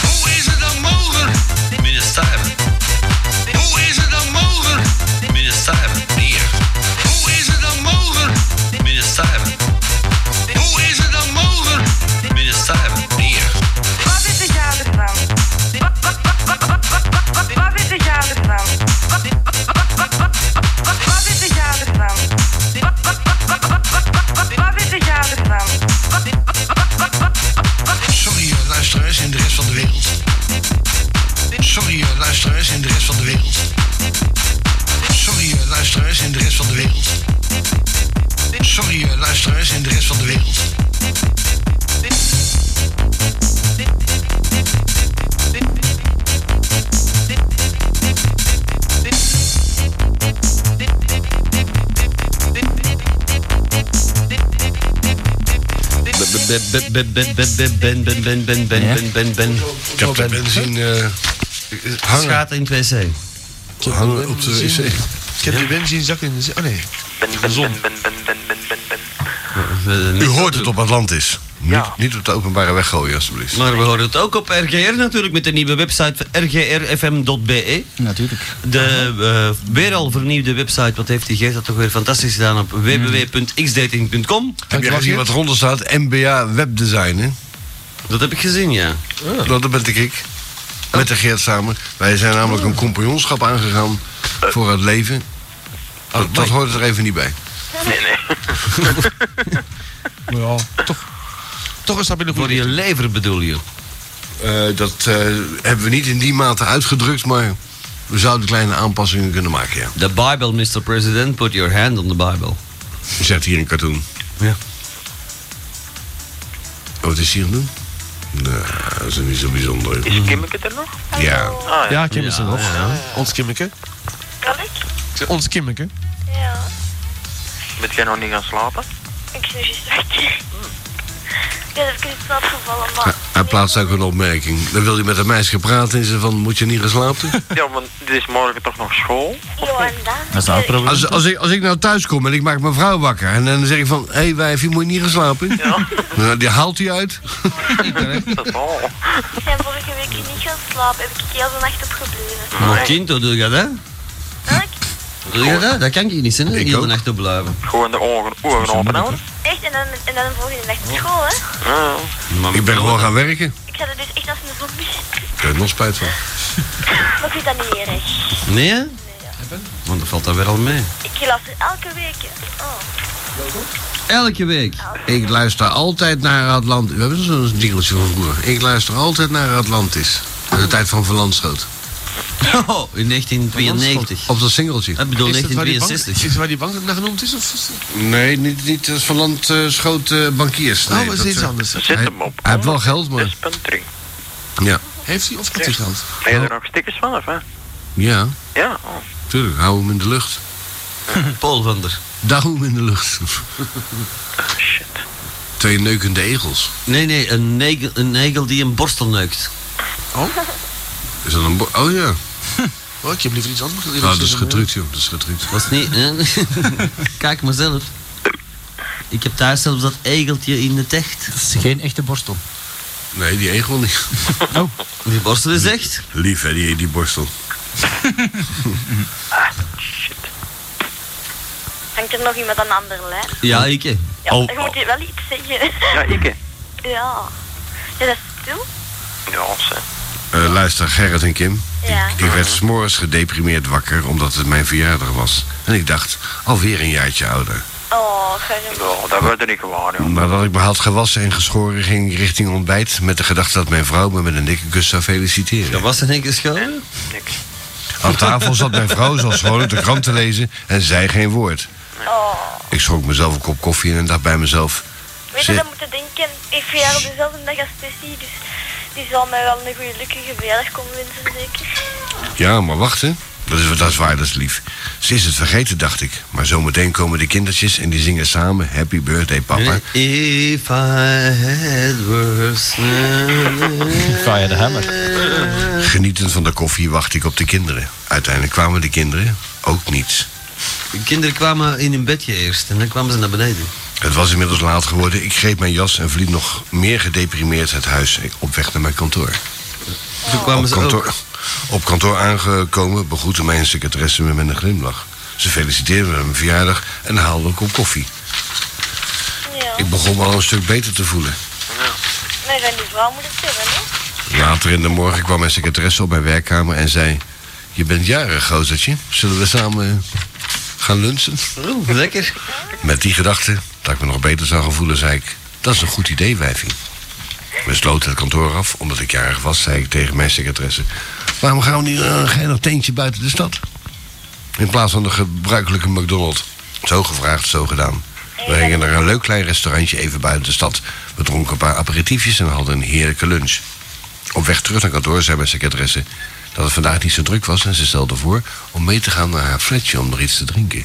[SPEAKER 23] Hoe is het dan mogelijk? Meneer Stuyven. Hoe is het dan mogelijk? Meneer Stuyven. Hier. Hoe is het dan mogelijk? Meneer Stuyven. Hoe is het dan mogelijk? Meneer Stuyven. Hier.
[SPEAKER 17] Wat is de jaar ervan? Wat, wat, wat, wat, wat, wat, wat, wat, wat is de jaar ervan? Wat, wat, wat, wat, wat, wat, wat, wat is de jaar ervan? Wat, wat, wat, wat, wat, wat, wat, wat, wat is de jaar ervan? Wat, wat, wat, wat, wat, wat, wat is-
[SPEAKER 14] Sorry, eh, luisteraars in de rest van de wereld. Sorry, eh, luisteraars in de rest van de wereld. Sorry, eh, luisteraars in de rest van de wereld. Sorry, eh, luisteraars in de rest van de wereld.
[SPEAKER 1] Ben, ben, ben, ben, ben, ben, ben, ben, ben, ben, ben, ben, ben, ben.
[SPEAKER 3] Ik heb de benzine eh, hangen.
[SPEAKER 1] Schaat in het wc.
[SPEAKER 3] Hangen op de wc.
[SPEAKER 6] Ik heb die benzine zak in de zin. Oh nee.
[SPEAKER 3] U hoort het op Atlantis. Niet, niet op de openbare weg gooien, alsjeblieft.
[SPEAKER 1] Maar we horen het ook op RGR natuurlijk met de nieuwe website van rgrfm.be.
[SPEAKER 21] Natuurlijk.
[SPEAKER 1] E. De eh, weer al vernieuwde website, wat heeft die Geert dat toch weer fantastisch gedaan op www.xdating.com.
[SPEAKER 3] Heb je gezien wat eronder staat? MBA webdesign, hè?
[SPEAKER 1] Dat heb ik gezien, ja.
[SPEAKER 3] Dat ben ik. ik. Met de Geert samen. Wij zijn namelijk een compagnonschap aangegaan voor het leven. Dat, dat hoort er even niet bij.
[SPEAKER 2] Nee, nee.
[SPEAKER 3] Ja, toch. Toch een stap in de Voor je
[SPEAKER 1] lever bedoel je?
[SPEAKER 3] dat eh, hebben we niet in die mate uitgedrukt, maar we zouden kleine aanpassingen kunnen maken, ja.
[SPEAKER 1] The Bible, Mr. President, put your hand on the Bible.
[SPEAKER 3] Je zet hier een cartoon.
[SPEAKER 1] Ja.
[SPEAKER 3] Wat is hier aan het doen? Nou, dat is niet zo bijzonder.
[SPEAKER 2] Is Kimmeke er nog?
[SPEAKER 3] Ja.
[SPEAKER 2] Ah,
[SPEAKER 6] ja, Kim is er
[SPEAKER 2] Ja,
[SPEAKER 6] nog.
[SPEAKER 2] ja.
[SPEAKER 6] Ons Kimmeke.
[SPEAKER 22] Kan ik?
[SPEAKER 6] Ik zeg, Ons Kimmeke.
[SPEAKER 22] Ja.
[SPEAKER 2] Bent jij nog niet gaan slapen?
[SPEAKER 22] Ik zit juist wakker. Ja, dat heb ik niet snel gevallen, maar...
[SPEAKER 3] Ah, Hij plaatst ook een opmerking. Dan wil je met een meisje praten en ze van, moet je niet gaan slapen?
[SPEAKER 2] Ja, want het is morgen toch nog school?
[SPEAKER 22] Ja, en dan?
[SPEAKER 3] Dat is
[SPEAKER 22] nou het probleem,
[SPEAKER 3] Als, als, ik, als ik nou thuis kom en ik maak mijn vrouw wakker... en dan zeg ik van, hé hey, wijf, je moet je niet gaan slapen. Nou, die haalt hij uit.
[SPEAKER 22] Ik ben vorige week niet gaan slapen. Heb ik heel de nacht opgebleven.
[SPEAKER 1] Maar kind, hoe doe je dat? Hoe doe je dat? Dat kan ik niet zin, heel de nacht op blijven.
[SPEAKER 2] Gewoon de ogen, ogen open houden?
[SPEAKER 22] Echt, en dan, en dan de volgende nacht naar school, hè.
[SPEAKER 2] Ja.
[SPEAKER 3] Ik ben gewoon gaan werken.
[SPEAKER 22] Ik zat er dus echt als een zombie.
[SPEAKER 3] Ik heb er nog spijt van.
[SPEAKER 22] Maar ik vind dat niet erg.
[SPEAKER 1] Nee, hè? Want dat valt daar weer al mee.
[SPEAKER 22] Ik luister elke week. Oh.
[SPEAKER 1] Elke week.
[SPEAKER 3] Ik luister altijd naar Atlantis. We hebben zo'n jingletje van vroeger. Ik luister altijd naar Atlantis. In de tijd van Van Landschoot.
[SPEAKER 1] Oh, in 1992.
[SPEAKER 3] Op dat singeltje. Ik
[SPEAKER 1] bedoel
[SPEAKER 6] Is dat waar die bank-
[SPEAKER 1] 1962.
[SPEAKER 6] Is waar die bank naar genoemd is? Of is dat-
[SPEAKER 3] Nee, niet, niet als Van Landschoot eh, bankiers.
[SPEAKER 6] Oh,
[SPEAKER 3] Nee,
[SPEAKER 6] dat is iets
[SPEAKER 3] eh,
[SPEAKER 6] anders. Zet
[SPEAKER 3] hij-
[SPEAKER 6] hem op.
[SPEAKER 3] Hij heeft wel geld, maar...
[SPEAKER 2] Puntering.
[SPEAKER 3] Ja.
[SPEAKER 6] Heeft hij of had hij geld?
[SPEAKER 2] Ben je er nog stickers van, of hè?
[SPEAKER 3] Oh, Ja,
[SPEAKER 2] Ja. Oh.
[SPEAKER 3] tuurlijk. Hou hem in de lucht.
[SPEAKER 1] Paul van der.
[SPEAKER 3] Daarom in de lucht. Twee neukende egels.
[SPEAKER 1] Nee, nee, een negel, een negel die een borstel neukt.
[SPEAKER 6] Oh?
[SPEAKER 3] Is dat een bo- Oh ja.
[SPEAKER 6] Oh, ik heb liever iets anders.
[SPEAKER 3] Nou, dat is gedrukt, joh. Dat is gedrukt.
[SPEAKER 1] Dat is niet... hè? Kijk maar zelf. Ik heb thuis zelfs dat egeltje in de techt. Dat is geen echte borstel.
[SPEAKER 3] Nee, die egel niet.
[SPEAKER 1] Oh. Die borstel is echt.
[SPEAKER 3] Lief, hè, die, die borstel.
[SPEAKER 22] Hangt er nog iemand aan de andere lijn?
[SPEAKER 1] Ja, ik. hè.
[SPEAKER 22] Ja,
[SPEAKER 1] Al-
[SPEAKER 22] je moet hier wel iets zeggen.
[SPEAKER 2] Ja, ik. hè.
[SPEAKER 22] Ja. Ja, dat is stil.
[SPEAKER 2] Ja, ze.
[SPEAKER 3] Eh, luister, Gerrit en Kim.
[SPEAKER 22] Ja.
[SPEAKER 3] Ik werd s'morgens gedeprimeerd wakker omdat het mijn verjaardag was. En ik dacht, alweer een jaartje ouder.
[SPEAKER 22] Oh, Gerrit.
[SPEAKER 2] Oh, Ja, dat werd er niet gewaar, joh.
[SPEAKER 3] Nadat ik me had gewassen en geschoren, ging ik richting ontbijt... met de gedachte dat mijn vrouw me met een dikke kus zou feliciteren.
[SPEAKER 1] Dat was in één keer schoon?
[SPEAKER 3] Aan tafel zat mijn vrouw zoals gewoonlijk de krant te lezen en zei geen woord. Ik schonk mezelf een kop koffie in en dacht bij mezelf...
[SPEAKER 22] Oh. Weet je,
[SPEAKER 3] "Zeg,
[SPEAKER 22] dat moet je denken. Ik verjaar op dezelfde dag als Tessie, dus die zal mij wel een goede lukkige verjaardag komen wensen, zeker.
[SPEAKER 3] Ja, maar wacht hè. Dat is, dat is waar, dat is lief. Ze is het vergeten, dacht ik. Maar zometeen komen de kindertjes en die zingen samen Happy Birthday, papa.
[SPEAKER 1] If I had worse...
[SPEAKER 3] Fire de hammer. Genietend van de koffie wacht ik op de kinderen. Uiteindelijk kwamen de kinderen ook niet.
[SPEAKER 1] De kinderen kwamen in hun bedje eerst en dan kwamen ze naar beneden.
[SPEAKER 3] Het was inmiddels laat geworden. Ik greep mijn jas en verliet nog meer gedeprimeerd het huis op weg naar mijn kantoor.
[SPEAKER 1] Toen kwamen
[SPEAKER 3] op
[SPEAKER 1] ze
[SPEAKER 3] kantoor,
[SPEAKER 1] ook.
[SPEAKER 3] Op kantoor aangekomen begroette mijn secretaresse me met een glimlach. Ze feliciteerde me met mijn verjaardag en haalde een kop koffie. Ik begon me al een stuk beter te voelen.
[SPEAKER 22] Mijn zijn die vrouw moet het hebben, hè?
[SPEAKER 3] Later in de morgen kwam mijn secretaresse op mijn werkkamer en zei... Je bent jarig, gozertje. Zullen we samen eh, gaan lunchen?
[SPEAKER 1] Oeh, lekker.
[SPEAKER 3] Met die gedachte dat ik me nog beter zou gaan voelen, zei ik... Dat is een goed idee, wijfie. We sloten het kantoor af. Omdat ik jarig was, zei ik tegen mijn secretaresse... Waarom gaan we niet eh, naar een geinig teentje buiten de stad? In plaats van de gebruikelijke McDonald's. Zo gevraagd, zo gedaan. We gingen naar een leuk klein restaurantje even buiten de stad. We dronken een paar aperitiefjes en hadden een heerlijke lunch. Op weg terug naar kantoor zei mijn secretaresse dat het vandaag niet zo druk was en ze stelde voor om mee te gaan naar haar flatje om er iets te drinken.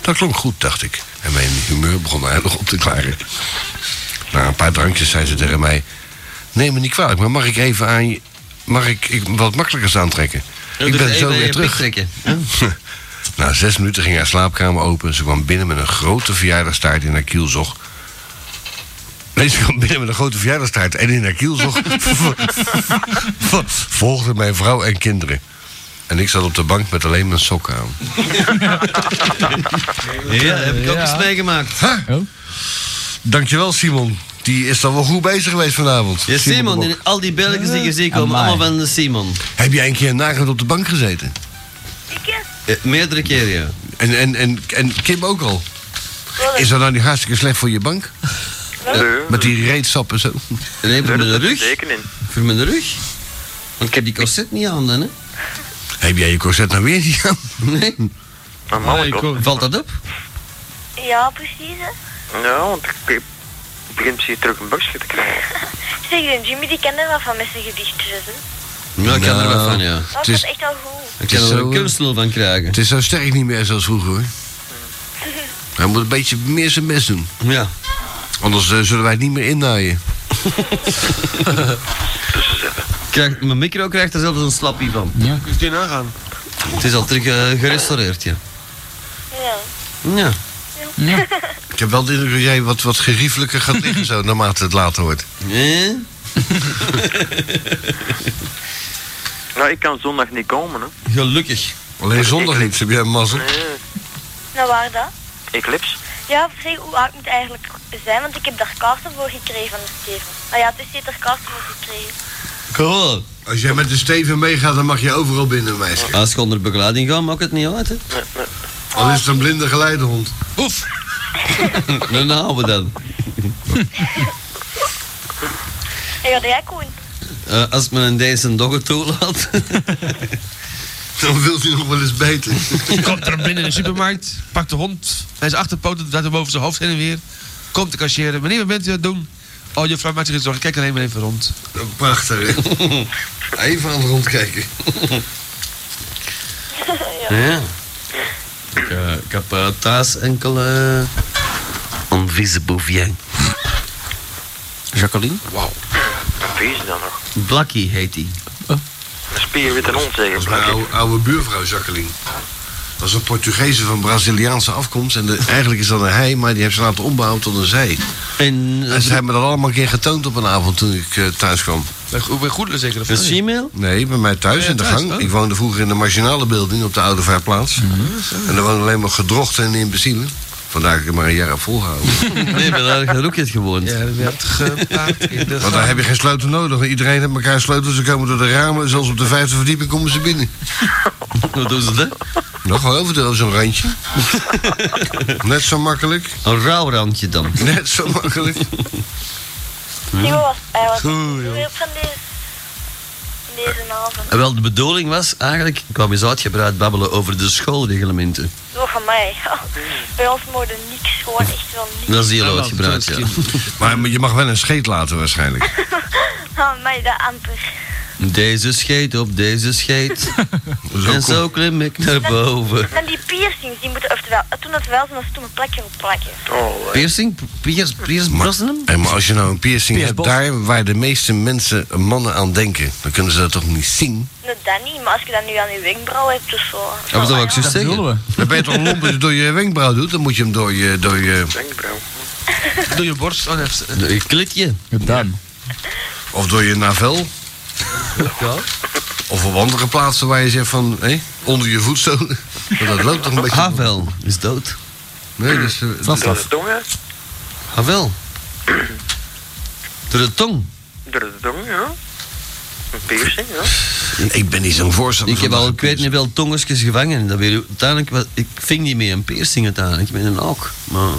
[SPEAKER 3] Dat klonk goed, dacht ik. En mijn humeur begon aardig op te klaren. Na een paar drankjes zei ze tegen mij... Neem me niet kwalijk, maar mag ik even aan je... Mag ik, ik wat makkelijkers aantrekken?
[SPEAKER 1] Ja,
[SPEAKER 3] ik
[SPEAKER 1] dus
[SPEAKER 3] ben
[SPEAKER 1] even
[SPEAKER 3] zo
[SPEAKER 1] aan je
[SPEAKER 3] weer
[SPEAKER 1] pik
[SPEAKER 3] terug.
[SPEAKER 1] trekken.
[SPEAKER 3] Na zes minuten ging haar slaapkamer open. Ze kwam binnen met een grote verjaardagstaart in haar kielzog. Nee, ze kwam binnen met een grote verjaardagstaart en in haar kielzog... volgde mijn vrouw en kinderen. En ik zat op de bank met alleen mijn sokken aan.
[SPEAKER 1] Ja, heb ik ook eens meegemaakt. Oh.
[SPEAKER 3] Dankjewel, Simon. Die is dan wel goed bezig geweest vanavond.
[SPEAKER 1] Ja, Simon,
[SPEAKER 3] de Bok.
[SPEAKER 1] en al die Belgen die je ziet komen,
[SPEAKER 3] Amai.
[SPEAKER 1] allemaal van de Simon.
[SPEAKER 3] Heb jij een keer nagend op de bank gezeten?
[SPEAKER 1] Eh, meerdere keer, ja.
[SPEAKER 3] En, en, en, en Kim ook al? Is dat nou niet hartstikke slecht voor je bank? Met die reetsap en zo.
[SPEAKER 1] Nee, voor mijn rug.
[SPEAKER 2] Zeker in.
[SPEAKER 1] Voor mijn rug. Want ik heb die corset niet aan, dan, hè.
[SPEAKER 3] Heb jij je corset nou weer niet aan?
[SPEAKER 1] Nee.
[SPEAKER 2] Normaal
[SPEAKER 1] Nee,
[SPEAKER 2] toch?
[SPEAKER 1] ik- Valt dat op?
[SPEAKER 22] Ja, precies, hè.
[SPEAKER 2] Ja, want ik ik begin misschien terug een buksje te krijgen.
[SPEAKER 22] Zeg, die Jimmy die kende wel van met zijn gedichtjes, hè?
[SPEAKER 1] Ja, ik kan er
[SPEAKER 3] Nou.
[SPEAKER 1] wel van, ja.
[SPEAKER 22] Dat is echt wel goed.
[SPEAKER 1] Ik kan er een kunstel van krijgen.
[SPEAKER 3] eh, Het is zo sterk niet meer zoals vroeger hoor. Hij moet een beetje meer zijn best doen.
[SPEAKER 1] Ja.
[SPEAKER 3] Anders eh, zullen wij het niet meer innaaien.
[SPEAKER 1] Krijg, mijn micro krijgt er zelfs een slappie van. Ja.
[SPEAKER 6] Kun je die nagaan?
[SPEAKER 1] Het is al terug eh, gerestaureerd, ja. Ja.
[SPEAKER 3] Ja. Ik heb wel de indruk dat jij wat, wat geriefelijker gaat liggen zo, naarmate het later wordt.
[SPEAKER 1] Nee.
[SPEAKER 2] Nou, ik kan zondag niet komen, hè.
[SPEAKER 1] Gelukkig.
[SPEAKER 3] Alleen zondag niet, heb jij een mazzel.
[SPEAKER 22] Nou, waar dat?
[SPEAKER 2] Eclipse?
[SPEAKER 22] Ja, zeg, hoe oud moet het eigenlijk zijn? Want ik heb daar kaarten voor gekregen van de Steven. Nou ja, Tessie heeft daar kaarten voor gekregen.
[SPEAKER 1] Cool.
[SPEAKER 3] Als jij met de Steven meegaat, dan mag je overal binnen, meisje.
[SPEAKER 1] Als ik onder begeleiding ga, maakt het niet uit, hè.
[SPEAKER 3] Al is het een blinde geleidehond.
[SPEAKER 1] Oef. Dan houden Nou, we dan.
[SPEAKER 22] En ja, jij Koen.
[SPEAKER 1] Eh, als men een deze dogger toelaat.
[SPEAKER 3] Dan wilt hij nog wel eens beter.
[SPEAKER 6] Komt er binnen in de supermarkt, pakt de hond bij zijn achterpoten, draait hem boven zijn hoofd heen en weer. Komt de cashier, meneer, wat bent u aan het doen? Oh, juffrouw, maakt zich geen zorgen, kijk alleen maar even rond.
[SPEAKER 3] Oh, Prachtig, hè? Even aan de rond kijken.
[SPEAKER 1] Ja. Ik, eh, ik heb eh, thuis enkele. Invisible Vien. Jacqueline?
[SPEAKER 2] Wauw. Wie is die dan nog?
[SPEAKER 1] Blackie heet die.
[SPEAKER 2] Een spierwitte hond, zeg
[SPEAKER 3] Dat
[SPEAKER 2] ik.
[SPEAKER 3] is mijn oude, oude buurvrouw Jacqueline. Dat is een Portugese van Braziliaanse afkomst. En de- eigenlijk is dat een hij, maar die hebben ze laten ombouwen tot een zij.
[SPEAKER 1] En,
[SPEAKER 3] en ze hebben me dat allemaal een keer getoond op een avond toen ik eh, thuis kwam.
[SPEAKER 6] Bij Go- bij Goedelen zeker. of
[SPEAKER 1] Een
[SPEAKER 6] niet?
[SPEAKER 1] Gmail?
[SPEAKER 3] Nee, bij mij thuis
[SPEAKER 6] Ja,
[SPEAKER 3] in de
[SPEAKER 6] thuis,
[SPEAKER 3] gang.
[SPEAKER 6] oh.
[SPEAKER 3] Ik woonde vroeger in de marginale building op de Oude Vaarplaats.
[SPEAKER 6] Mhm.
[SPEAKER 3] En daar woonden alleen maar gedrochten en imbecielen. Vandaar dat ik het maar een jaar heb volgehouden.
[SPEAKER 1] Nee, maar daar heb ik ook eens gewoond.
[SPEAKER 6] Ja, dat werd gepaard in de
[SPEAKER 3] Want daar
[SPEAKER 6] gang.
[SPEAKER 3] heb je geen sleutel nodig. Iedereen heeft elkaar sleutels. Ze komen door de ramen. Zelfs op de vijfde verdieping komen ze binnen.
[SPEAKER 1] Wat doen ze dan?
[SPEAKER 3] Nog wel over zo'n randje. Net zo makkelijk.
[SPEAKER 1] Een rauw randje dan.
[SPEAKER 3] Net zo makkelijk.
[SPEAKER 22] Timo was, hij was
[SPEAKER 1] Goed, joh.
[SPEAKER 22] heel van deze, van deze avond.
[SPEAKER 1] En Wel, de bedoeling was eigenlijk, ik kwam eens uitgebreid babbelen over de schoolreglementen.
[SPEAKER 22] Zo van mij. Bij ons moorde niks, gewoon echt wel niks.
[SPEAKER 1] Dat is heel uitgebreid, ja.
[SPEAKER 3] Maar je mag wel een scheet laten waarschijnlijk.
[SPEAKER 22] Aan Ah, mij de amper.
[SPEAKER 1] Deze scheet op deze scheet. en zo klim ik naar boven.
[SPEAKER 22] En die piercings, die moeten, oftewel, toen het wel zijn, dat ze toen een plekje op plakken.
[SPEAKER 1] Piercing? Piers, Piers Brosnan?
[SPEAKER 3] Hé, maar als je nou een piercing
[SPEAKER 1] Piers
[SPEAKER 3] hebt,
[SPEAKER 1] Bos.
[SPEAKER 3] daar waar de meeste mensen mannen aan denken, dan kunnen ze dat toch niet zien?
[SPEAKER 22] Nee, dat niet, maar als je dat nu aan je wenkbrauw hebt of zo.
[SPEAKER 1] Ah,
[SPEAKER 3] dat wil ik zo
[SPEAKER 1] zeggen.
[SPEAKER 3] Dan ben je toch lomp als je door je wenkbrauw doet, dan moet je hem door je... Door je... Wenkbrauw.
[SPEAKER 6] Door je borst. Oh, nee,
[SPEAKER 1] Je klikje.
[SPEAKER 3] Dan. Of door je navel. Of op andere plaatsen waar je zegt van, hé, onder je voetzolen. Maar dat loopt toch een beetje...
[SPEAKER 1] Havel is dood.
[SPEAKER 3] Nee, dus... eh,
[SPEAKER 1] Vanaf.
[SPEAKER 3] dat-
[SPEAKER 2] Tongen?
[SPEAKER 1] Havel. Door de tong.
[SPEAKER 2] Door de tong, ja. Een piercing, ja.
[SPEAKER 3] Ik ben niet zo'n voorstander
[SPEAKER 1] Ik heb al, ik weet niet wel, tongesjes gevangen. en Dat weer, uiteindelijk, was- ik ving niet mee een piercing uiteindelijk, met een ook. Maar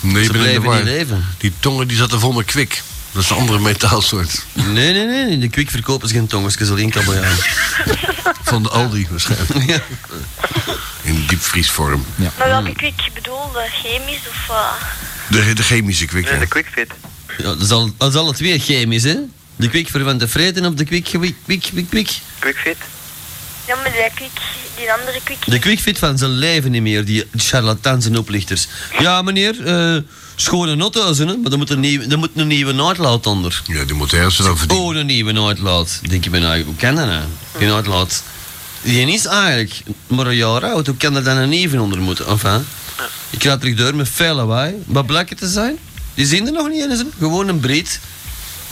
[SPEAKER 3] Nee,
[SPEAKER 1] ze
[SPEAKER 3] je bent in de
[SPEAKER 1] blijven
[SPEAKER 3] war.
[SPEAKER 1] niet leven.
[SPEAKER 3] Die tongen die zaten vol met kwik. Dat is een andere metaalsoort.
[SPEAKER 1] Nee, nee, nee, in de kwik verkopen ze geen tongesjes, alleen kabeljauw.
[SPEAKER 3] Van de Aldi waarschijnlijk.
[SPEAKER 1] Ja.
[SPEAKER 3] In diepvriesvorm.
[SPEAKER 22] Maar
[SPEAKER 1] Hmm.
[SPEAKER 22] welke kwik bedoelde? Chemisch of... eh,
[SPEAKER 3] De, de chemische kwik, ja.
[SPEAKER 2] Quickfit.
[SPEAKER 1] Ja, dat, is al, dat is al het weer chemisch, hè? De kwik voor van de vreten op de kwik, kwik, kwik, kwik, kwik.
[SPEAKER 2] Quickfit?
[SPEAKER 22] Ja, maar die kwik, die andere kwik.
[SPEAKER 1] De kwikfit van zijn leven niet meer, die charlatans en oplichters. Ja, meneer, eh schone nothuizen, hè? maar dan moet een nieuwe, dan moet een nieuwe uitlaat onder.
[SPEAKER 3] Ja, die moet ergens dan verdienen.
[SPEAKER 1] Oh, een nieuwe uitlaat. Denk je bij nou, hoe kan dat nou? Die uitlaat. Die is eigenlijk maar een jaar oud, hoe kan er dan een nieuwe onder moeten? Enfin, ik ga terug door met veel lawaai. Wat blijkt te zijn? Die zien er nog niet eens, hè? gewoon een breed.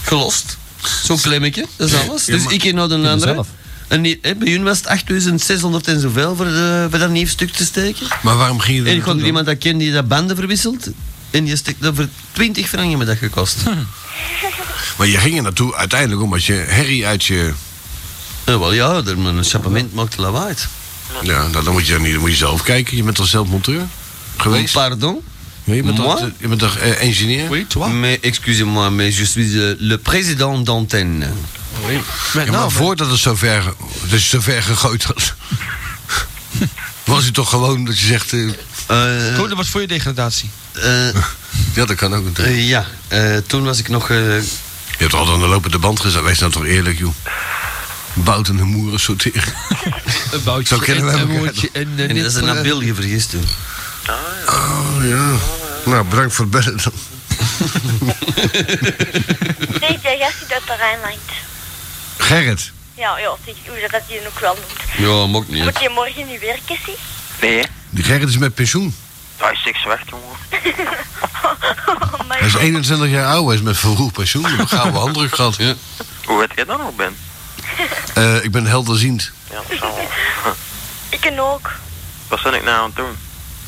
[SPEAKER 1] Gelost. Zo'n klemmetje, dat is alles.
[SPEAKER 7] Ja,
[SPEAKER 1] dus
[SPEAKER 7] maar-
[SPEAKER 1] ik ging naar
[SPEAKER 7] Ik
[SPEAKER 1] een
[SPEAKER 7] ben
[SPEAKER 1] andere.
[SPEAKER 7] zelf.
[SPEAKER 1] En die, hè, bij hun was het 8600 en zoveel voor, de, voor dat nieuw stuk te steken.
[SPEAKER 3] Maar waarom ging je
[SPEAKER 1] En ik
[SPEAKER 3] naartoe
[SPEAKER 1] had er
[SPEAKER 3] dan?
[SPEAKER 1] iemand dat kende die dat banden verwisselt. En die stek dat voor 20 franken me dat gekost.
[SPEAKER 3] Hm. Maar je ging er naartoe uiteindelijk omdat je herrie uit je...
[SPEAKER 1] Ja, Eh, wel ja, er- maar een chappement maakt lawaai.
[SPEAKER 3] Ja, nou, dan, moet je, dan niet- dan moet je zelf kijken. Je bent toch zelf monteur geweest?
[SPEAKER 1] Pardon?
[SPEAKER 3] Ja, je bent toch,
[SPEAKER 1] Moi?
[SPEAKER 3] je bent toch eh, engineer?
[SPEAKER 1] Oui, toi. Mais excusez-moi, mais je suis euh, le président d'antenne.
[SPEAKER 3] Ja, maar
[SPEAKER 1] nou,
[SPEAKER 3] voordat het zover, dat je zover gegooid had... was het toch gewoon dat je zegt... eh,
[SPEAKER 6] Goed, dat was voor je degradatie.
[SPEAKER 3] ja, dat kan ook natuurlijk.
[SPEAKER 1] Eh, ja, eh, toen was ik nog... eh,
[SPEAKER 3] Je hebt altijd aan de lopende band gezet. Wees nou toch eerlijk, joh. Bouten en moeren sorteren.
[SPEAKER 6] Een boutje
[SPEAKER 3] Zo kennen we
[SPEAKER 6] en een
[SPEAKER 3] elkaar
[SPEAKER 6] moertje
[SPEAKER 3] toch?
[SPEAKER 6] en...
[SPEAKER 1] en eh, dat is
[SPEAKER 3] eh,
[SPEAKER 1] een Nabil vergist toen.
[SPEAKER 3] Oh, ja. Nou, bedankt voor het bellen dan.
[SPEAKER 22] Nee, die gast die uit de Rijnland.
[SPEAKER 3] Gerrit.
[SPEAKER 22] Ja, ja, tegen hoe dat die ook wel noemt.
[SPEAKER 1] Ja, mag niet.
[SPEAKER 22] Moet je morgen niet werken, zie?
[SPEAKER 2] Nee, hè?
[SPEAKER 3] Die Gerrit is met pensioen.
[SPEAKER 2] Hij is seks weg, jongen.
[SPEAKER 3] Hij is 21 jaar oud. Hij is met vroeg pensioen. We gaan we andere gehad. Ja.
[SPEAKER 2] Hoe weet jij dat nog, Ben?
[SPEAKER 3] Eh, ik ben helderziend.
[SPEAKER 2] Ja, dat zal wel.
[SPEAKER 22] Ik en ook.
[SPEAKER 2] Wat ben ik nou aan het doen?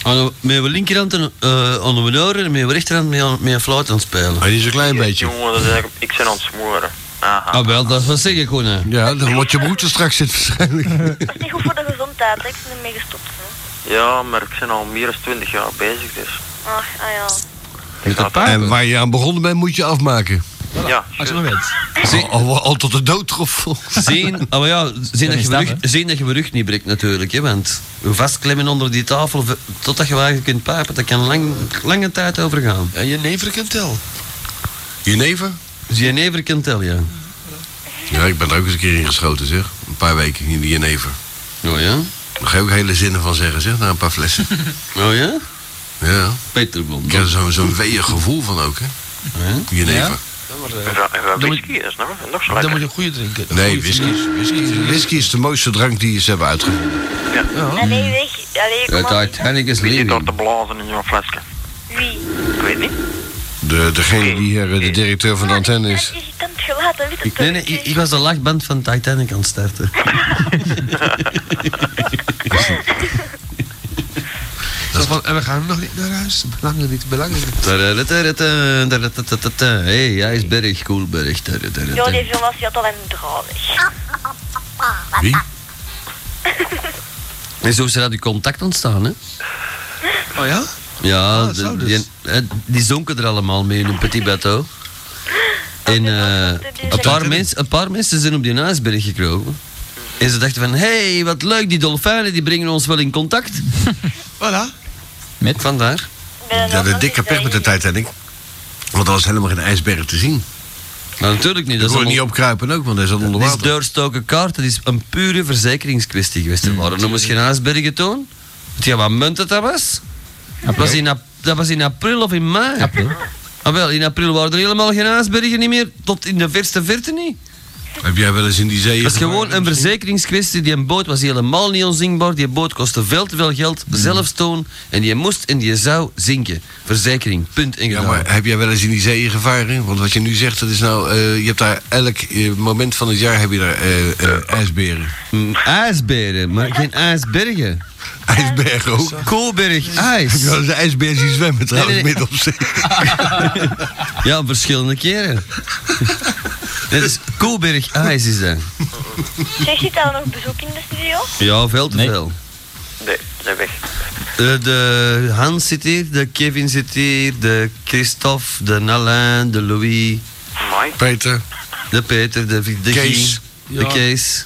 [SPEAKER 1] Aan de- Met mijn linkerhand een, eh, aan mijn oren en met mijn rechterhand met aan- met een fluit aan het spelen.
[SPEAKER 3] Hij is een klein beetje.
[SPEAKER 2] Jongen, dat is eigenlijk- ik ben aan het smoren. Aha.
[SPEAKER 1] Ah wel, dat was zeggen gewoon. hè.
[SPEAKER 3] Ja, dan wordt je broertje straks zit waarschijnlijk.
[SPEAKER 22] Dat is niet goed voor de gezondheid, hè. ik ben ermee gestopt. hè.
[SPEAKER 2] Ja, maar ik ben al meer dan 20 jaar bezig, dus.
[SPEAKER 22] Ach, ah ja.
[SPEAKER 3] En waar je aan begonnen bent, moet je afmaken. Oh.
[SPEAKER 2] Ja.
[SPEAKER 6] Als je maar weet.
[SPEAKER 3] Al, al, al tot de dood troffel.
[SPEAKER 1] Zien, ah, maar ja, zien,
[SPEAKER 7] is
[SPEAKER 1] dat je
[SPEAKER 7] dat,
[SPEAKER 1] mijn rug, zien dat je mijn rug niet breekt natuurlijk. Hè, want vastklemmen onder die tafel v- totdat je wagen kunt pijpen, dat kan lang, lange tijd overgaan.
[SPEAKER 6] En je never kunt tel.
[SPEAKER 3] Je neven?
[SPEAKER 1] Genever kan tellen, ja.
[SPEAKER 3] Ja, ik ben er ook eens een keer ingeschoten, zeg. Een paar weken in de Jenever.
[SPEAKER 1] Oh ja?
[SPEAKER 3] Daar ga je ook hele zinnen van zeggen, zeg, na een paar flessen.
[SPEAKER 1] Oh ja?
[SPEAKER 3] Ja.
[SPEAKER 1] Peter Bond.
[SPEAKER 3] Ik heb er zo'n zo weeën gevoel van ook, hè. Jenever.
[SPEAKER 6] Ja?
[SPEAKER 2] eh, dat whisky is nog, nog zo lekker.
[SPEAKER 6] Dan moet je een goede drinken. Een
[SPEAKER 3] Nee,
[SPEAKER 6] goede
[SPEAKER 3] whisky.
[SPEAKER 6] fles.
[SPEAKER 3] Whisky, whisky is de mooiste drank die ze hebben uitgevonden.
[SPEAKER 22] Allee, weg. Allee, kom op.
[SPEAKER 3] Titanic is
[SPEAKER 2] Wie zit daar te blazen in zo'n flesje? Wie? Ik weet niet.
[SPEAKER 3] De, degene die hier eh, de directeur van de antenne is.
[SPEAKER 22] Je kan het geluid, dat weet het
[SPEAKER 1] Nee, nee, ik, ik was de lachband van Titanic aan het starten.
[SPEAKER 6] Zo van, en we gaan nog niet naar huis. Belangrijk, niet belangrijk.
[SPEAKER 1] Hé, hey, ijsberg, koelberg.
[SPEAKER 22] Ja, die jongens die had al een dradig.
[SPEAKER 3] Wie?
[SPEAKER 1] En zo is er uit die contact ontstaan, hè?
[SPEAKER 6] Oh ja? dus.
[SPEAKER 1] Ja, de- die, eh, die zonken er allemaal mee in een petit bateau. En eh, een, paar mensen, een paar mensen zijn op die ijsberg gekropen. En ze dachten van, hé, hey, wat leuk, die dolfijnen die brengen ons wel in contact.
[SPEAKER 6] voilà.
[SPEAKER 1] Met? Vandaar.
[SPEAKER 3] Ja, de dikke pech met de Titanic. Want er was helemaal geen ijsberg te zien.
[SPEAKER 1] Nou, natuurlijk niet.
[SPEAKER 3] Je
[SPEAKER 1] Dat is
[SPEAKER 3] kon er niet
[SPEAKER 1] allemaal-
[SPEAKER 3] opkruipen ook, want dat is al onder
[SPEAKER 1] Dit is
[SPEAKER 3] water.
[SPEAKER 1] doorstoken kaart, dat is een pure verzekeringskwestie geweest. Er waren nog eens geen ijsbergen toen. Weet je wat munt dat dat was? Dat was, in ap- dat was in april of in mei. April. Ah wel, in april waren er helemaal geen ijsbergen niet meer, tot in de verste verte niet.
[SPEAKER 3] Heb jij wel eens in die zee...
[SPEAKER 1] Het was
[SPEAKER 3] gevaren?
[SPEAKER 1] gewoon een verzekeringskwestie. Die boot was helemaal niet onzinkbaar. Die boot kostte veel te veel geld,
[SPEAKER 3] Hmm.
[SPEAKER 1] zelfs toen. En die moest en die zou zinken. Verzekering, punt en
[SPEAKER 3] Ja,
[SPEAKER 1] gedaan.
[SPEAKER 3] maar heb jij wel eens in die zee gevaren? Want wat je nu zegt, dat is nou... eh, je hebt daar elk eh, moment van het jaar heb je daar eh, eh, ijsberen.
[SPEAKER 1] Mm, ijsberen, maar geen ijsbergen.
[SPEAKER 3] Ijsbergen ook.
[SPEAKER 1] Koolberg, ijs.
[SPEAKER 3] Heb je wel eens een ijsbeer zien zwemmen trouwens,
[SPEAKER 1] nee, nee.
[SPEAKER 3] midden op zee?
[SPEAKER 1] Ja, verschillende keren. Dit is Koelberg IJs is dat.
[SPEAKER 22] Zeg, zit daar nog bezoek in de studio?
[SPEAKER 1] Ja, veel te veel.
[SPEAKER 2] Nee, zijn weg.
[SPEAKER 1] Eh, de Hans zit hier, de Kevin zit hier, de Christophe, de Alain, de Louis,
[SPEAKER 2] Mai.
[SPEAKER 3] Peter.
[SPEAKER 1] de Peter, de, Vic- de
[SPEAKER 3] Kees.
[SPEAKER 1] Guy, de
[SPEAKER 3] Ja.
[SPEAKER 1] Kees,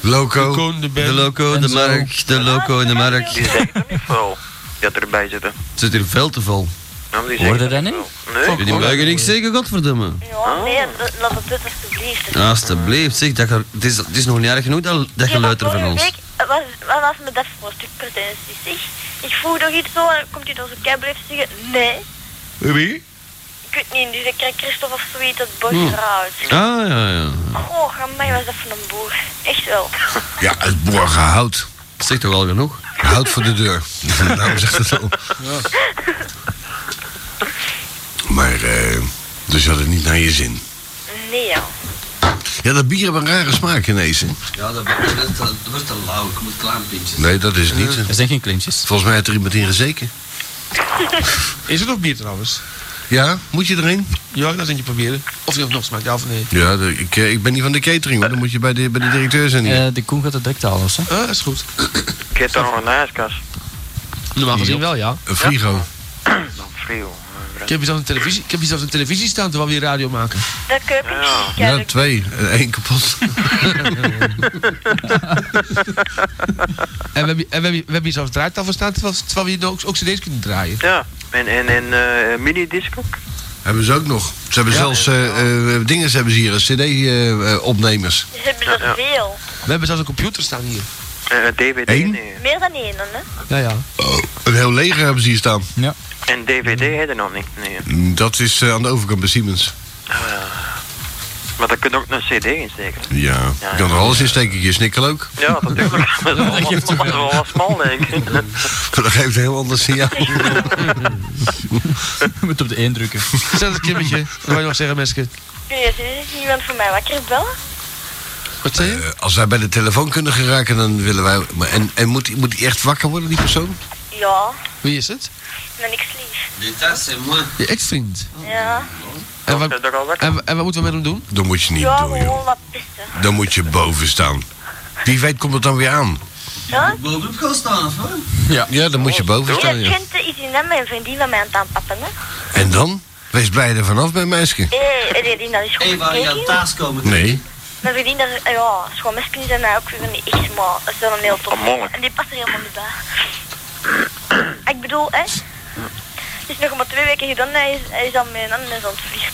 [SPEAKER 3] Loco.
[SPEAKER 6] de,
[SPEAKER 1] de Loco, de Mark, de Loco en de Mark.
[SPEAKER 2] Die zeggen er niet veel. Die had erbij zitten.
[SPEAKER 1] Het zit hier veel te veel.
[SPEAKER 2] Ja, maar die zeggen er niet veel.
[SPEAKER 1] Jullie
[SPEAKER 2] Nee.
[SPEAKER 1] mogen niks zeggen, godverdomme.
[SPEAKER 22] Ja, nee, dat- laat het dit alsjeblieft.
[SPEAKER 1] Alsjeblieft, zeg, dat ge- het, is, het is nog niet erg genoeg dat, dat geluid er van
[SPEAKER 22] Vorige
[SPEAKER 1] ons.
[SPEAKER 22] week eh, was, wat was me dat voor stuk pretenties, zeg? Ik vroeg nog iets zo en komt u dan zo kei blijven zeggen, nee,
[SPEAKER 3] Wie?
[SPEAKER 22] ik weet niet, dus ik krijg Christophe of zoiets dat bos
[SPEAKER 1] Hm.
[SPEAKER 22] eruit.
[SPEAKER 1] Ah, ja, ja.
[SPEAKER 22] Goh, mij was dat van een boer. Echt wel.
[SPEAKER 3] Ja, het borgen hout.
[SPEAKER 1] Dat zegt toch al genoeg?
[SPEAKER 3] Hout voor de deur. Daarom zegt het al. Maar, eh, dus je had het niet naar je zin.
[SPEAKER 22] Nee, ja.
[SPEAKER 3] Ja, dat bier heeft een rare smaak ineens. Hè?
[SPEAKER 1] Ja, dat wordt te- wordt te lauw. Ik moet klaarpimpjes.
[SPEAKER 3] Nee, dat is het niet.
[SPEAKER 21] Er zijn geen klimpjes.
[SPEAKER 3] Volgens mij heeft er iemand in gezeken.
[SPEAKER 6] Is er nog bier trouwens?
[SPEAKER 3] Ja, moet je erin?
[SPEAKER 6] Ja, dat eentje proberen. Of die nog smaakt, ja of nee.
[SPEAKER 3] Ja, de- ik, eh, ik ben niet van de catering, hoor. Dan moet je bij de, bij de directeur zijn. hier.
[SPEAKER 21] de Koen gaat het direct halen, of zo.
[SPEAKER 6] Ah, dat is goed.
[SPEAKER 2] Ik heb daar nog een ijskast.
[SPEAKER 6] Normaal gezien wel, ja.
[SPEAKER 3] Een frigo.
[SPEAKER 2] Dan frigo.
[SPEAKER 6] Ik heb hier zelfs een televisie, ik heb hier zelfs een televisie staan terwijl we hier radio maken.
[SPEAKER 22] Dat keuken ik
[SPEAKER 2] Ja.
[SPEAKER 22] niet.
[SPEAKER 3] Ja,
[SPEAKER 22] kijk.
[SPEAKER 3] twee. Eh, één kapot.
[SPEAKER 6] En we hebben, hier- en we hebben, hier- we hebben hier zelfs draaitafel staan terwijl, terwijl we hier ook, ook cd's kunnen draaien.
[SPEAKER 2] Ja, en, en, en eh, mini-disc ook.
[SPEAKER 3] hebben ze ook nog. Ze hebben
[SPEAKER 6] Ja.
[SPEAKER 3] zelfs eh eh, dingen ze hebben ze hier. CD-opnemers.
[SPEAKER 22] Ze hebben er veel.
[SPEAKER 6] We hebben zelfs een computer staan hier.
[SPEAKER 2] Eh, DVD
[SPEAKER 3] Eén? Oh,
[SPEAKER 2] nee.
[SPEAKER 22] Meer dan één, dan, hè?
[SPEAKER 6] Ja, ja.
[SPEAKER 3] een heel leger hebben ze hier staan.
[SPEAKER 2] En DVD had er nog niet. Nee.
[SPEAKER 3] Dat is eh, aan de overkant bij Siemens.
[SPEAKER 2] Maar daar kun je ook een CD in steken.
[SPEAKER 3] Ja,
[SPEAKER 2] Ja,
[SPEAKER 3] je kan er alles in steken, je snikkel ook.
[SPEAKER 2] Ja, natuurlijk. Maar dat is wel- dat is wel wat smal, denk ik.
[SPEAKER 3] Dat geeft een heel ander signaal.
[SPEAKER 21] Moet op de 1 drukken.
[SPEAKER 6] Zet het kimmetje. Wat wil je nog zeggen, meske?
[SPEAKER 22] Kun je eens is iemand voor mij wakker bellen?
[SPEAKER 6] Wat zei je?
[SPEAKER 3] Eh, als wij bij de telefoon kunnen geraken, dan willen wij... Maar en en moet, die- moet die echt wakker worden, die persoon?
[SPEAKER 22] Ja,
[SPEAKER 6] Wie is het?
[SPEAKER 22] ben ik lief.
[SPEAKER 6] Je ex-vriend.
[SPEAKER 22] Ja.
[SPEAKER 6] En wat, en, en wat moeten we met hem doen?
[SPEAKER 3] Dat moet je niet
[SPEAKER 22] Ja,
[SPEAKER 3] doen, joh.
[SPEAKER 22] gewoon wat pissen.
[SPEAKER 3] Dan moet je boven staan. Wie weet komt het dan weer aan.
[SPEAKER 22] Ja?
[SPEAKER 1] Bovenop gaan staan, of wat?
[SPEAKER 3] Ja, dan moet je boven staan,
[SPEAKER 22] Je
[SPEAKER 3] ja.
[SPEAKER 22] kent is in hem mijn vriendin van mij aan het aanpappen, hè?
[SPEAKER 3] En dan? Wees blij er vanaf, mijn meisje.
[SPEAKER 22] Hé, hey, eh, die dat is goed gekeken.
[SPEAKER 1] thuis komen?
[SPEAKER 3] Nee.
[SPEAKER 22] Mijn vriendin, dat is, eh, ja, schoonmesken zijn mij ook weer niet echt, maar dat is wel een heel tof.
[SPEAKER 2] Among.
[SPEAKER 22] En die past er helemaal niet bij. ik bedoel, hè? Het is nog maar twee weken gedaan, hij is, hij is aan mijn handen aan het vliegen.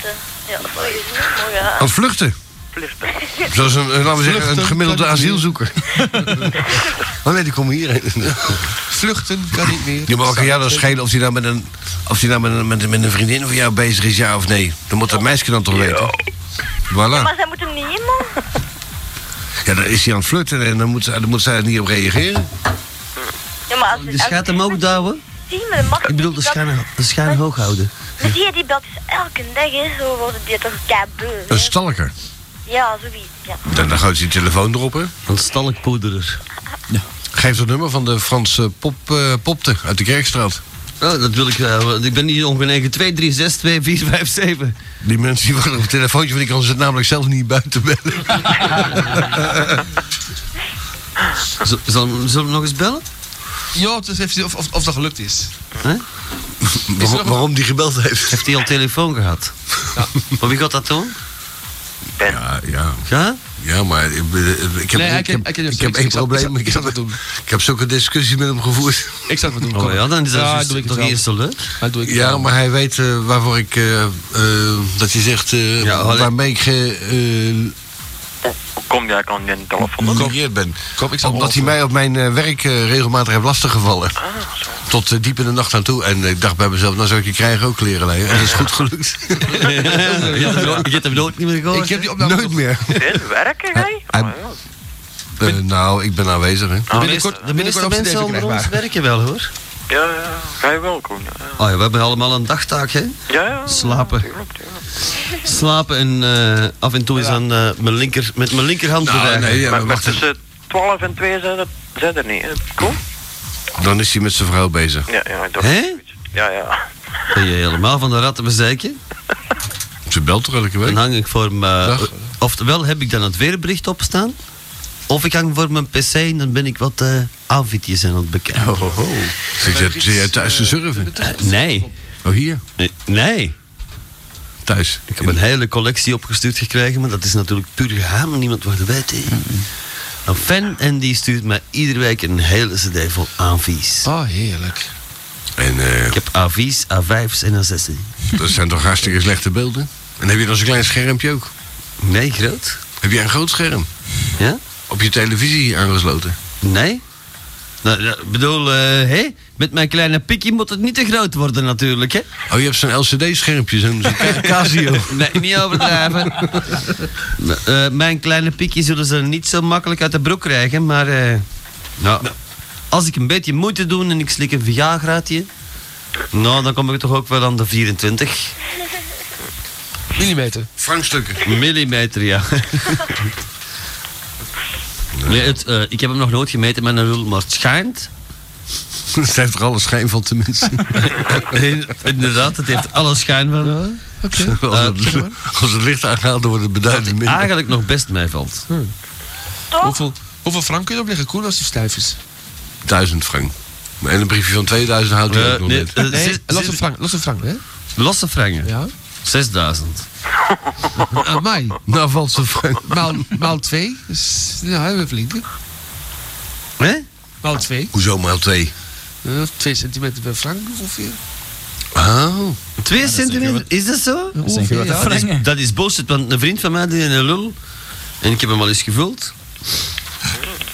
[SPEAKER 22] Ja, dat is niet, maar ja.
[SPEAKER 3] Aan het vluchten. Zoals een, eh, laten we zeggen, een
[SPEAKER 6] Vluchten,
[SPEAKER 3] gemiddelde
[SPEAKER 6] kan ik niet.
[SPEAKER 3] asielzoeker. oh nee, die komen hierheen.
[SPEAKER 6] Vluchten kan niet meer.
[SPEAKER 3] Ja, maar wat kan jou dan schelen of die nou met een, of die nou met een, met, een, met een vriendin van jou bezig is, ja of nee? Dan moet dat meisje dan toch weten.
[SPEAKER 22] Ja,
[SPEAKER 3] Voilà.
[SPEAKER 22] maar zij moet hem niet in, man.
[SPEAKER 3] Ja, dan is hij aan het flirten en dan moet, ze- dan moet zij er niet op reageren.
[SPEAKER 22] Ja, maar als als-
[SPEAKER 1] hem ook duwen?
[SPEAKER 22] die met een mat-
[SPEAKER 1] Ik bedoel, de schijn, de schijn hoog houden.
[SPEAKER 22] Maar zie je, die belt dus elke dag, hè. Zo worden die toch kabel.
[SPEAKER 3] Een stalker.
[SPEAKER 22] Ja, zoiets, ja.
[SPEAKER 3] Dan, dan gooit ze die telefoon erop, hè? Een stalkpoederer. Geef het nummer van de Franse pop, eh, popte uit de Kerkstraat.
[SPEAKER 1] Oh, dat wil ik. eh, want ik ben hier ongenegen 23624557.
[SPEAKER 3] Die mensen die wachten op het telefoontje, want ik kan ze namelijk zelf niet buiten bellen.
[SPEAKER 1] Z- zal- Zullen we nog eens bellen?
[SPEAKER 6] Ja, dus even zien of, of, of dat gelukt is.
[SPEAKER 1] Waarom,
[SPEAKER 3] die gebeld heeft?
[SPEAKER 1] Heeft hij al telefoon gehad? Maar wie gaat dat doen?
[SPEAKER 3] Ja, ja.
[SPEAKER 1] Ja?
[SPEAKER 3] Ja, maar ik, ben- ik heb,
[SPEAKER 6] Nee, hij
[SPEAKER 3] ik
[SPEAKER 6] kan-
[SPEAKER 3] heb,
[SPEAKER 6] hij kan
[SPEAKER 3] ik
[SPEAKER 6] juist
[SPEAKER 3] heb
[SPEAKER 6] niks.
[SPEAKER 3] één
[SPEAKER 6] Ik zal-
[SPEAKER 3] probleem.
[SPEAKER 6] ik
[SPEAKER 3] Ik heb, ik heb zulke discussies met hem gevoerd.
[SPEAKER 6] Ik zag het doen.
[SPEAKER 1] Oh
[SPEAKER 6] kom.
[SPEAKER 1] ja, dan is dat dus
[SPEAKER 6] doe ik
[SPEAKER 1] toch
[SPEAKER 6] wel.
[SPEAKER 1] eerst al leuk.
[SPEAKER 6] Maar doe ik het
[SPEAKER 3] Ja,
[SPEAKER 6] wel.
[SPEAKER 3] maar hij weet eh, waarvoor ik. eh, eh, dat hij zegt. eh,
[SPEAKER 1] Ja, alleen-
[SPEAKER 3] waarmee ik ge, eh,
[SPEAKER 2] Kom jij aan die telefoon?
[SPEAKER 3] gecorrigeerd ben.
[SPEAKER 6] Kom, ik zal
[SPEAKER 3] Omdat hij
[SPEAKER 6] hem
[SPEAKER 3] mij op mijn eh, werk eh, regelmatig heeft lastiggevallen.
[SPEAKER 2] Ah,
[SPEAKER 3] Tot eh, diep in de nacht aan toe. En ik dacht bij mezelf, nou zou ik je krijgen ook leren leiden. En dat is goed gelukt.
[SPEAKER 1] Je hebt hem nooit- je hebt hem nooit niet meer gehoord.
[SPEAKER 6] Ik heb die opname
[SPEAKER 3] Nooit meer.
[SPEAKER 2] Dit werken jij?
[SPEAKER 3] Hij- Eh, nou, ik ben aanwezig. Hè.
[SPEAKER 1] De meeste- de meeste mensen onder ons werken wel hoor.
[SPEAKER 2] Ja, ja. Ga je wel, Koen. Ja,
[SPEAKER 1] Oh ja, we hebben allemaal een dagtaak hè.
[SPEAKER 2] Ja, ja.
[SPEAKER 1] Slapen. Slapen en eh, af en toe is aan eh, mijn linker, met mijn linkerhand
[SPEAKER 3] Nou,
[SPEAKER 1] bewegen.
[SPEAKER 3] nee, ja,
[SPEAKER 2] maar,
[SPEAKER 3] maar
[SPEAKER 2] maar
[SPEAKER 3] wacht eens.
[SPEAKER 2] tussen 12 en 2 zijn er, zijn er niet. hè. Koen?
[SPEAKER 3] Dan is hij met zijn vrouw bezig.
[SPEAKER 2] Ja, ja. ik dacht-
[SPEAKER 1] Hè?
[SPEAKER 2] Ja, ja.
[SPEAKER 1] Ben je helemaal van de ratten bezeiken?
[SPEAKER 3] Ze belt toch elke week?
[SPEAKER 1] Dan hang ik voor mijn... eh,
[SPEAKER 3] Dag.
[SPEAKER 1] Oftewel heb ik dan het weerbericht opstaan. Of ik hang voor mijn pc en dan ben ik wat eh outfitjes aan het bekijken.
[SPEAKER 3] Oh, Zit jij- Zit jij thuis te surfen?
[SPEAKER 1] Eh, nee.
[SPEAKER 3] Oh, hier?
[SPEAKER 1] Nee, Nee.
[SPEAKER 3] Thuis?
[SPEAKER 1] Ik heb een hele collectie opgestuurd gekregen, maar dat is natuurlijk puur geheim. Niemand wordt erbij Een fan en die stuurt mij iedere week een hele cd vol aanvies.
[SPEAKER 6] Oh, heerlijk.
[SPEAKER 3] En eh,
[SPEAKER 1] Ik heb A4's, A5's en A6's.
[SPEAKER 3] dat zijn toch hartstikke slechte beelden? En heb je dan zo'n klein schermpje ook?
[SPEAKER 1] Nee, groot?
[SPEAKER 3] Heb jij een groot scherm?
[SPEAKER 1] Ja?
[SPEAKER 3] Op je televisie aangesloten?
[SPEAKER 1] Nee? Nou, ja, ik bedoel, eh, hé, met mijn kleine pikkie moet het niet te groot worden natuurlijk, hè?
[SPEAKER 3] Oh, je hebt zo'n LCD-schermpje, zo'n zo'n
[SPEAKER 1] Casio. Nee, niet overdrijven. Eh, mijn kleine pikkie zullen ze niet zo makkelijk uit de broek krijgen, maar... eh, nou, als ik een beetje moeite doe en ik slik een Viagraatje... Nou, dan kom ik toch ook wel aan de 24
[SPEAKER 6] Millimeter.
[SPEAKER 3] Frankstukken.
[SPEAKER 1] millimeter, ja. Nee, het, eh, ik heb hem nog nooit gemeten met een rul, maar het schijnt...
[SPEAKER 3] Het heeft er alle schijn van, tenminste.
[SPEAKER 1] Inderdaad, het heeft alle schijn van...
[SPEAKER 3] als,
[SPEAKER 1] Eh,
[SPEAKER 3] het, als het licht aangaat, dan wordt het beduidend minder.
[SPEAKER 1] Eigenlijk nog best meevalt.
[SPEAKER 6] Hoeveel, hoeveel frank kun je opleggen, Koen, als die stijf is?
[SPEAKER 3] Duizend frank. En een briefje van 2000 houdt hij
[SPEAKER 1] Eh,
[SPEAKER 3] ook nog
[SPEAKER 1] nee,
[SPEAKER 3] net.
[SPEAKER 1] eh,
[SPEAKER 6] Nee,
[SPEAKER 1] zes-
[SPEAKER 6] los
[SPEAKER 1] zes-
[SPEAKER 6] een frank, los een frank, hè?
[SPEAKER 1] Losse frangen,
[SPEAKER 6] Ja.
[SPEAKER 1] 6000.
[SPEAKER 6] Aan mij.
[SPEAKER 3] Nou valt ze frank.
[SPEAKER 6] Ah, Maal, maal twee. Dus, nou, hebben we flink, hè?
[SPEAKER 1] Hè?
[SPEAKER 6] Maal twee.
[SPEAKER 3] Hoezo maal twee?
[SPEAKER 6] Eh, twee centimeter per frank, ongeveer.
[SPEAKER 3] Oh.
[SPEAKER 1] Twee centimeter, is dat zo?
[SPEAKER 6] Ongeveer, ja.
[SPEAKER 1] Dat is, dat is bullshit, want een vriend van mij die een lul. En ik heb hem al eens gevuld.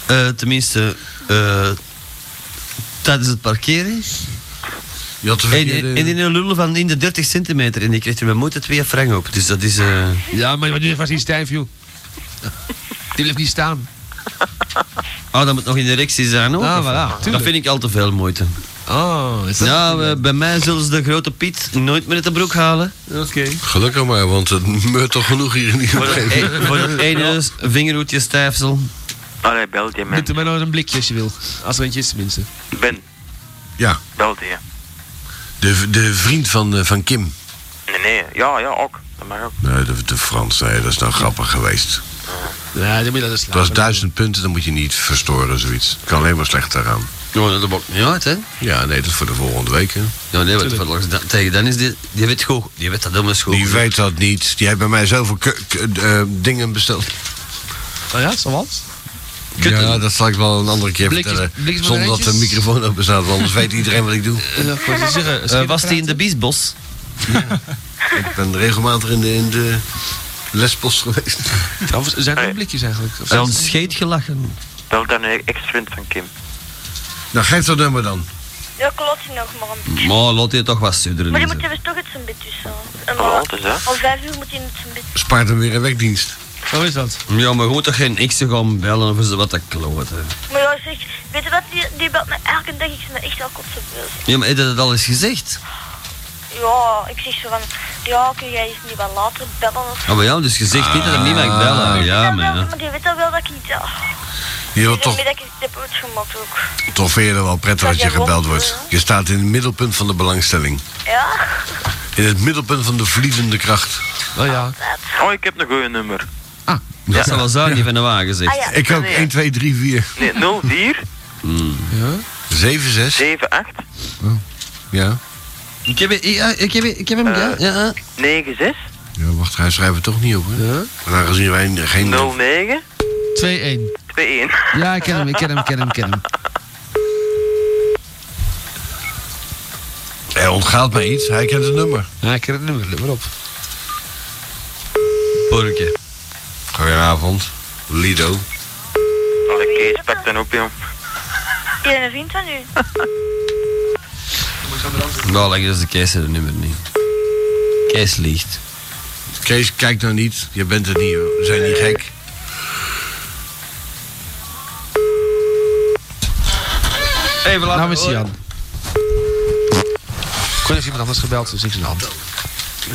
[SPEAKER 1] Eh, tenminste, eh, tijdens het parkeren.
[SPEAKER 3] Je had de
[SPEAKER 1] En,
[SPEAKER 3] verkeerde...
[SPEAKER 1] en, en in een lul van in de 30 centimeter. En ik kreeg er mijn moeite twee frank op. Dus dat is. eh,
[SPEAKER 6] Ja, maar die was niet stijf, joh. Die blijft niet staan.
[SPEAKER 1] Oh, dat moet nog in de erectie zijn hoor.
[SPEAKER 6] Ah, voilà,
[SPEAKER 1] dat
[SPEAKER 6] tuurlijk.
[SPEAKER 1] vind ik al te veel moeite.
[SPEAKER 6] Oh, is dat...
[SPEAKER 1] Nou, eh, bij mij zullen ze de grote Piet nooit meer uit de broek halen.
[SPEAKER 6] Oké.
[SPEAKER 3] Gelukkig maar, want het meurt toch genoeg hier in die
[SPEAKER 1] Voor het,
[SPEAKER 3] omgeving.
[SPEAKER 1] e- voor het ene vingerhoedje stijfsel.
[SPEAKER 2] Allee, bel die man.
[SPEAKER 6] Doet er maar nog een blikje als je wil. Als er eentje is, tenminste.
[SPEAKER 2] Ben,
[SPEAKER 3] Ja,
[SPEAKER 2] bel die.
[SPEAKER 3] de, de vriend van, eh, van Kim.
[SPEAKER 2] Nee, nee. Ja, ja, ook. Dat mag ook.
[SPEAKER 3] Nee, de, de Frans, nee, dat is nou grappig geweest.
[SPEAKER 6] Ja, dan moet je dat slaan.
[SPEAKER 3] Dat is duizend punten, dan moet je niet verstoren, zoiets. Kan alleen maar slecht gaan.
[SPEAKER 1] Oh, dat maakt niet uit, hè?
[SPEAKER 3] Ja, nee, dat is voor de volgende week, hè.
[SPEAKER 1] Ja, nee, wat, wat langs da- tegen Dennis, die, die weet gewoon, die weet dat helemaal schoon.
[SPEAKER 3] Die weet dat niet. Die heeft bij mij zoveel ke- ke- eh, dingen besteld.
[SPEAKER 6] Oh ja, zoals?
[SPEAKER 1] Kutten.
[SPEAKER 3] Ja, dat zal ik wel een andere keer
[SPEAKER 6] Blikjes-
[SPEAKER 3] vertellen.
[SPEAKER 6] blikjes
[SPEAKER 3] Zonder dat
[SPEAKER 6] mandarijntjes?
[SPEAKER 3] de microfoon open staat, want anders weet iedereen wat ik doe.
[SPEAKER 6] Eh, dat wou ik zeggen.
[SPEAKER 1] Eh, was die in de biesbos?
[SPEAKER 3] Ik ben regelmatig in de, in de lespost geweest.
[SPEAKER 6] Ja, of zijn er ook blikjes eigenlijk? Of
[SPEAKER 1] Ze
[SPEAKER 6] zijn
[SPEAKER 1] had scheet gelachen.
[SPEAKER 2] Bel dan een ex-vriend van Kim.
[SPEAKER 3] Nou, geef dat nummer dan.
[SPEAKER 22] Ja, klopt hij nog maar een beetje.
[SPEAKER 1] Maar laat je toch wat sudderen.
[SPEAKER 22] Maar die
[SPEAKER 1] is,
[SPEAKER 22] moet
[SPEAKER 1] hè.
[SPEAKER 22] even toch het zijn bed tussen. En
[SPEAKER 1] Oh,
[SPEAKER 22] maar-
[SPEAKER 1] wat is dat?
[SPEAKER 22] Om vijf uur moet hij in het zijn bed.
[SPEAKER 3] Spaart hem weer een wekdienst.
[SPEAKER 6] Zo is dat.
[SPEAKER 1] Ja, maar goed, toch geen X'en gaan bellen of zo, wat dat kloot. hè.
[SPEAKER 22] Maar ja, zeg, weet je wat, die, die belt me elke dag, ik ben echt al kotsenbeus.
[SPEAKER 1] Ja, maar heb je dat al eens gezegd?
[SPEAKER 22] Ja, ik zeg zo van, ja, kun jij eens niet wat later bellen of zo.
[SPEAKER 1] Oh, maar ja, dus gezegd niet dat hem niet mag bellen. Ja, maar ja.
[SPEAKER 22] Maar die weet al wel dat ik iets... ah,
[SPEAKER 3] Je
[SPEAKER 22] die
[SPEAKER 3] wordt toch,
[SPEAKER 22] weet dat ik iets heb uitgemaakt ook.
[SPEAKER 3] toch vind je dat wel prettig als je gebeld wordt. Je staat in het middelpunt van de belangstelling.
[SPEAKER 22] Ja?
[SPEAKER 3] In het middelpunt van de vliedende kracht.
[SPEAKER 6] Oh ja.
[SPEAKER 2] Oh, ik heb een goeie nummer.
[SPEAKER 1] Dat zou wel zijn, die van de wagen zegt.
[SPEAKER 2] Ah, ja. Ik ook. Nee.
[SPEAKER 3] 1, 2, 3, 4.
[SPEAKER 2] Nee, 04
[SPEAKER 1] Hmm.
[SPEAKER 3] 7, 6.
[SPEAKER 2] 7, 8
[SPEAKER 3] Ja.
[SPEAKER 1] Ik heb, ja, ik heb, ik heb hem, ja.
[SPEAKER 2] Eh,
[SPEAKER 1] ja.
[SPEAKER 2] 9, 6
[SPEAKER 3] Ja, wacht, hij schrijft het toch niet op, hè? En aangezien wij geen...
[SPEAKER 2] 09
[SPEAKER 6] 2-1.
[SPEAKER 2] 2, 1.
[SPEAKER 6] Ja, ik ken hem, ik ken hem, ik ken hem, ik ken hem.
[SPEAKER 3] Hij ontgaat mij iets, hij kent het nummer.
[SPEAKER 6] Ja, ik ken het nummer, let maar op.
[SPEAKER 1] Porkje.
[SPEAKER 3] Goedenavond, Lido.
[SPEAKER 2] Alle Kees pakt dan op, jong.
[SPEAKER 22] Ik ben een vriend van u.
[SPEAKER 1] Nou, lekker is de Kees het nummer niet. Kees liegt.
[SPEAKER 3] Kees, kijk nou niet. Je bent het niet, hoor. we zijn niet gek.
[SPEAKER 1] Even
[SPEAKER 6] laten Nou is Jan. Ik kon even iemand anders gebeld, dus niks aan de hand.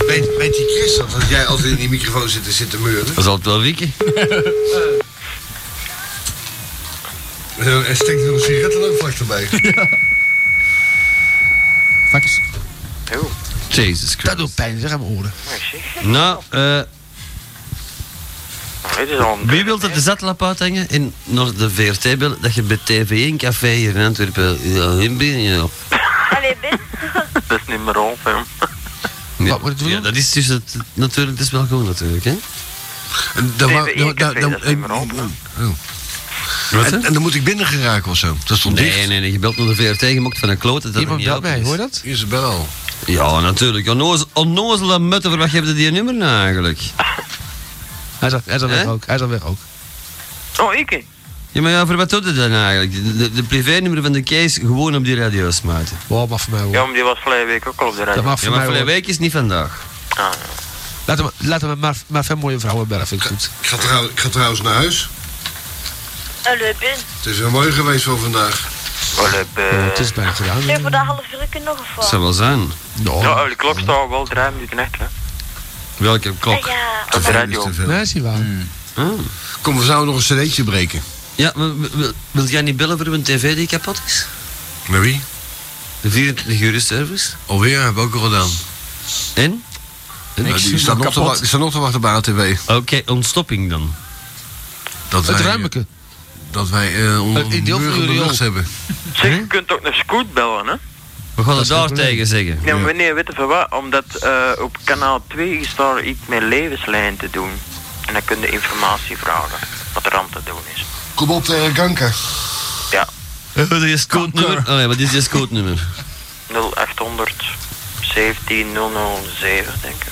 [SPEAKER 3] Weet, weet die Chris dat, dat jij altijd in die microfoon zit en zit te meuren?
[SPEAKER 1] Dat zal het wel wikken.
[SPEAKER 3] En Eh, steekt er een sigarettenloopvlak erbij.
[SPEAKER 6] Fakkers.
[SPEAKER 1] Jesus Christ.
[SPEAKER 6] Dat doet pijn, zeg aan mijn oren.
[SPEAKER 1] Nou, eh...
[SPEAKER 2] Het is al
[SPEAKER 1] Wie wilt dat de zatlap uithangen en naar de VRT bellen dat je bij TV1 Café hier in Antwerpen ja, in bent? Ja.
[SPEAKER 22] Allee, Ben.
[SPEAKER 2] Dat is niet meer op, jong.
[SPEAKER 1] Ja. Ja, dat is dus het, natuurlijk, dat is wel goed natuurlijk, hè?
[SPEAKER 3] Dan wou- dan- dan- dan-
[SPEAKER 1] Wat,
[SPEAKER 3] en, en dan moet ik binnen geraken of zo. Dat stond dicht.
[SPEAKER 1] Nee, nee, nee, je belt naar de VRT, je mocht van een klote. Dat
[SPEAKER 3] Iemand belt mij, hoor
[SPEAKER 6] dat?
[SPEAKER 3] Hier is de bel al.
[SPEAKER 1] Ja, natuurlijk. Onnozel- Onnozele mutten, voor wat heb je die nummer nou eigenlijk?
[SPEAKER 6] Hij is al, hij is al weg ook, hij is al weg ook.
[SPEAKER 2] Oh, ik?
[SPEAKER 1] Ja, maar ja, voor wat doet het dan eigenlijk? De, de, de privé-nummer van de Kees gewoon op die radio smuiten.
[SPEAKER 6] Wow, maar voor mij hoor.
[SPEAKER 2] Ja, maar die was vorige week ook al op de radio.
[SPEAKER 1] Ja, maar
[SPEAKER 6] voor mij
[SPEAKER 1] vorige
[SPEAKER 6] wel.
[SPEAKER 1] week is niet vandaag.
[SPEAKER 2] Ah,
[SPEAKER 6] Laten we, laten we maar, maar veel mooie vrouwen bellen, vind ik goed.
[SPEAKER 3] Ik ga, trouw- ik ga trouwens naar huis.
[SPEAKER 22] Allee, Ben.
[SPEAKER 3] Het is wel mooi geweest voor vandaag.
[SPEAKER 2] eh,
[SPEAKER 6] het is bijna gedaan.
[SPEAKER 22] Zeg voor dat half uur nog of wat?
[SPEAKER 1] zou wel zijn.
[SPEAKER 2] ja, ja de klok staat wel drie minuten echt, hè.
[SPEAKER 1] Welke klok?
[SPEAKER 22] Ah, Ja,
[SPEAKER 2] Op de radio.
[SPEAKER 6] Nee, is niet waar.
[SPEAKER 2] Hmm.
[SPEAKER 3] Kom, we zouden nog een cd'tje breken.
[SPEAKER 1] Ja, wil, wil, wil jij niet bellen voor een tv die kapot is?
[SPEAKER 3] Met wie?
[SPEAKER 1] De 24 uur service?
[SPEAKER 3] Alweer, heb ik ook al gedaan.
[SPEAKER 1] En? En?
[SPEAKER 3] Nou, die staat nog, te wa- die staat nog te wachten bij ATW.
[SPEAKER 1] Oké, ontstopping dan.
[SPEAKER 3] Dat
[SPEAKER 6] Het
[SPEAKER 3] wij,
[SPEAKER 6] ruimeke.
[SPEAKER 3] dat wij eh onder
[SPEAKER 6] Het ideel van
[SPEAKER 3] muren de
[SPEAKER 6] jullie
[SPEAKER 3] lucht
[SPEAKER 6] al.
[SPEAKER 3] hebben.
[SPEAKER 2] Zeg, je kunt ook naar Scoot bellen, hè?
[SPEAKER 1] We gaan het daar tegen zeggen.
[SPEAKER 2] Ja, maar nee, weet je van wat? Omdat eh, op kanaal 2 is daar iets met levenslijn te doen. En dan kun je informatie vragen. Wat er aan te doen is.
[SPEAKER 3] Kom op eh, tegen kanker.
[SPEAKER 2] Ja,
[SPEAKER 1] Eh, Wat is je scootnummer? Oh nee, wat is je scootnummer?
[SPEAKER 2] 0800 17007, denk ik.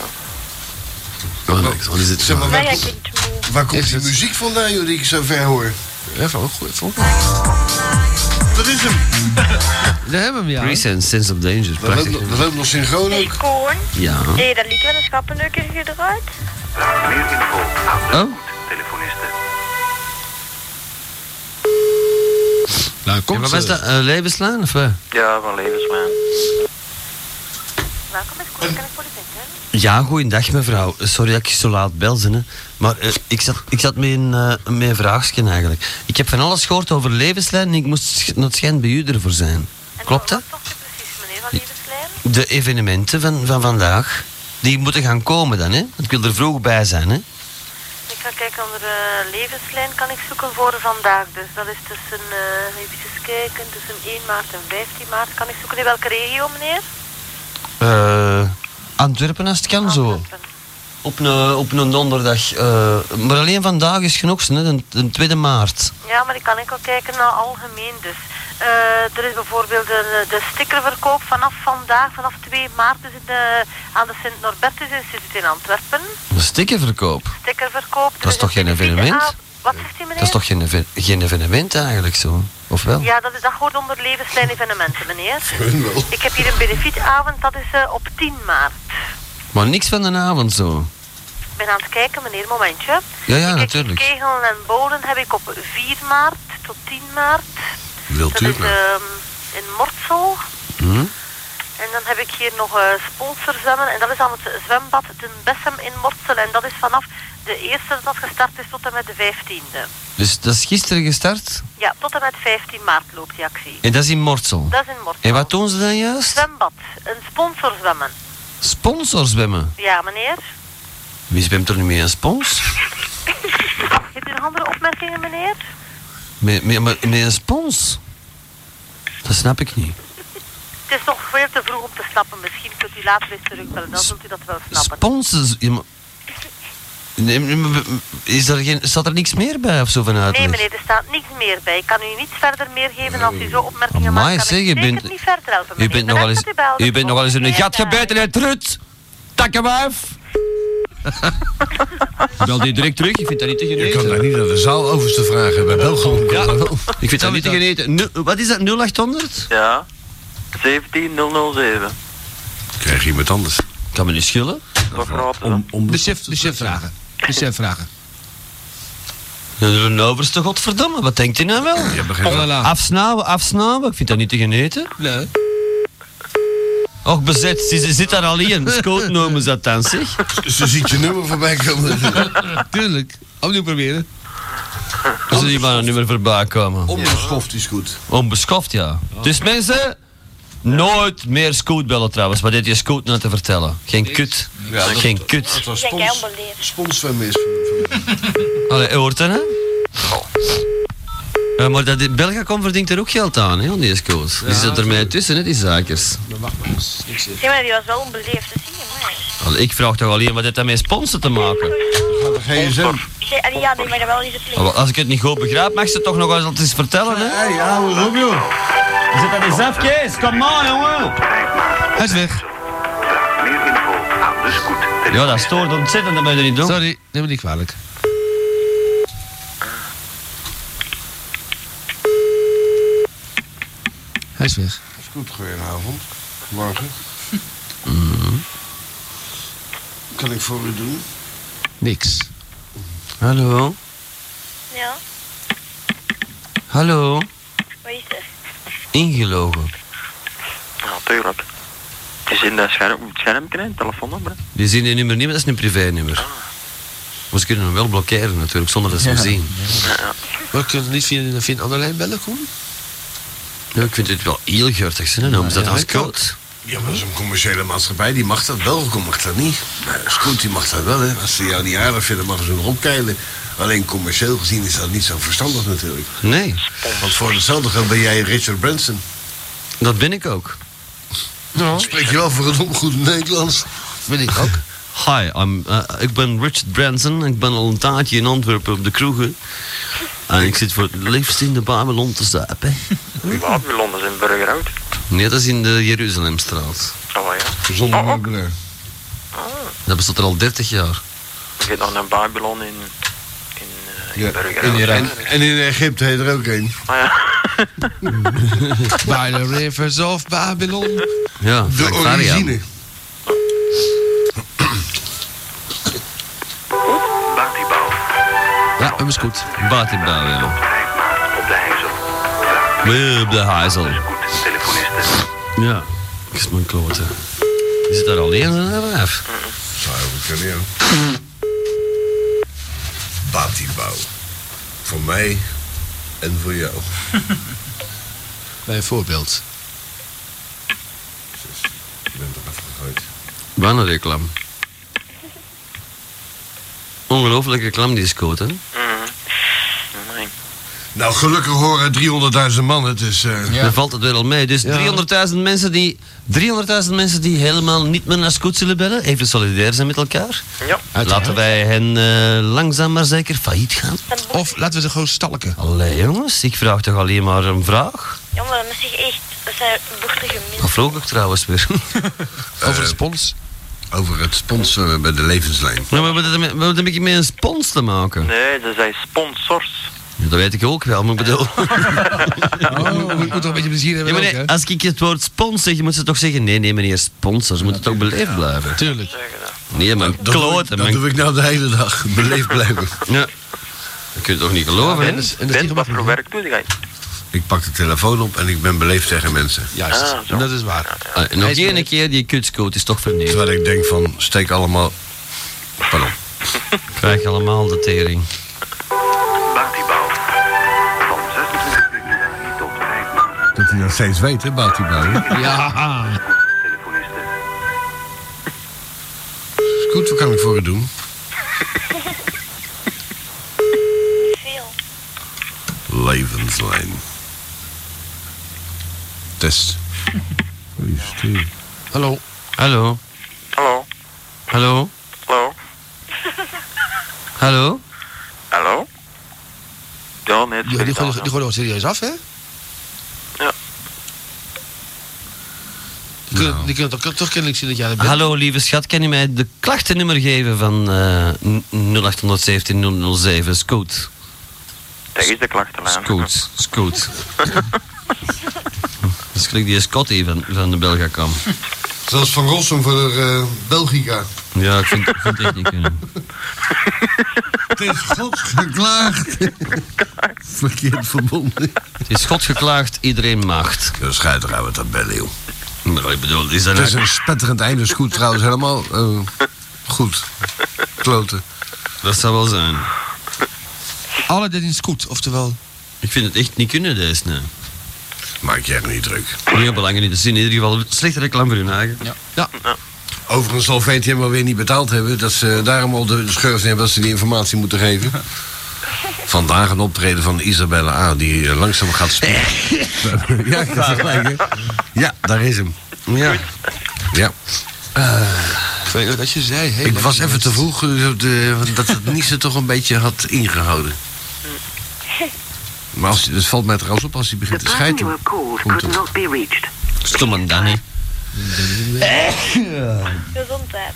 [SPEAKER 2] wel.
[SPEAKER 1] Oh, niks, wat is het?
[SPEAKER 3] Zeg maar,
[SPEAKER 22] Dan
[SPEAKER 3] waar,
[SPEAKER 22] ga ik
[SPEAKER 3] komt-
[SPEAKER 22] het moe.
[SPEAKER 3] waar komt die muziek vandaan, joh, die ik zo ver hoor?
[SPEAKER 6] Ja, van ook goed. Van.
[SPEAKER 3] Dat is hem.
[SPEAKER 6] We hebben hem, ja.
[SPEAKER 1] Presence, sense of danger.
[SPEAKER 3] Dat loopt,
[SPEAKER 1] Prachtig.
[SPEAKER 3] nog- dat loopt nog synchroon
[SPEAKER 22] Hey,
[SPEAKER 3] ook.
[SPEAKER 22] Koen.
[SPEAKER 1] Ja.
[SPEAKER 22] Hé, hey, dat lied wel een schappenneuker gedraaid.
[SPEAKER 10] Meer info aan de
[SPEAKER 1] Oh?
[SPEAKER 10] telefonisten.
[SPEAKER 6] Nou,
[SPEAKER 1] Ja, maar was dat eh, levenslaan of wat?
[SPEAKER 2] Ja, van levenslijn.
[SPEAKER 1] Ja, goeiedag mevrouw. Eh, Sorry dat ik je zo laat belzen, hè. maar eh, ik zat, ik zat met, een, eh, met een vraagje eigenlijk. Ik heb van alles gehoord over levenslijn en ik moest sch- naar het schijn bij u ervoor zijn. Klopt dat? De evenementen van, van vandaag, die moeten gaan komen dan, hè? Want ik wil er vroeg bij zijn, hè?
[SPEAKER 22] Ik ga kijken onder de levenslijn kan ik zoeken voor vandaag. Dus dat is tussen, eh even kijken, tussen 1 maart en 15 maart. Kan ik zoeken in welke regio, meneer?
[SPEAKER 1] Eh, Antwerpen als het kan, zo. Op een, eh, op een donderdag. eh, maar alleen vandaag is genoeg, hè? De, de 2 maart.
[SPEAKER 22] Ja, maar ik kan ook wel kijken naar algemeen dus. Eh, er is bijvoorbeeld de, de stickerverkoop vanaf vandaag, vanaf 2 maart, dus in de, aan de Sint Norbertus Instituut in Antwerpen.
[SPEAKER 1] Een stikkenverkoop.
[SPEAKER 22] Stickerverkoop.
[SPEAKER 1] Dat is toch geen evenement?
[SPEAKER 22] Ah,
[SPEAKER 8] Wat zegt u meneer?
[SPEAKER 1] Dat is toch geen, even- geen evenement eigenlijk zo? Of wel?
[SPEAKER 8] Ja, dat, is, dat hoort onder levenslijn evenementen, meneer.
[SPEAKER 1] Gewoon wel.
[SPEAKER 8] Ik heb hier een benefietavond, dat is eh, op 10 maart.
[SPEAKER 1] Maar niks van de avond zo.
[SPEAKER 8] Ik ben aan het kijken, meneer, momentje.
[SPEAKER 1] Ja, ja,
[SPEAKER 8] Ik-
[SPEAKER 1] natuurlijk.
[SPEAKER 8] Kegelen en bolen heb ik op 4 maart tot 10 maart.
[SPEAKER 1] Wilt
[SPEAKER 8] dat is eh, ehm, in Mortsel.
[SPEAKER 1] Hm?
[SPEAKER 8] En dan heb ik hier nog eh sponsorzwemmen. En dat is aan het zwembad Den Bessem in Mortsel. En dat is vanaf de eerste dat dat gestart is tot en met de 15e.
[SPEAKER 1] Dus dat is gisteren gestart
[SPEAKER 8] Ja, tot en met 15 maart loopt die actie.
[SPEAKER 1] en dat is in Mortsel.
[SPEAKER 8] Dat is in Mortsel.
[SPEAKER 1] En wat doen ze dan juist?
[SPEAKER 8] Zwembad. Een sponsorzwemmen.
[SPEAKER 1] Sponsor zwemmen.
[SPEAKER 8] Ja, meneer.
[SPEAKER 1] Wie zwemt er nu mee een spons?
[SPEAKER 8] Hebt u nog andere opmerkingen, meneer?
[SPEAKER 1] Met, met, met met een spons? Dat snap ik niet.
[SPEAKER 8] Het is nog veel te vroeg om te snappen. Misschien kunt u later eens terugbellen. Dan zult u dat wel snappen.
[SPEAKER 1] Sponsors? Ja, maar- Nee, nee, maar- Is er geen, staat er niks meer bij of zo vanuit?
[SPEAKER 8] Nee, meneer, er staat niks meer bij. Ik kan u niets verder meer geven als u zo opmerkingen maakt.
[SPEAKER 1] Amai,
[SPEAKER 8] kan
[SPEAKER 1] zeg,
[SPEAKER 8] ik
[SPEAKER 1] je
[SPEAKER 8] zeker
[SPEAKER 1] bent-
[SPEAKER 8] niet verder helpen,
[SPEAKER 1] U
[SPEAKER 8] meneer.
[SPEAKER 1] bent
[SPEAKER 8] De
[SPEAKER 1] nogal eens,
[SPEAKER 8] rest kunt bellen.
[SPEAKER 1] u bent nogal eens in een gat gebeten, hè, Trut! Takkenwijf! Bel die direct terug, ik vind dat niet te geneten.
[SPEAKER 3] Je kan daar niet naar de zaal overste vragen. Bij Belgium kan dat wel.
[SPEAKER 1] Ik vind dat niet te geneten. Nu- wat is dat, 0800?
[SPEAKER 2] Ja. 17007.
[SPEAKER 3] Krijg je iemand anders?
[SPEAKER 1] Kan me niet schillen.
[SPEAKER 6] Om, de, chef, de chef vragen. De chef vragen.
[SPEAKER 1] Dat is een overste godverdomme, wat denkt hij nou wel?
[SPEAKER 6] begrijp ik.
[SPEAKER 1] Afsnauwen, afsnauwen, ik vind dat niet te geneten. Nee. Och, bezet, ze, ze zit daar al in. Scoot noemen ze dat dan, zeg.
[SPEAKER 3] Ze ziet je nummer voorbij komen.
[SPEAKER 1] Tuurlijk, opnieuw proberen. Als er niet maar een nummer voorbij komen.
[SPEAKER 24] Onbeschoft is goed.
[SPEAKER 1] Onbeschoft, ja. Dus mensen, nooit meer scootbellen trouwens. Wat deed je scoot nou te vertellen? Geen kut.
[SPEAKER 3] Ja, dat-
[SPEAKER 1] Geen kut.
[SPEAKER 3] Dat
[SPEAKER 8] Zeg, jij onbeleefd.
[SPEAKER 3] Sponsorzwemmen is.
[SPEAKER 1] Allee, je hoort dat, hè? Ja, maar dat, Belgacom verdient er ook geld aan, hè, aan die scoot. Die zit er mij tussen, hè, die zakers.
[SPEAKER 8] Zeg, maar die was wel onbeleefd. Dat
[SPEAKER 22] Dus
[SPEAKER 8] zie je, maar.
[SPEAKER 1] Allee, ik vraag toch alleen wat heeft dat met sponsen te maken?
[SPEAKER 3] GSM.
[SPEAKER 8] Zeg, en ja, nee, maar dat wel niet verplicht.
[SPEAKER 1] Als ik het niet goed begrijp, mag ze het toch nog eens, eens vertellen, hè? Ja, hoe ook, joh. Zit dat eens af, Kees? Kom maar, jongen. Hij is weg. Ja, dat stoort ontzettend, dat moet je niet doen.
[SPEAKER 6] Sorry, neem me niet kwalijk. Hij is weg.
[SPEAKER 3] Is goed, goedenavond. Morgen. Kan ik voor u doen?
[SPEAKER 6] Niks.
[SPEAKER 1] Hallo?
[SPEAKER 8] Ja,
[SPEAKER 1] Hallo?
[SPEAKER 8] wat is er?
[SPEAKER 1] Ingelogen.
[SPEAKER 2] Natuurlijk. Het is in dat scherm, het schermpje, hè, het telefoonnummer. hè.
[SPEAKER 1] Die zien die nummer niet, maar dat is een privé-nummer. Maar ze kunnen hem wel blokkeren, natuurlijk, zonder dat ze hem
[SPEAKER 6] Ja.
[SPEAKER 1] zien.
[SPEAKER 6] Maar kun je niet via, een- via een andere lijn bellen, Koen?
[SPEAKER 1] Ja, ik vind dit wel heel geurtig, hè? Nou, is dat
[SPEAKER 3] ja,
[SPEAKER 1] als
[SPEAKER 3] ik ook.
[SPEAKER 1] koud.
[SPEAKER 3] Ja, maar dat is een commerciële maatschappij. Die mag dat wel, Kom mag dat niet. Maar Scoot, die mag dat wel, hè. Als ze jou niet aardig vinden, mag ze erop keilen. Alleen commercieel gezien is dat niet zo verstandig natuurlijk.
[SPEAKER 1] Nee.
[SPEAKER 3] Want voor hetzelfde geld ben jij Richard Branson.
[SPEAKER 1] Dat ben ik ook.
[SPEAKER 3] Spreek je wel voor een goed Nederlands?
[SPEAKER 1] Vind ik ook. Hi, I'm, eh, ik ben Richard Branson. Ik ben al een taartje in Antwerpen op de kroegen. En ik zit voor het liefst in de Babylon te zuipen.
[SPEAKER 2] Hoe laat we Londen zijn burgerhout?
[SPEAKER 1] Nee, dat is in de Jeruzalemstraat.
[SPEAKER 2] Oh ja.
[SPEAKER 3] Zonder
[SPEAKER 2] oh,
[SPEAKER 3] meubilair.
[SPEAKER 2] oh.
[SPEAKER 1] Dat bestaat er al 30 jaar.
[SPEAKER 2] Ik zit nog een Babylon in, in, eh, in burgerhout.
[SPEAKER 3] En, en in Egypte heet er ook een.
[SPEAKER 2] Ah, ja.
[SPEAKER 6] By the rivers of Babylon.
[SPEAKER 1] Ja,
[SPEAKER 3] De origine.
[SPEAKER 1] Ja, dat is goed. Buitenbouw, ja.
[SPEAKER 4] Op de hijzel.
[SPEAKER 1] Weer op de heizel.
[SPEAKER 4] Telefonisten.
[SPEAKER 1] Ja, dat is mijn klote. Je zit daar alleen in een wijf.
[SPEAKER 3] Zou ik kunnen, ja. Batibouw. Voor mij en voor jou.
[SPEAKER 6] Bijvoorbeeld.
[SPEAKER 3] Je bent eraf gegooid.
[SPEAKER 1] Wat een reclame. Ongelooflijke reclame die is koot, hè?
[SPEAKER 3] Nou, gelukkig horen 300.000 man het, dus... eh,
[SPEAKER 1] Dan valt het weer al mee. Dus 300.000 mensen die... 300.000 mensen die helemaal niet meer naar Scoot zullen bellen, even solidair zijn met elkaar.
[SPEAKER 2] Ja.
[SPEAKER 1] Laten wij hen eh, langzaam maar zeker failliet gaan.
[SPEAKER 6] Of laten we ze gewoon stalken.
[SPEAKER 1] Allee jongens, ik vraag toch alleen maar een vraag?
[SPEAKER 8] Ja, maar dat is echt... Dat zijn boertige mensen.
[SPEAKER 1] Dat vroeg ik trouwens weer.
[SPEAKER 6] Over de spons.
[SPEAKER 3] Eh, Over het sponsoren bij de levenslijn.
[SPEAKER 1] Ja, maar wat, wat, wat heb ik met een spons te maken?
[SPEAKER 2] Nee, ze zijn sponsors.
[SPEAKER 1] Ja, Dat weet ik ook wel, maar ik bedoel...
[SPEAKER 7] Oh, moet toch een beetje plezier
[SPEAKER 1] Ja,
[SPEAKER 7] hebben
[SPEAKER 1] maar
[SPEAKER 7] ook,
[SPEAKER 1] nee,
[SPEAKER 7] hè?
[SPEAKER 1] als ik het woord spons zeg, moet ze toch zeggen... Nee, nee, meneer, sponsor. Ze moeten toch beleefd blijven.
[SPEAKER 7] Tuurlijk.
[SPEAKER 1] Nee, maar
[SPEAKER 3] Dat doe ik-
[SPEAKER 1] kloten.
[SPEAKER 3] Dat
[SPEAKER 1] man.
[SPEAKER 3] doe ik nou de hele dag. Beleefd blijven.
[SPEAKER 1] Ja. Dat kun je toch niet geloven, hè?
[SPEAKER 2] Ben, wat voor werk doe jij?
[SPEAKER 3] Ik pak de telefoon op en ik ben beleefd tegen mensen.
[SPEAKER 2] Juist. Ah, zo.
[SPEAKER 3] dat is waar.
[SPEAKER 1] Ah, nog die ene keer, die kutscoot is toch vernederd.
[SPEAKER 3] Terwijl ik denk van, steek allemaal... Pardon.
[SPEAKER 1] Krijg je allemaal de tering.
[SPEAKER 3] Dat hij dat steeds weet, hè, Boutie
[SPEAKER 7] Ja.
[SPEAKER 3] Is Goed, wat kan ik voor u doen? Veel. Levenslijn. Test.
[SPEAKER 7] Hallo.
[SPEAKER 1] Hallo.
[SPEAKER 2] Hallo.
[SPEAKER 1] Hallo.
[SPEAKER 2] Hallo.
[SPEAKER 1] Hallo.
[SPEAKER 2] Hallo? Ja, nee, het
[SPEAKER 7] Die, die
[SPEAKER 2] is
[SPEAKER 7] gooien die gooien ons serieus af, hè?
[SPEAKER 2] Ja.
[SPEAKER 7] Die kunnen, die kunnen toch, toch kennelijk zien dat jij er bent.
[SPEAKER 1] Hallo, lieve schat. Kan u mij de klachtennummer geven van eh, 0817 007? Scoot.
[SPEAKER 2] Dat is de klachtenlijn.
[SPEAKER 1] Scoot. Scoot. Dat is gelijk die Scotty van, van de Belgacom.
[SPEAKER 3] Zelfs Van Rossum voor de eh, Belgica.
[SPEAKER 1] Ja, ik vind, ik vind het echt niet kunnen.
[SPEAKER 3] Het is gods geklaagd. Verkeerd verbonden.
[SPEAKER 1] Het is God geklaagd, iedereen macht.
[SPEAKER 3] Ja, schijt eruit dat bellen, joh.
[SPEAKER 1] Maar ik bedoel, is dat
[SPEAKER 3] Het is
[SPEAKER 1] nou-
[SPEAKER 3] een spetterend einde, is goed trouwens. Helemaal eh, goed. Kloten.
[SPEAKER 1] Dat zou wel zijn.
[SPEAKER 7] Alle dit is goed, oftewel.
[SPEAKER 1] Ik vind het echt niet kunnen, deze. Nee.
[SPEAKER 3] Maak jij niet druk.
[SPEAKER 1] Heel belangrijk niet. Dus in ieder geval slechte reclame voor hun eigen. Ja.
[SPEAKER 7] Ja.
[SPEAKER 3] Overigens zal VTM alweer niet betaald hebben. Dat ze daarom al de scheurs hebben dat ze die informatie moeten geven. Vandaag een optreden van Isabelle A. die eh, langzaam gaat spelen. ja, ik had gelijk, hè? Ja, daar is hem.
[SPEAKER 1] Ja.
[SPEAKER 3] Ja.
[SPEAKER 7] Ik weet niet wat je zei. Hey,
[SPEAKER 3] ik
[SPEAKER 7] maar-
[SPEAKER 3] was even te vroeg eh, op de- dat het Nice toch een beetje had ingehouden. Maar als, het valt mij trouwens op als hij begint te schijten. Komt het.
[SPEAKER 8] not be reached.
[SPEAKER 1] Stomme Danny.
[SPEAKER 22] Gezondheid.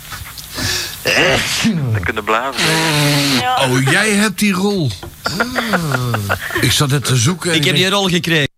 [SPEAKER 2] Dat kunnen blijven.
[SPEAKER 3] Oh, jij hebt die rol. Ik zat het te zoeken. en
[SPEAKER 1] Ik heb
[SPEAKER 3] denk-
[SPEAKER 1] die rol gekregen.